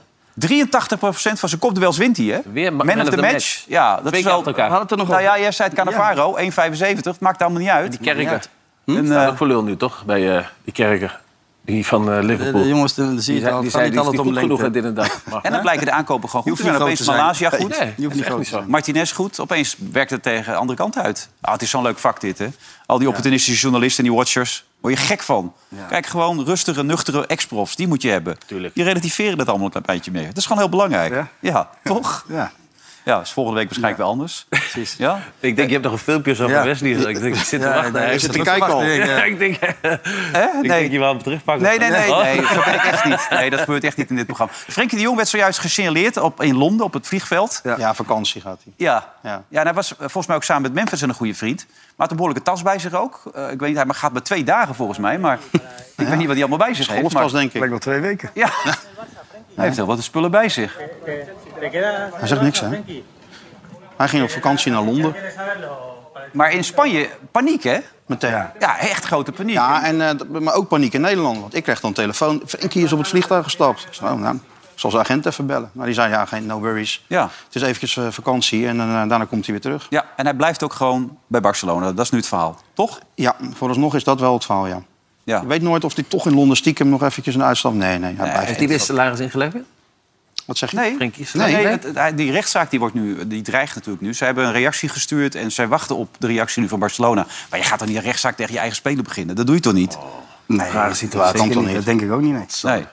[SPEAKER 2] van zijn kopduels wint hij, hè?
[SPEAKER 6] Weer ma-
[SPEAKER 2] Man, of the, match. Ja, dat
[SPEAKER 6] Twee
[SPEAKER 2] is
[SPEAKER 6] keer
[SPEAKER 2] wel...
[SPEAKER 6] achter elkaar.
[SPEAKER 2] We hadden het er nog nou ja, jij zei het Cannavaro, 1,75. Het maakt allemaal niet uit.
[SPEAKER 6] Die Kerker.
[SPEAKER 2] Hm?
[SPEAKER 6] Die staat ook voor lul nu, toch? Bij eh, die Kerker. Die van eh, Liverpool.
[SPEAKER 4] De- de jongens, de- de- zie je
[SPEAKER 6] die zei-
[SPEAKER 4] het al,
[SPEAKER 6] Die
[SPEAKER 4] het gaat
[SPEAKER 6] zei,
[SPEAKER 4] niet
[SPEAKER 6] die is
[SPEAKER 4] altijd
[SPEAKER 6] niet
[SPEAKER 4] om
[SPEAKER 6] goed genoeg in
[SPEAKER 4] lengte.
[SPEAKER 6] dit en dat. Maar-
[SPEAKER 2] (laughs) En dan blijken de aankopen gewoon
[SPEAKER 4] Je
[SPEAKER 2] goed
[SPEAKER 4] hoeft
[SPEAKER 2] te zijn.
[SPEAKER 4] niet
[SPEAKER 2] Opeens
[SPEAKER 4] groot te
[SPEAKER 2] Malaysia
[SPEAKER 4] zijn.
[SPEAKER 2] goed.
[SPEAKER 4] Nee, je hoeft niet
[SPEAKER 2] Dat is
[SPEAKER 4] groot te
[SPEAKER 2] echt
[SPEAKER 4] zijn.
[SPEAKER 2] Martinez goed. Opeens werkt het tegen de andere kant uit. Ah, het is zo'n leuk vak dit, hè? Al die opportunistische journalisten en die watchers. Word je gek van. Kijk, gewoon rustige, nuchtere ex-profs. Die moet je hebben. Die relativeren dat allemaal een klein beetje meer. Dat is gewoon heel belangrijk. Ja, toch?
[SPEAKER 4] Ja.
[SPEAKER 2] Ja, is volgende week waarschijnlijk weer anders. Precies. Ja?
[SPEAKER 6] Ik denk, je hebt nog een filmpje zo van
[SPEAKER 2] Ja.
[SPEAKER 6] Wesley. gezien. Ik denk, ik zit te
[SPEAKER 2] Ja,
[SPEAKER 6] wachten.
[SPEAKER 2] nee,
[SPEAKER 6] Hij
[SPEAKER 2] ik
[SPEAKER 6] zit
[SPEAKER 2] zit
[SPEAKER 6] te
[SPEAKER 2] te kijken al.
[SPEAKER 6] wachten. (laughs) Ja, Ik denk,
[SPEAKER 2] Hè?
[SPEAKER 6] ik denk, je wou hem terugpakken.
[SPEAKER 2] Nee, nee, nee,
[SPEAKER 6] Oh. (laughs)
[SPEAKER 2] nee. Zo ben ik echt niet. Nee, dat gebeurt echt niet in dit programma. Frenkie de Jong werd zojuist gesignaleerd op, in Londen op het vliegveld.
[SPEAKER 5] Ja. vakantie gaat hij.
[SPEAKER 2] Ja.
[SPEAKER 5] Ja.
[SPEAKER 2] ja. en hij was eh, volgens mij ook samen met Memphis een goede vriend. Maar hij had een behoorlijke tas bij zich ook. Eh, ik weet niet, hij maar gaat maar twee dagen volgens mij. Maar (laughs) ik weet niet wat hij allemaal bij zich heeft.
[SPEAKER 5] golftas,
[SPEAKER 2] maar-
[SPEAKER 5] denk ik.
[SPEAKER 4] wel twee weken.
[SPEAKER 2] Ja. Hij heeft heel wat spullen bij zich.
[SPEAKER 5] Hij zegt niks, hè? Hij ging op vakantie naar Londen.
[SPEAKER 2] Maar in Spanje, paniek, hè?
[SPEAKER 5] Meteen.
[SPEAKER 2] Ja, echt grote paniek.
[SPEAKER 5] Ja, en, eh, d- maar ook paniek in Nederland. Want ik kreeg dan een telefoon. Frenkie is op het vliegtuig gestapt. Ik zei, oh, nou, ik zal zijn agent even bellen. Maar die zei, ja, geen no worries.
[SPEAKER 2] Ja.
[SPEAKER 5] Het is eventjes eh, vakantie en eh, daarna komt hij weer terug.
[SPEAKER 2] Ja, en hij blijft ook gewoon bij Barcelona. Dat is nu het verhaal, toch?
[SPEAKER 5] Ja, vooralsnog is dat wel het verhaal, ja.
[SPEAKER 2] Ja.
[SPEAKER 5] Ik weet nooit of hij toch in Londen stiekem nog eventjes een uitstap... Nee, nee, hij blijft.
[SPEAKER 6] Heeft die weer salaris ingeleverd?
[SPEAKER 5] Wat zeg je?
[SPEAKER 2] Nee,
[SPEAKER 5] Nee,
[SPEAKER 2] nee,
[SPEAKER 5] nee.
[SPEAKER 2] het- het- die rechtszaak die wordt nu, die dreigt natuurlijk nu. Ze hebben een reactie gestuurd en zij wachten op de reactie nu van Barcelona. Maar je gaat toch niet een rechtszaak tegen je eigen speler beginnen? Dat doe je toch niet?
[SPEAKER 5] Oh,
[SPEAKER 4] Nee, rare situatie.
[SPEAKER 2] Kan toch
[SPEAKER 4] niet.
[SPEAKER 2] niet?
[SPEAKER 4] Dat denk ik ook niet, nee.
[SPEAKER 2] Nee.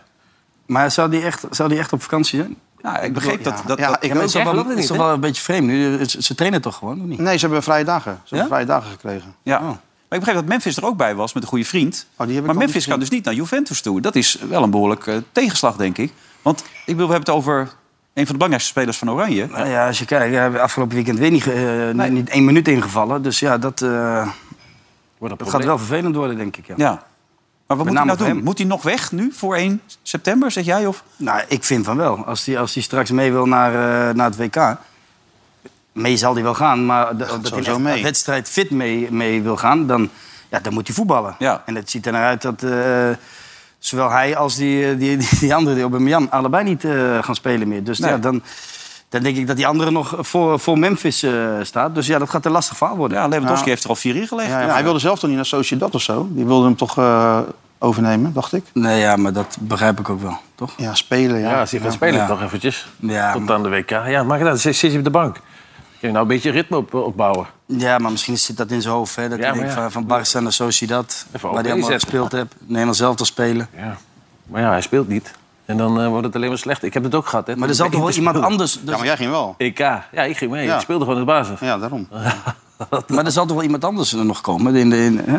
[SPEAKER 4] Maar zou die echt, zou die echt op vakantie zijn?
[SPEAKER 2] Ja, Nou, ik begreep dat... dat,
[SPEAKER 5] Ja,
[SPEAKER 2] dat-
[SPEAKER 5] ik
[SPEAKER 4] Ja, maar
[SPEAKER 5] ook.
[SPEAKER 4] het is toch
[SPEAKER 5] Jij
[SPEAKER 4] wel,
[SPEAKER 5] gelooft het
[SPEAKER 4] het is
[SPEAKER 5] niet,
[SPEAKER 4] toch wel een beetje vreemd nu. Het- Ze trainen toch gewoon, of niet?
[SPEAKER 5] Nee, ze hebben vrije dagen. Ze hebben vrije dagen gekregen.
[SPEAKER 2] Ja. Maar ik begreep dat Memphis er ook bij was met een goede vriend.
[SPEAKER 5] Oh, ik
[SPEAKER 2] maar
[SPEAKER 5] al
[SPEAKER 2] Memphis
[SPEAKER 5] gezien.
[SPEAKER 2] kan dus niet naar Juventus toe. Dat is wel een behoorlijk eh, tegenslag, denk ik. Want ik bedoel, we hebben het over Een van de belangrijkste spelers van Oranje.
[SPEAKER 4] Nou ja, als je kijkt, ja, afgelopen weekend weer niet, ge- eh, niet één minuut ingevallen. Dus ja, dat, eh, dat gaat
[SPEAKER 2] probleem.
[SPEAKER 4] wel vervelend worden, denk ik. Ja.
[SPEAKER 2] Ja. Maar wat
[SPEAKER 4] Met
[SPEAKER 2] moet hij
[SPEAKER 4] name
[SPEAKER 2] nou
[SPEAKER 4] voor
[SPEAKER 2] doen?
[SPEAKER 4] hem.
[SPEAKER 2] Moet hij nog weg nu voor 1 september, zeg jij? Of?
[SPEAKER 4] Nou, ik vind van wel. Als hij als die straks mee wil naar, eh, naar het WK... Mee zal hij wel gaan, maar de- dat hij
[SPEAKER 5] sowieso
[SPEAKER 4] echt
[SPEAKER 5] mee.
[SPEAKER 4] wedstrijd fit mee, mee wil gaan... Dan, ja, dan moet hij voetballen. En het ziet er naar uit dat... eh, Zowel hij als die, eh, die, die, die andere, die Aubameyang, allebei niet eh, gaan spelen meer. Dus
[SPEAKER 2] Nee.
[SPEAKER 4] ja, dan, dan denk ik dat die andere nog voor, voor Memphis eh, staat. Dus ja, dat gaat een lastig verhaal worden.
[SPEAKER 2] Ja, Lewandowski
[SPEAKER 5] Ja.
[SPEAKER 2] heeft er al vier in gelegd.
[SPEAKER 5] Nou, Ja, ja, maar Hij wilde zelf toch niet naar Sociedad of zo? Die wilde hem toch eh, overnemen, dacht ik?
[SPEAKER 4] Nou, Nee, ja, maar dat begrijp ik ook wel, toch?
[SPEAKER 5] Ja, spelen, ja.
[SPEAKER 6] Ja, als hij gaat spelen
[SPEAKER 5] Ja.
[SPEAKER 6] toch eventjes.
[SPEAKER 4] Ja,
[SPEAKER 6] Tot aan de WK. Ja, maar dan zit zit je op de bank. Kun je nou een beetje ritme op, opbouwen.
[SPEAKER 4] Ja, maar misschien zit dat in zijn hoofd. Hè? Dat
[SPEAKER 6] Ja,
[SPEAKER 4] hij denkt
[SPEAKER 6] maar ja.
[SPEAKER 4] van, van Barca naar Sociedad.
[SPEAKER 6] Even
[SPEAKER 4] waar
[SPEAKER 6] op
[SPEAKER 4] hij allemaal
[SPEAKER 6] inzetten.
[SPEAKER 4] gespeeld hebt. Nederland zelf te spelen.
[SPEAKER 6] Ja. Maar ja, hij speelt niet. En dan eh, wordt het alleen maar slecht. Ik heb het ook gehad. Hè,
[SPEAKER 4] Maar er zal toch wel iemand anders... dus
[SPEAKER 5] Ja, maar jij ging wel.
[SPEAKER 6] Ik, E ja, ja, ik ging mee.
[SPEAKER 4] Ja.
[SPEAKER 6] Ik speelde gewoon in de basis.
[SPEAKER 5] Ja, daarom.
[SPEAKER 4] Maar er zal toch wel iemand anders er nog komen? In de, in, hè?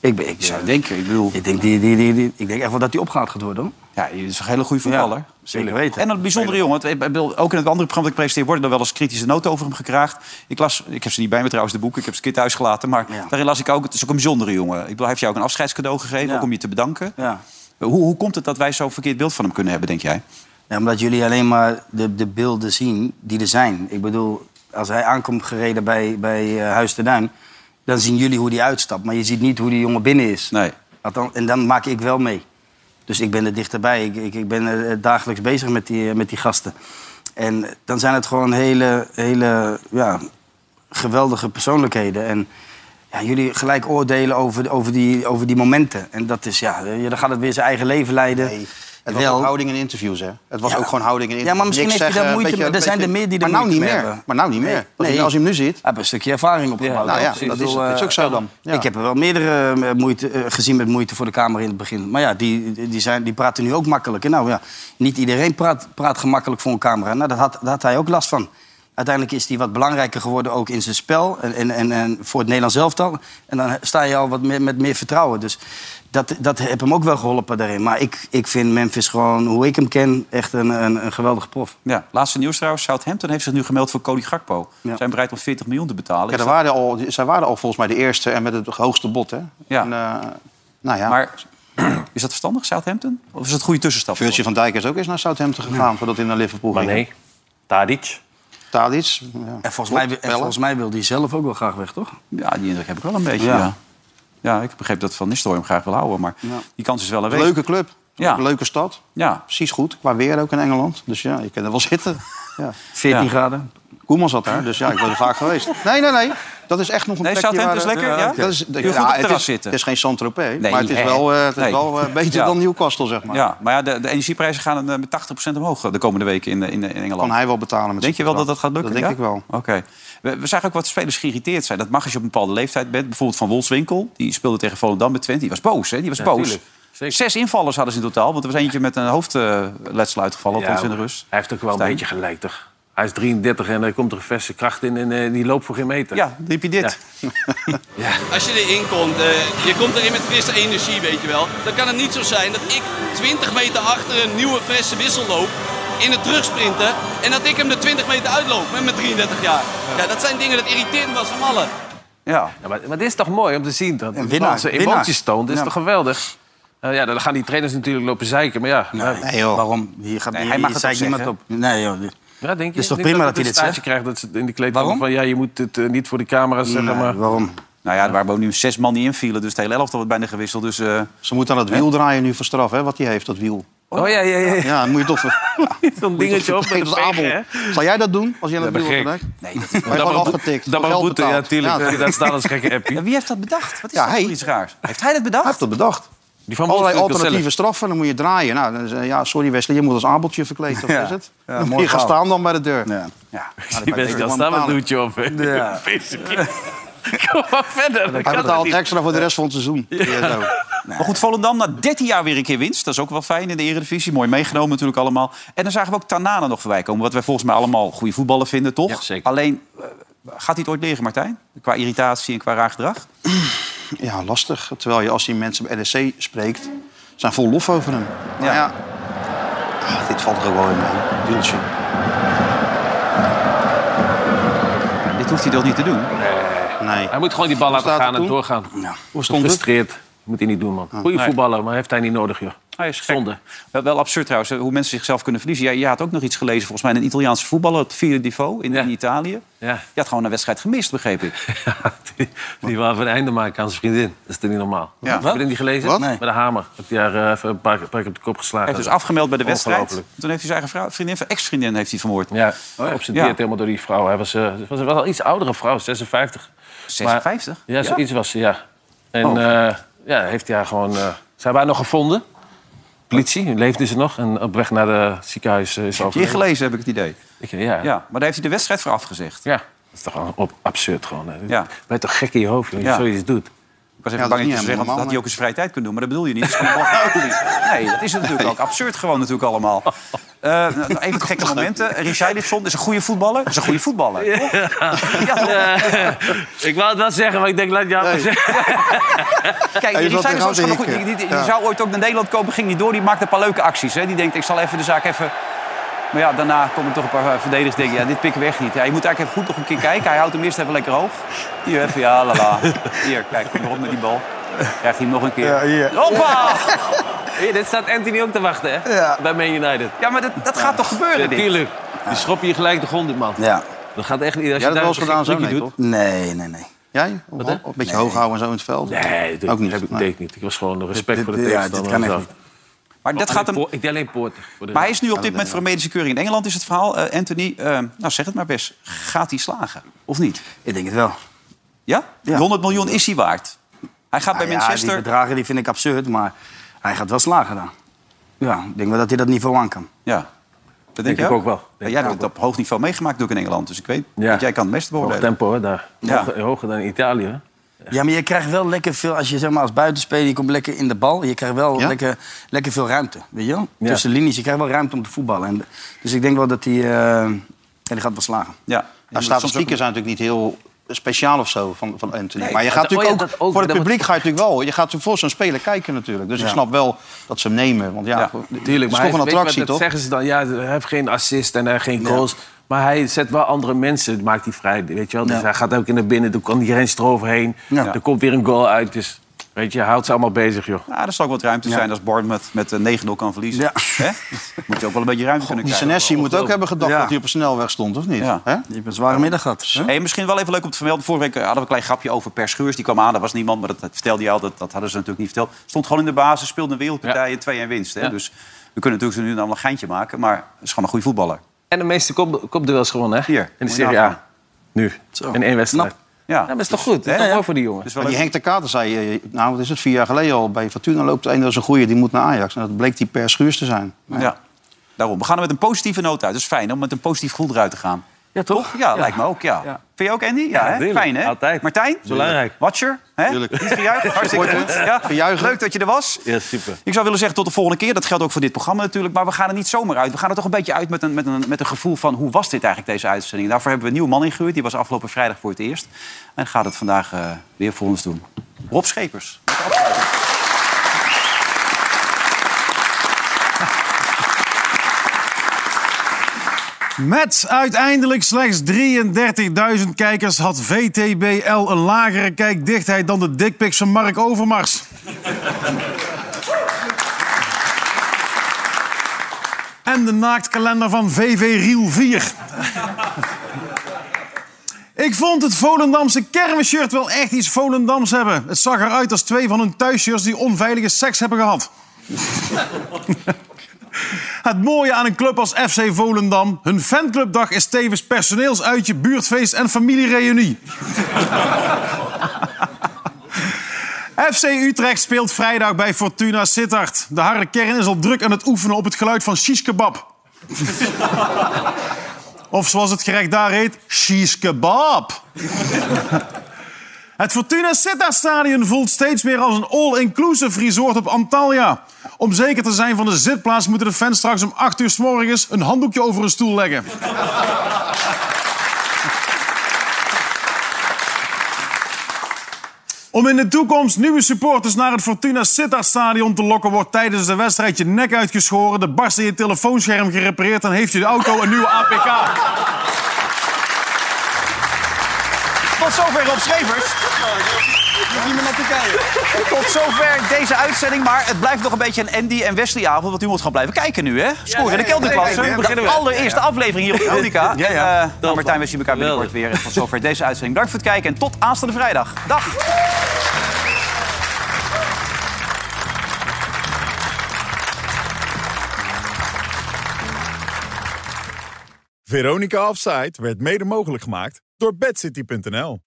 [SPEAKER 4] Ik, ben- ik zou denken, ik bedoel... Ik denk, die, die, die, die- ik denk echt wel dat hij opgehaald gaat worden. Hoor.
[SPEAKER 2] Ja, hij is een hele goede voetballer.
[SPEAKER 4] zeker weten.
[SPEAKER 2] En een bijzondere jongen. want ik bedoel, Ook in het andere programma dat ik presenteer worden er wel eens kritische noten over hem gekraagd. Ik, las, ik heb ze niet bij me trouwens, de boeken. Ik heb ze een keer thuis gelaten. Maar daarin las ik ook, het is ook een bijzondere jongen. Ik bedoel, hij heeft jou ook een afscheidscadeau gegeven,
[SPEAKER 4] Ja.
[SPEAKER 2] ook om je te bedanken.
[SPEAKER 4] Ja.
[SPEAKER 2] Hoe, hoe komt het dat wij zo'n verkeerd beeld van hem kunnen hebben, denk jij?
[SPEAKER 4] Ja, omdat jullie alleen maar de, de beelden zien die er zijn. Ik bedoel, als hij aankomt gereden bij, bij eh, Huis de Duin... dan zien jullie hoe die uitstapt. Maar je ziet niet hoe die jongen binnen is.
[SPEAKER 2] Nee.
[SPEAKER 4] Althans, en dan maak ik wel mee. Dus ik ben er dichterbij. Ik, ik, ik ben er eh, dagelijks bezig met die, eh, met die gasten. En eh, dan zijn het gewoon hele, hele ja, geweldige persoonlijkheden. En ja, jullie gelijk oordelen over, over, die, over die momenten. En dat is, ja, eh, dan gaat het weer zijn eigen leven leiden.
[SPEAKER 5] Het was ook houding in interviews, hè? Het was ook gewoon houding in interviews.
[SPEAKER 4] Ja, maar misschien
[SPEAKER 5] Niks
[SPEAKER 4] heeft hij daar
[SPEAKER 5] zeggen,
[SPEAKER 4] moeite
[SPEAKER 5] beetje-
[SPEAKER 4] mee. Er zijn er
[SPEAKER 5] beetje-
[SPEAKER 4] meer die er
[SPEAKER 5] maar nou
[SPEAKER 4] moeite
[SPEAKER 5] niet
[SPEAKER 4] mee
[SPEAKER 5] meer.
[SPEAKER 4] hebben.
[SPEAKER 5] Maar nou niet meer. Want als je hem nu ziet... Hij
[SPEAKER 4] heeft een stukje ervaring opgebouwd.
[SPEAKER 5] nou
[SPEAKER 4] hoor.
[SPEAKER 5] ja,
[SPEAKER 4] Ik
[SPEAKER 5] dat
[SPEAKER 4] bedoel,
[SPEAKER 5] is- dat is
[SPEAKER 4] eh,
[SPEAKER 5] ook zo dan. Ja.
[SPEAKER 4] Ik heb er wel meerdere eh, moeite, eh, gezien met moeite voor de Kamer in het begin. Maar ja, die, die, zijn, die praten nu ook makkelijk. En nou ja, niet iedereen praat, praat gemakkelijk voor een camera. Nou, daar had, daar had hij ook last van. Uiteindelijk is hij wat belangrijker geworden ook in zijn spel. En, en, en, en voor het Nederlands elftal. En dan sta je al wat meer, met meer vertrouwen. Dus dat, dat heb hem ook wel geholpen daarin. Maar ik, ik vind Memphis gewoon, hoe ik hem ken, echt een, een, een geweldige prof.
[SPEAKER 2] Ja, laatste nieuws trouwens. Southampton heeft zich nu gemeld voor Cody Gakpo. Zijn bereid om 40 miljoen te betalen.
[SPEAKER 5] Kijk,
[SPEAKER 2] Is
[SPEAKER 5] er
[SPEAKER 2] dat-
[SPEAKER 5] waren al, zij waren al volgens mij de eerste en met het hoogste bod, hè?
[SPEAKER 2] Ja.
[SPEAKER 5] En, eh, nou ja.
[SPEAKER 2] Maar (clears throat) is dat verstandig, Southampton? Of is dat een goede tussenstap?
[SPEAKER 5] Virgil van Dijk is ook eens naar Southampton gegaan voordat hij naar Liverpool ging.
[SPEAKER 6] nee, Tadic.
[SPEAKER 5] Tadic. Ja.
[SPEAKER 4] En volgens, mij,
[SPEAKER 2] eh,
[SPEAKER 4] en volgens mij wil hij zelf ook wel graag weg, toch?
[SPEAKER 2] Ja, die indruk heb ik wel een beetje.
[SPEAKER 4] Ja.
[SPEAKER 2] Ja, ja. ik begreep dat Van Nistelrooy hem graag wil houden. Maar
[SPEAKER 5] Ja.
[SPEAKER 2] die kans is wel
[SPEAKER 5] Een
[SPEAKER 2] aanwezig.
[SPEAKER 5] leuke club.
[SPEAKER 2] Ja.
[SPEAKER 5] Een leuke stad.
[SPEAKER 2] Ja.
[SPEAKER 5] Precies goed. Qua weer ook in Engeland. Dus ja, je kunt er wel (laughs) zitten. Ja.
[SPEAKER 4] 14 graden.
[SPEAKER 5] Koeman zat daar, dus ja, ik ben er vaak geweest. Nee, nee, nee. Dat is echt nog een
[SPEAKER 2] Nee,
[SPEAKER 5] plekje
[SPEAKER 2] Southampton
[SPEAKER 5] waar-
[SPEAKER 2] is lekker, ja?
[SPEAKER 5] Dat is,
[SPEAKER 2] Kun je goed op het
[SPEAKER 5] het,
[SPEAKER 2] terras
[SPEAKER 5] is,
[SPEAKER 2] zitten?
[SPEAKER 5] het is geen Saint-Tropez,
[SPEAKER 2] Nee,
[SPEAKER 5] maar het is
[SPEAKER 2] hè.
[SPEAKER 5] wel, eh, het is
[SPEAKER 2] Nee.
[SPEAKER 5] wel eh, beter
[SPEAKER 2] Ja.
[SPEAKER 5] dan Newcastle, zeg maar.
[SPEAKER 2] Ja, maar ja, de, de energieprijzen gaan eh, met 80% omhoog eh, de komende weken in, eh, in, eh, in Engeland.
[SPEAKER 5] Kan hij wel betalen met
[SPEAKER 2] Denk je wel dat
[SPEAKER 5] zijn
[SPEAKER 2] dat gaat lukken?
[SPEAKER 5] bedrag. Dat denk
[SPEAKER 2] ja?
[SPEAKER 5] ik
[SPEAKER 2] Oké. We, we zagen ook wat spelers geïrriteerd zijn. Dat mag als je op een bepaalde leeftijd bent. Bijvoorbeeld Van Wolfswinkel. Die speelde tegen Volendam met Twente. Die was boos, hè? Die was
[SPEAKER 6] Ja,
[SPEAKER 2] boos.
[SPEAKER 6] tuurlijk.
[SPEAKER 2] Zes invallers hadden ze in totaal. Want er was eentje met een hoofdletsel uitgevallen. althans in de
[SPEAKER 6] maar
[SPEAKER 2] rust.
[SPEAKER 6] Hij heeft ook wel
[SPEAKER 2] Stijn?
[SPEAKER 6] een beetje gelijk, toch? Hij is 33 en hij komt er verse kracht in en eh, die loopt voor geen meter.
[SPEAKER 2] Ja, riep je dit.
[SPEAKER 22] Als je erin komt, eh, je komt erin met frisse energie, weet je wel. Dan kan het niet zo zijn dat ik 20 meter achter een nieuwe frisse wissel loop in het terugsprinten. En dat ik hem de 20 meter uitloop met mijn 33 jaar. Ja, dat zijn dingen dat irriteert me als van allen.
[SPEAKER 2] Ja.
[SPEAKER 6] maar, maar dit is toch mooi om te zien dat
[SPEAKER 22] Een winnaar,
[SPEAKER 6] dat ze
[SPEAKER 22] winnaar.
[SPEAKER 6] emoties toont. Dit is
[SPEAKER 22] Ja.
[SPEAKER 6] toch geweldig? Eh, ja, dan gaan die trainers natuurlijk lopen zeiken, maar ja. ja.
[SPEAKER 4] Waarom? Hier gaat
[SPEAKER 6] Nee,
[SPEAKER 4] hier-
[SPEAKER 6] hij mag
[SPEAKER 4] hier
[SPEAKER 6] het
[SPEAKER 4] zeikt
[SPEAKER 6] toch
[SPEAKER 4] niemand op. Nee, joh. dit-
[SPEAKER 6] Ja, denk je?
[SPEAKER 4] Het is toch
[SPEAKER 6] Denk
[SPEAKER 4] prima dat
[SPEAKER 6] het
[SPEAKER 4] hij dit
[SPEAKER 6] een staartje
[SPEAKER 4] zegt?
[SPEAKER 6] krijgt dat ze in de kleedkamer van ja, je moet het eh, niet voor de camera's zeggen, maar
[SPEAKER 4] waarom?
[SPEAKER 2] Nou ja, er waren ook nu zes man die invielen. Dus de hele elftal wordt bijna gewisseld. Dus, eh,
[SPEAKER 5] Ze moet aan het wiel draaien nu voor straf, hè, wat hij heeft, dat wiel.
[SPEAKER 6] Oh ja, ja, ja. (laughs)
[SPEAKER 5] Ja, dan moet je
[SPEAKER 2] (laughs)
[SPEAKER 5] toch... Zo'n
[SPEAKER 6] dingetje op met
[SPEAKER 5] de
[SPEAKER 6] een veeg,
[SPEAKER 5] abel. Zal jij dat doen, als jij aan het
[SPEAKER 6] Ja,
[SPEAKER 5] wiel
[SPEAKER 6] ben
[SPEAKER 5] gaat?
[SPEAKER 6] gek.
[SPEAKER 5] Nee,
[SPEAKER 2] dat
[SPEAKER 5] is wel afgetikt.
[SPEAKER 6] Dat
[SPEAKER 5] Geld
[SPEAKER 6] boete, ja,
[SPEAKER 5] betaald.
[SPEAKER 6] tuurlijk.
[SPEAKER 5] Ja.
[SPEAKER 6] Daar staat als gekke
[SPEAKER 2] (laughs)
[SPEAKER 6] appie.
[SPEAKER 2] Nou, Wie heeft dat bedacht? Wat is
[SPEAKER 5] Ja,
[SPEAKER 2] dat
[SPEAKER 5] hij.
[SPEAKER 2] voor iets raars? Heeft hij dat bedacht?
[SPEAKER 5] Hij heeft dat bedacht.
[SPEAKER 6] Die van
[SPEAKER 5] Allerlei
[SPEAKER 6] Wolfswinkel
[SPEAKER 5] alternatieve
[SPEAKER 6] zelf.
[SPEAKER 5] straffen, dan moet je draaien. Nou, dan is, eh, ja, sorry Wesley, je moet als abeltje verkleed, of
[SPEAKER 6] Ja.
[SPEAKER 5] is het?
[SPEAKER 6] Ja,
[SPEAKER 5] dan
[SPEAKER 6] mooi
[SPEAKER 5] moet je gaan
[SPEAKER 6] verhaal.
[SPEAKER 5] staan dan bij de deur.
[SPEAKER 2] Ja.
[SPEAKER 6] Die best dan staan met een doetje op. hè. (laughs)
[SPEAKER 5] Ja.
[SPEAKER 6] Kom maar verder.
[SPEAKER 5] Hij betaalt extra voor de rest van het seizoen. Ja, zo.
[SPEAKER 2] Maar goed, Volendam na 13 jaar weer een keer winst. Dat is ook wel fijn in de Eredivisie. Mooi meegenomen natuurlijk allemaal. En dan zagen we ook Tanane nog voorbij komen. Wat wij volgens mij allemaal goede voetballen vinden, toch? Alleen, eh, gaat hij het ooit leren, Martijn? Qua irritatie en qua raar gedrag?
[SPEAKER 5] Ja, lastig. Terwijl je als je mensen bij NSC spreekt, zijn vol lof over hem. Maar Ja. Ah, dit valt er ook wel in mee. Wieltje.
[SPEAKER 2] Dit hoeft hij toch niet te doen?
[SPEAKER 5] Nee.
[SPEAKER 6] Hij moet gewoon die bal laten
[SPEAKER 2] staat
[SPEAKER 6] gaan
[SPEAKER 2] er
[SPEAKER 6] en
[SPEAKER 2] toen?
[SPEAKER 6] doorgaan.
[SPEAKER 2] Ja.
[SPEAKER 6] Hoe
[SPEAKER 2] stond het?
[SPEAKER 6] Gefrustreerd. Moet hij niet doen, man. Goeie
[SPEAKER 2] Nee.
[SPEAKER 6] voetballer, maar heeft hij niet nodig, joh.
[SPEAKER 2] Hij is Zonde. Wel, wel absurd trouwens, hè, hoe mensen zichzelf kunnen verliezen. Jij, jij had ook nog iets gelezen, volgens mij, in een Italiaanse voetballer, het vierde niveau in, in Italië.
[SPEAKER 6] Ja. (laughs)
[SPEAKER 2] Je had gewoon een wedstrijd gemist, begreep ik.
[SPEAKER 6] Die wou even een einde maken aan zijn vriendin. Dat is toch niet normaal?
[SPEAKER 2] Ja.
[SPEAKER 6] Heb je dat niet gelezen?
[SPEAKER 2] Wat? Nee.
[SPEAKER 6] Bij de hamer. Heb je haar eh, even een paar, een paar keer op de kop geslagen.
[SPEAKER 2] Hij heeft dus afgemeld bij de wedstrijd.
[SPEAKER 6] Ongelooflijk.
[SPEAKER 2] Toen heeft hij zijn eigen vrouw, vriendin, ex-vriendin heeft hij vermoord.
[SPEAKER 6] Ja, geobsedeerd helemaal door die vrouw. Hij was, eh, het was wel een iets oudere vrouw, 56.
[SPEAKER 2] 56?
[SPEAKER 6] Maar, ja, zoiets was ze, ja. En
[SPEAKER 2] Oh.
[SPEAKER 6] eh, ja, heeft hij haar gewoon... eh, ze hebben haar nog gevonden. Politie, leefde ze nog. En op weg naar het ziekenhuis eh, is ze
[SPEAKER 2] Je
[SPEAKER 6] overleden.
[SPEAKER 2] gelezen, heb ik het idee.
[SPEAKER 6] Ik- ja.
[SPEAKER 2] Ja, maar daar heeft hij de wedstrijd voor afgezegd.
[SPEAKER 6] Ja. Dat is toch gewoon op, absurd gewoon. Hè.
[SPEAKER 2] Ja.
[SPEAKER 6] Ben je toch gek in je hoofd, joh, als
[SPEAKER 2] Ja.
[SPEAKER 6] je zoiets doet.
[SPEAKER 2] Ik was
[SPEAKER 6] Ja, dat
[SPEAKER 2] even
[SPEAKER 6] is
[SPEAKER 2] bang
[SPEAKER 6] niet
[SPEAKER 2] dat
[SPEAKER 6] helemaal
[SPEAKER 2] je zeggen, dat had
[SPEAKER 6] normaal,
[SPEAKER 2] hij ook eens vrije tijd kunnen doen. Maar dat bedoel je niet. Dat is gewoon
[SPEAKER 6] (laughs)
[SPEAKER 2] belachelijk. nee, dat is het natuurlijk ook. Absurd gewoon natuurlijk allemaal. Eh, nou, nou, even gekke momenten. Richarlison is een goede voetballer. Is een goede voetballer. toch?
[SPEAKER 6] (laughs) Eh, ik wou het wel zeggen, maar ik denk, laat jou maar zeggen.
[SPEAKER 2] Kijk,
[SPEAKER 6] Ja, je zult
[SPEAKER 2] Richarlison is
[SPEAKER 6] tegen Houten
[SPEAKER 2] gewoon goed. Die, die, die
[SPEAKER 6] hikken. Ja.
[SPEAKER 2] zou ooit ook naar Nederland komen. Ging niet door. Die maakte een paar leuke acties. Hè. Die denkt, ik zal even de zaak even... Maar ja, daarna komen toch een paar eh, verdedigers die denken... Ja, dit pikken we echt niet. Ja, je moet eigenlijk even goed nog een keer kijken. Hij houdt hem eerst even lekker hoog. Hier even, ja, la la. Hier, kijk, kom erop met die bal. Krijgt hij hem nog een keer.
[SPEAKER 6] Ja, hier.
[SPEAKER 2] Hoppa!
[SPEAKER 6] Hier, dit staat Anthony ook te wachten, hè? Bij Man United.
[SPEAKER 2] Ja, maar dat, dat gaat toch gebeuren, dit?
[SPEAKER 6] Natuurlijk. Die schop je gelijk de grond in, man.
[SPEAKER 4] Ja.
[SPEAKER 6] Dat gaat echt niet. Als
[SPEAKER 5] Jij
[SPEAKER 6] je
[SPEAKER 5] hebt
[SPEAKER 6] daar
[SPEAKER 5] het wel eens
[SPEAKER 6] een
[SPEAKER 5] gedaan,
[SPEAKER 6] gek
[SPEAKER 5] zo,
[SPEAKER 6] trucje
[SPEAKER 4] Nee, nee, nee.
[SPEAKER 5] Jij?
[SPEAKER 6] Wat,
[SPEAKER 5] Op-
[SPEAKER 6] hè?
[SPEAKER 5] op- Een beetje hoog houden en zo in het veld?
[SPEAKER 6] doet. Nee, dat
[SPEAKER 5] ook niet.
[SPEAKER 6] heb ik,
[SPEAKER 5] Nee.
[SPEAKER 6] deed ik niet. Ik was gewoon respect
[SPEAKER 5] Dit-
[SPEAKER 6] voor de
[SPEAKER 5] dit- ja,
[SPEAKER 6] tegenstander.
[SPEAKER 5] dit kan echt
[SPEAKER 6] en zo.
[SPEAKER 5] niet.
[SPEAKER 2] Maar dat
[SPEAKER 6] Alleen
[SPEAKER 2] gaat hem-
[SPEAKER 6] poor- Ik deed alleen poorten. voor de
[SPEAKER 2] Maar hij
[SPEAKER 6] rest.
[SPEAKER 2] is nu op dit moment voor een medische keuring in Engeland, is het verhaal. Eh, Anthony, eh, nou zeg het maar best. Gaat hij slagen? Of niet?
[SPEAKER 4] Ik denk het wel.
[SPEAKER 2] Ja? 100 miljoen is hij waard. Hij gaat bij
[SPEAKER 4] Nou ja,
[SPEAKER 2] Manchester.
[SPEAKER 4] die bedragen die vind ik absurd, maar hij gaat wel slagen dan. Ja, ik denk wel dat hij dat niveau aan kan.
[SPEAKER 2] Ja. Dat denk,
[SPEAKER 4] Denk ik
[SPEAKER 2] je
[SPEAKER 4] ook wel. Denk
[SPEAKER 2] Ja,
[SPEAKER 4] ik
[SPEAKER 2] jij
[SPEAKER 4] ook
[SPEAKER 2] hebt het op hoog niveau meegemaakt natuurlijk in Engeland. Dus ik weet dat jij kan het best
[SPEAKER 6] Hoog
[SPEAKER 2] beoordelen.
[SPEAKER 6] tempo, hè, daar.
[SPEAKER 4] Ja.
[SPEAKER 6] Hoger, hoger dan in Italië. hè.
[SPEAKER 4] Ja, maar je krijgt wel lekker veel, als je zeg maar als buitenspeler, je komt lekker in de bal, je krijgt wel lekker, lekker veel ruimte, weet je wel?
[SPEAKER 2] Ja.
[SPEAKER 4] Tussen de linies, je krijgt wel ruimte om te voetballen. En, dus ik denk wel dat hij, eh, ja, die gaat wel slagen.
[SPEAKER 2] Ja.
[SPEAKER 5] Nou, statistieken zijn natuurlijk niet heel speciaal of zo van, van Anthony.
[SPEAKER 4] Nee,
[SPEAKER 5] maar je
[SPEAKER 4] dat-
[SPEAKER 5] gaat
[SPEAKER 4] oh
[SPEAKER 5] natuurlijk
[SPEAKER 4] ja,
[SPEAKER 5] ook,
[SPEAKER 4] dat ook,
[SPEAKER 5] voor het
[SPEAKER 4] dat
[SPEAKER 5] publiek ga je natuurlijk wel. Je gaat voor zo'n speler kijken natuurlijk. Dus
[SPEAKER 6] Ja.
[SPEAKER 5] ik snap wel dat ze hem nemen. Want ja, voor-
[SPEAKER 6] Tuurlijk,
[SPEAKER 5] het
[SPEAKER 6] maar
[SPEAKER 5] is toch
[SPEAKER 6] hij-
[SPEAKER 5] een
[SPEAKER 6] weet je
[SPEAKER 5] attractie,
[SPEAKER 6] wat,
[SPEAKER 5] toch?
[SPEAKER 6] Dat zeggen ze dan, ja, hij heeft geen assist en hij heeft geen goals. Maar hij zet wel andere mensen, maakt hij vrij, weet je wel. Dus
[SPEAKER 2] Ja.
[SPEAKER 6] hij gaat ook in naar binnen, dan kan iedereen eroverheen.
[SPEAKER 2] Ja.
[SPEAKER 6] Er komt weer een goal uit, dus weet je, hij houdt ze allemaal bezig, joh.
[SPEAKER 2] Nou, er zal ook wat ruimte zijn als Bournemouth met eh, 9-0 kan verliezen. Hè? Moet je ook wel een beetje ruimte kunnen
[SPEAKER 5] Die
[SPEAKER 2] krijgen.
[SPEAKER 5] Senesi moet ook hebben gedacht
[SPEAKER 2] Ja.
[SPEAKER 5] dat hij op een snelweg stond, of niet?
[SPEAKER 2] Ja.
[SPEAKER 5] Hè?
[SPEAKER 4] Die hebben een zware middag gehad.
[SPEAKER 2] Hey, misschien wel even leuk om te vermelden. Vorige week eh, hadden we een klein grapje over Per Schuurs. Die kwam aan, dat was niemand, maar dat, dat vertelde je al. Dat, dat hadden ze natuurlijk niet verteld. Stond gewoon in de basis, speelde een wereldpartij en 2-1 winst. Hè? Dus we kunnen natuurlijk zo nu en dan een geintje maken. Maar het is gewoon een goede voetballer.
[SPEAKER 6] En de meeste kop- kopduels gewonnen, hè?
[SPEAKER 2] Hier,
[SPEAKER 6] in de
[SPEAKER 2] moet je
[SPEAKER 6] Serie
[SPEAKER 2] nagaan.
[SPEAKER 6] A. Nu, in één wedstrijd.
[SPEAKER 2] Ja.
[SPEAKER 6] maar is toch goed? Dat is toch mooi voor die jongen?
[SPEAKER 5] Maar die Henk de Kater zei, eh, nou wat is het, vier jaar geleden al bij Fortuna loopt een, dat is een goeie, die moet naar Ajax. En dat bleek die per schuurs te zijn.
[SPEAKER 2] Ja. daarom. We gaan er met een positieve noot uit. Dat is fijn om met een positief gevoel eruit te gaan. Ja, toch? Ja, lijkt me ook, ja. Vind je ook, Andy? Ja,
[SPEAKER 6] Ja,
[SPEAKER 2] hè?
[SPEAKER 6] tuurlijk.
[SPEAKER 2] fijn, hè?
[SPEAKER 6] Altijd.
[SPEAKER 2] Martijn?
[SPEAKER 6] Belangrijk.
[SPEAKER 2] Watcher? Hè? Niet gejuicht? Hartstikke goed. Ja. Leuk dat je er was.
[SPEAKER 6] Ja, super.
[SPEAKER 2] Ik zou willen zeggen tot de volgende keer. Dat geldt ook voor dit programma natuurlijk. Maar we gaan er niet zomaar uit. We gaan er toch een beetje uit met een, met een, met een gevoel van... hoe was dit eigenlijk, deze uitzending? Daarvoor hebben we een nieuwe man ingehuurd. Die was afgelopen vrijdag voor het eerst. En gaat het vandaag eh, weer voor ons doen. Rob Schepers. Met de afsluiting.
[SPEAKER 23] Met uiteindelijk slechts 33.000 kijkers had VTBL een lagere kijkdichtheid dan de dickpics van Mark Overmars. en de naaktkalender van VV Riel 4. Ik vond het Volendamse kermisshirt wel echt iets Volendams hebben. Het zag eruit als twee van hun thuisshirts die onveilige seks hebben gehad. Het mooie aan een club als FC Volendam... hun fanclubdag is tevens personeelsuitje, buurtfeest en familiereunie. FC Utrecht speelt vrijdag bij Fortuna Sittard. De harde kern is al druk aan het oefenen op het geluid van shish-kebab. (laughs) Of zoals het gerecht daar heet, shish-kebab. (laughs) Het Fortuna Sittard Stadion voelt steeds meer als een all-inclusive resort op Antalya. Om zeker te zijn van de zitplaats moeten de fans straks om 8 uur s morgens een handdoekje over een stoel leggen. Om in de toekomst nieuwe supporters naar het Fortuna Sittard Stadion te lokken... wordt tijdens de wedstrijd je nek uitgeschoren... de barst in je telefoonscherm gerepareerd... en heeft je de auto een nieuwe APK.
[SPEAKER 2] Tot zover Rob Schevers.
[SPEAKER 23] Niemand naar Turkije.
[SPEAKER 2] Tot zover deze uitzending. Maar het blijft nog een beetje een Andy en Wesley avond. Want u moet gaan blijven kijken nu, hè? Scoren in
[SPEAKER 6] ja,
[SPEAKER 2] de
[SPEAKER 6] ja,
[SPEAKER 2] kelderklasse.
[SPEAKER 6] ja, ja, ja.
[SPEAKER 2] De allereerste
[SPEAKER 6] Ja, ja.
[SPEAKER 2] aflevering hier op Utica.
[SPEAKER 6] Ja,
[SPEAKER 2] Ja,
[SPEAKER 6] ja.
[SPEAKER 2] ja. Martijn, we zien elkaar binnenkort weer. En Tot zover deze uitzending. Bedankt voor het kijken en tot aanstaande vrijdag. Dag.
[SPEAKER 24] Veronica Offside werd mede mogelijk gemaakt door bedcity.nl.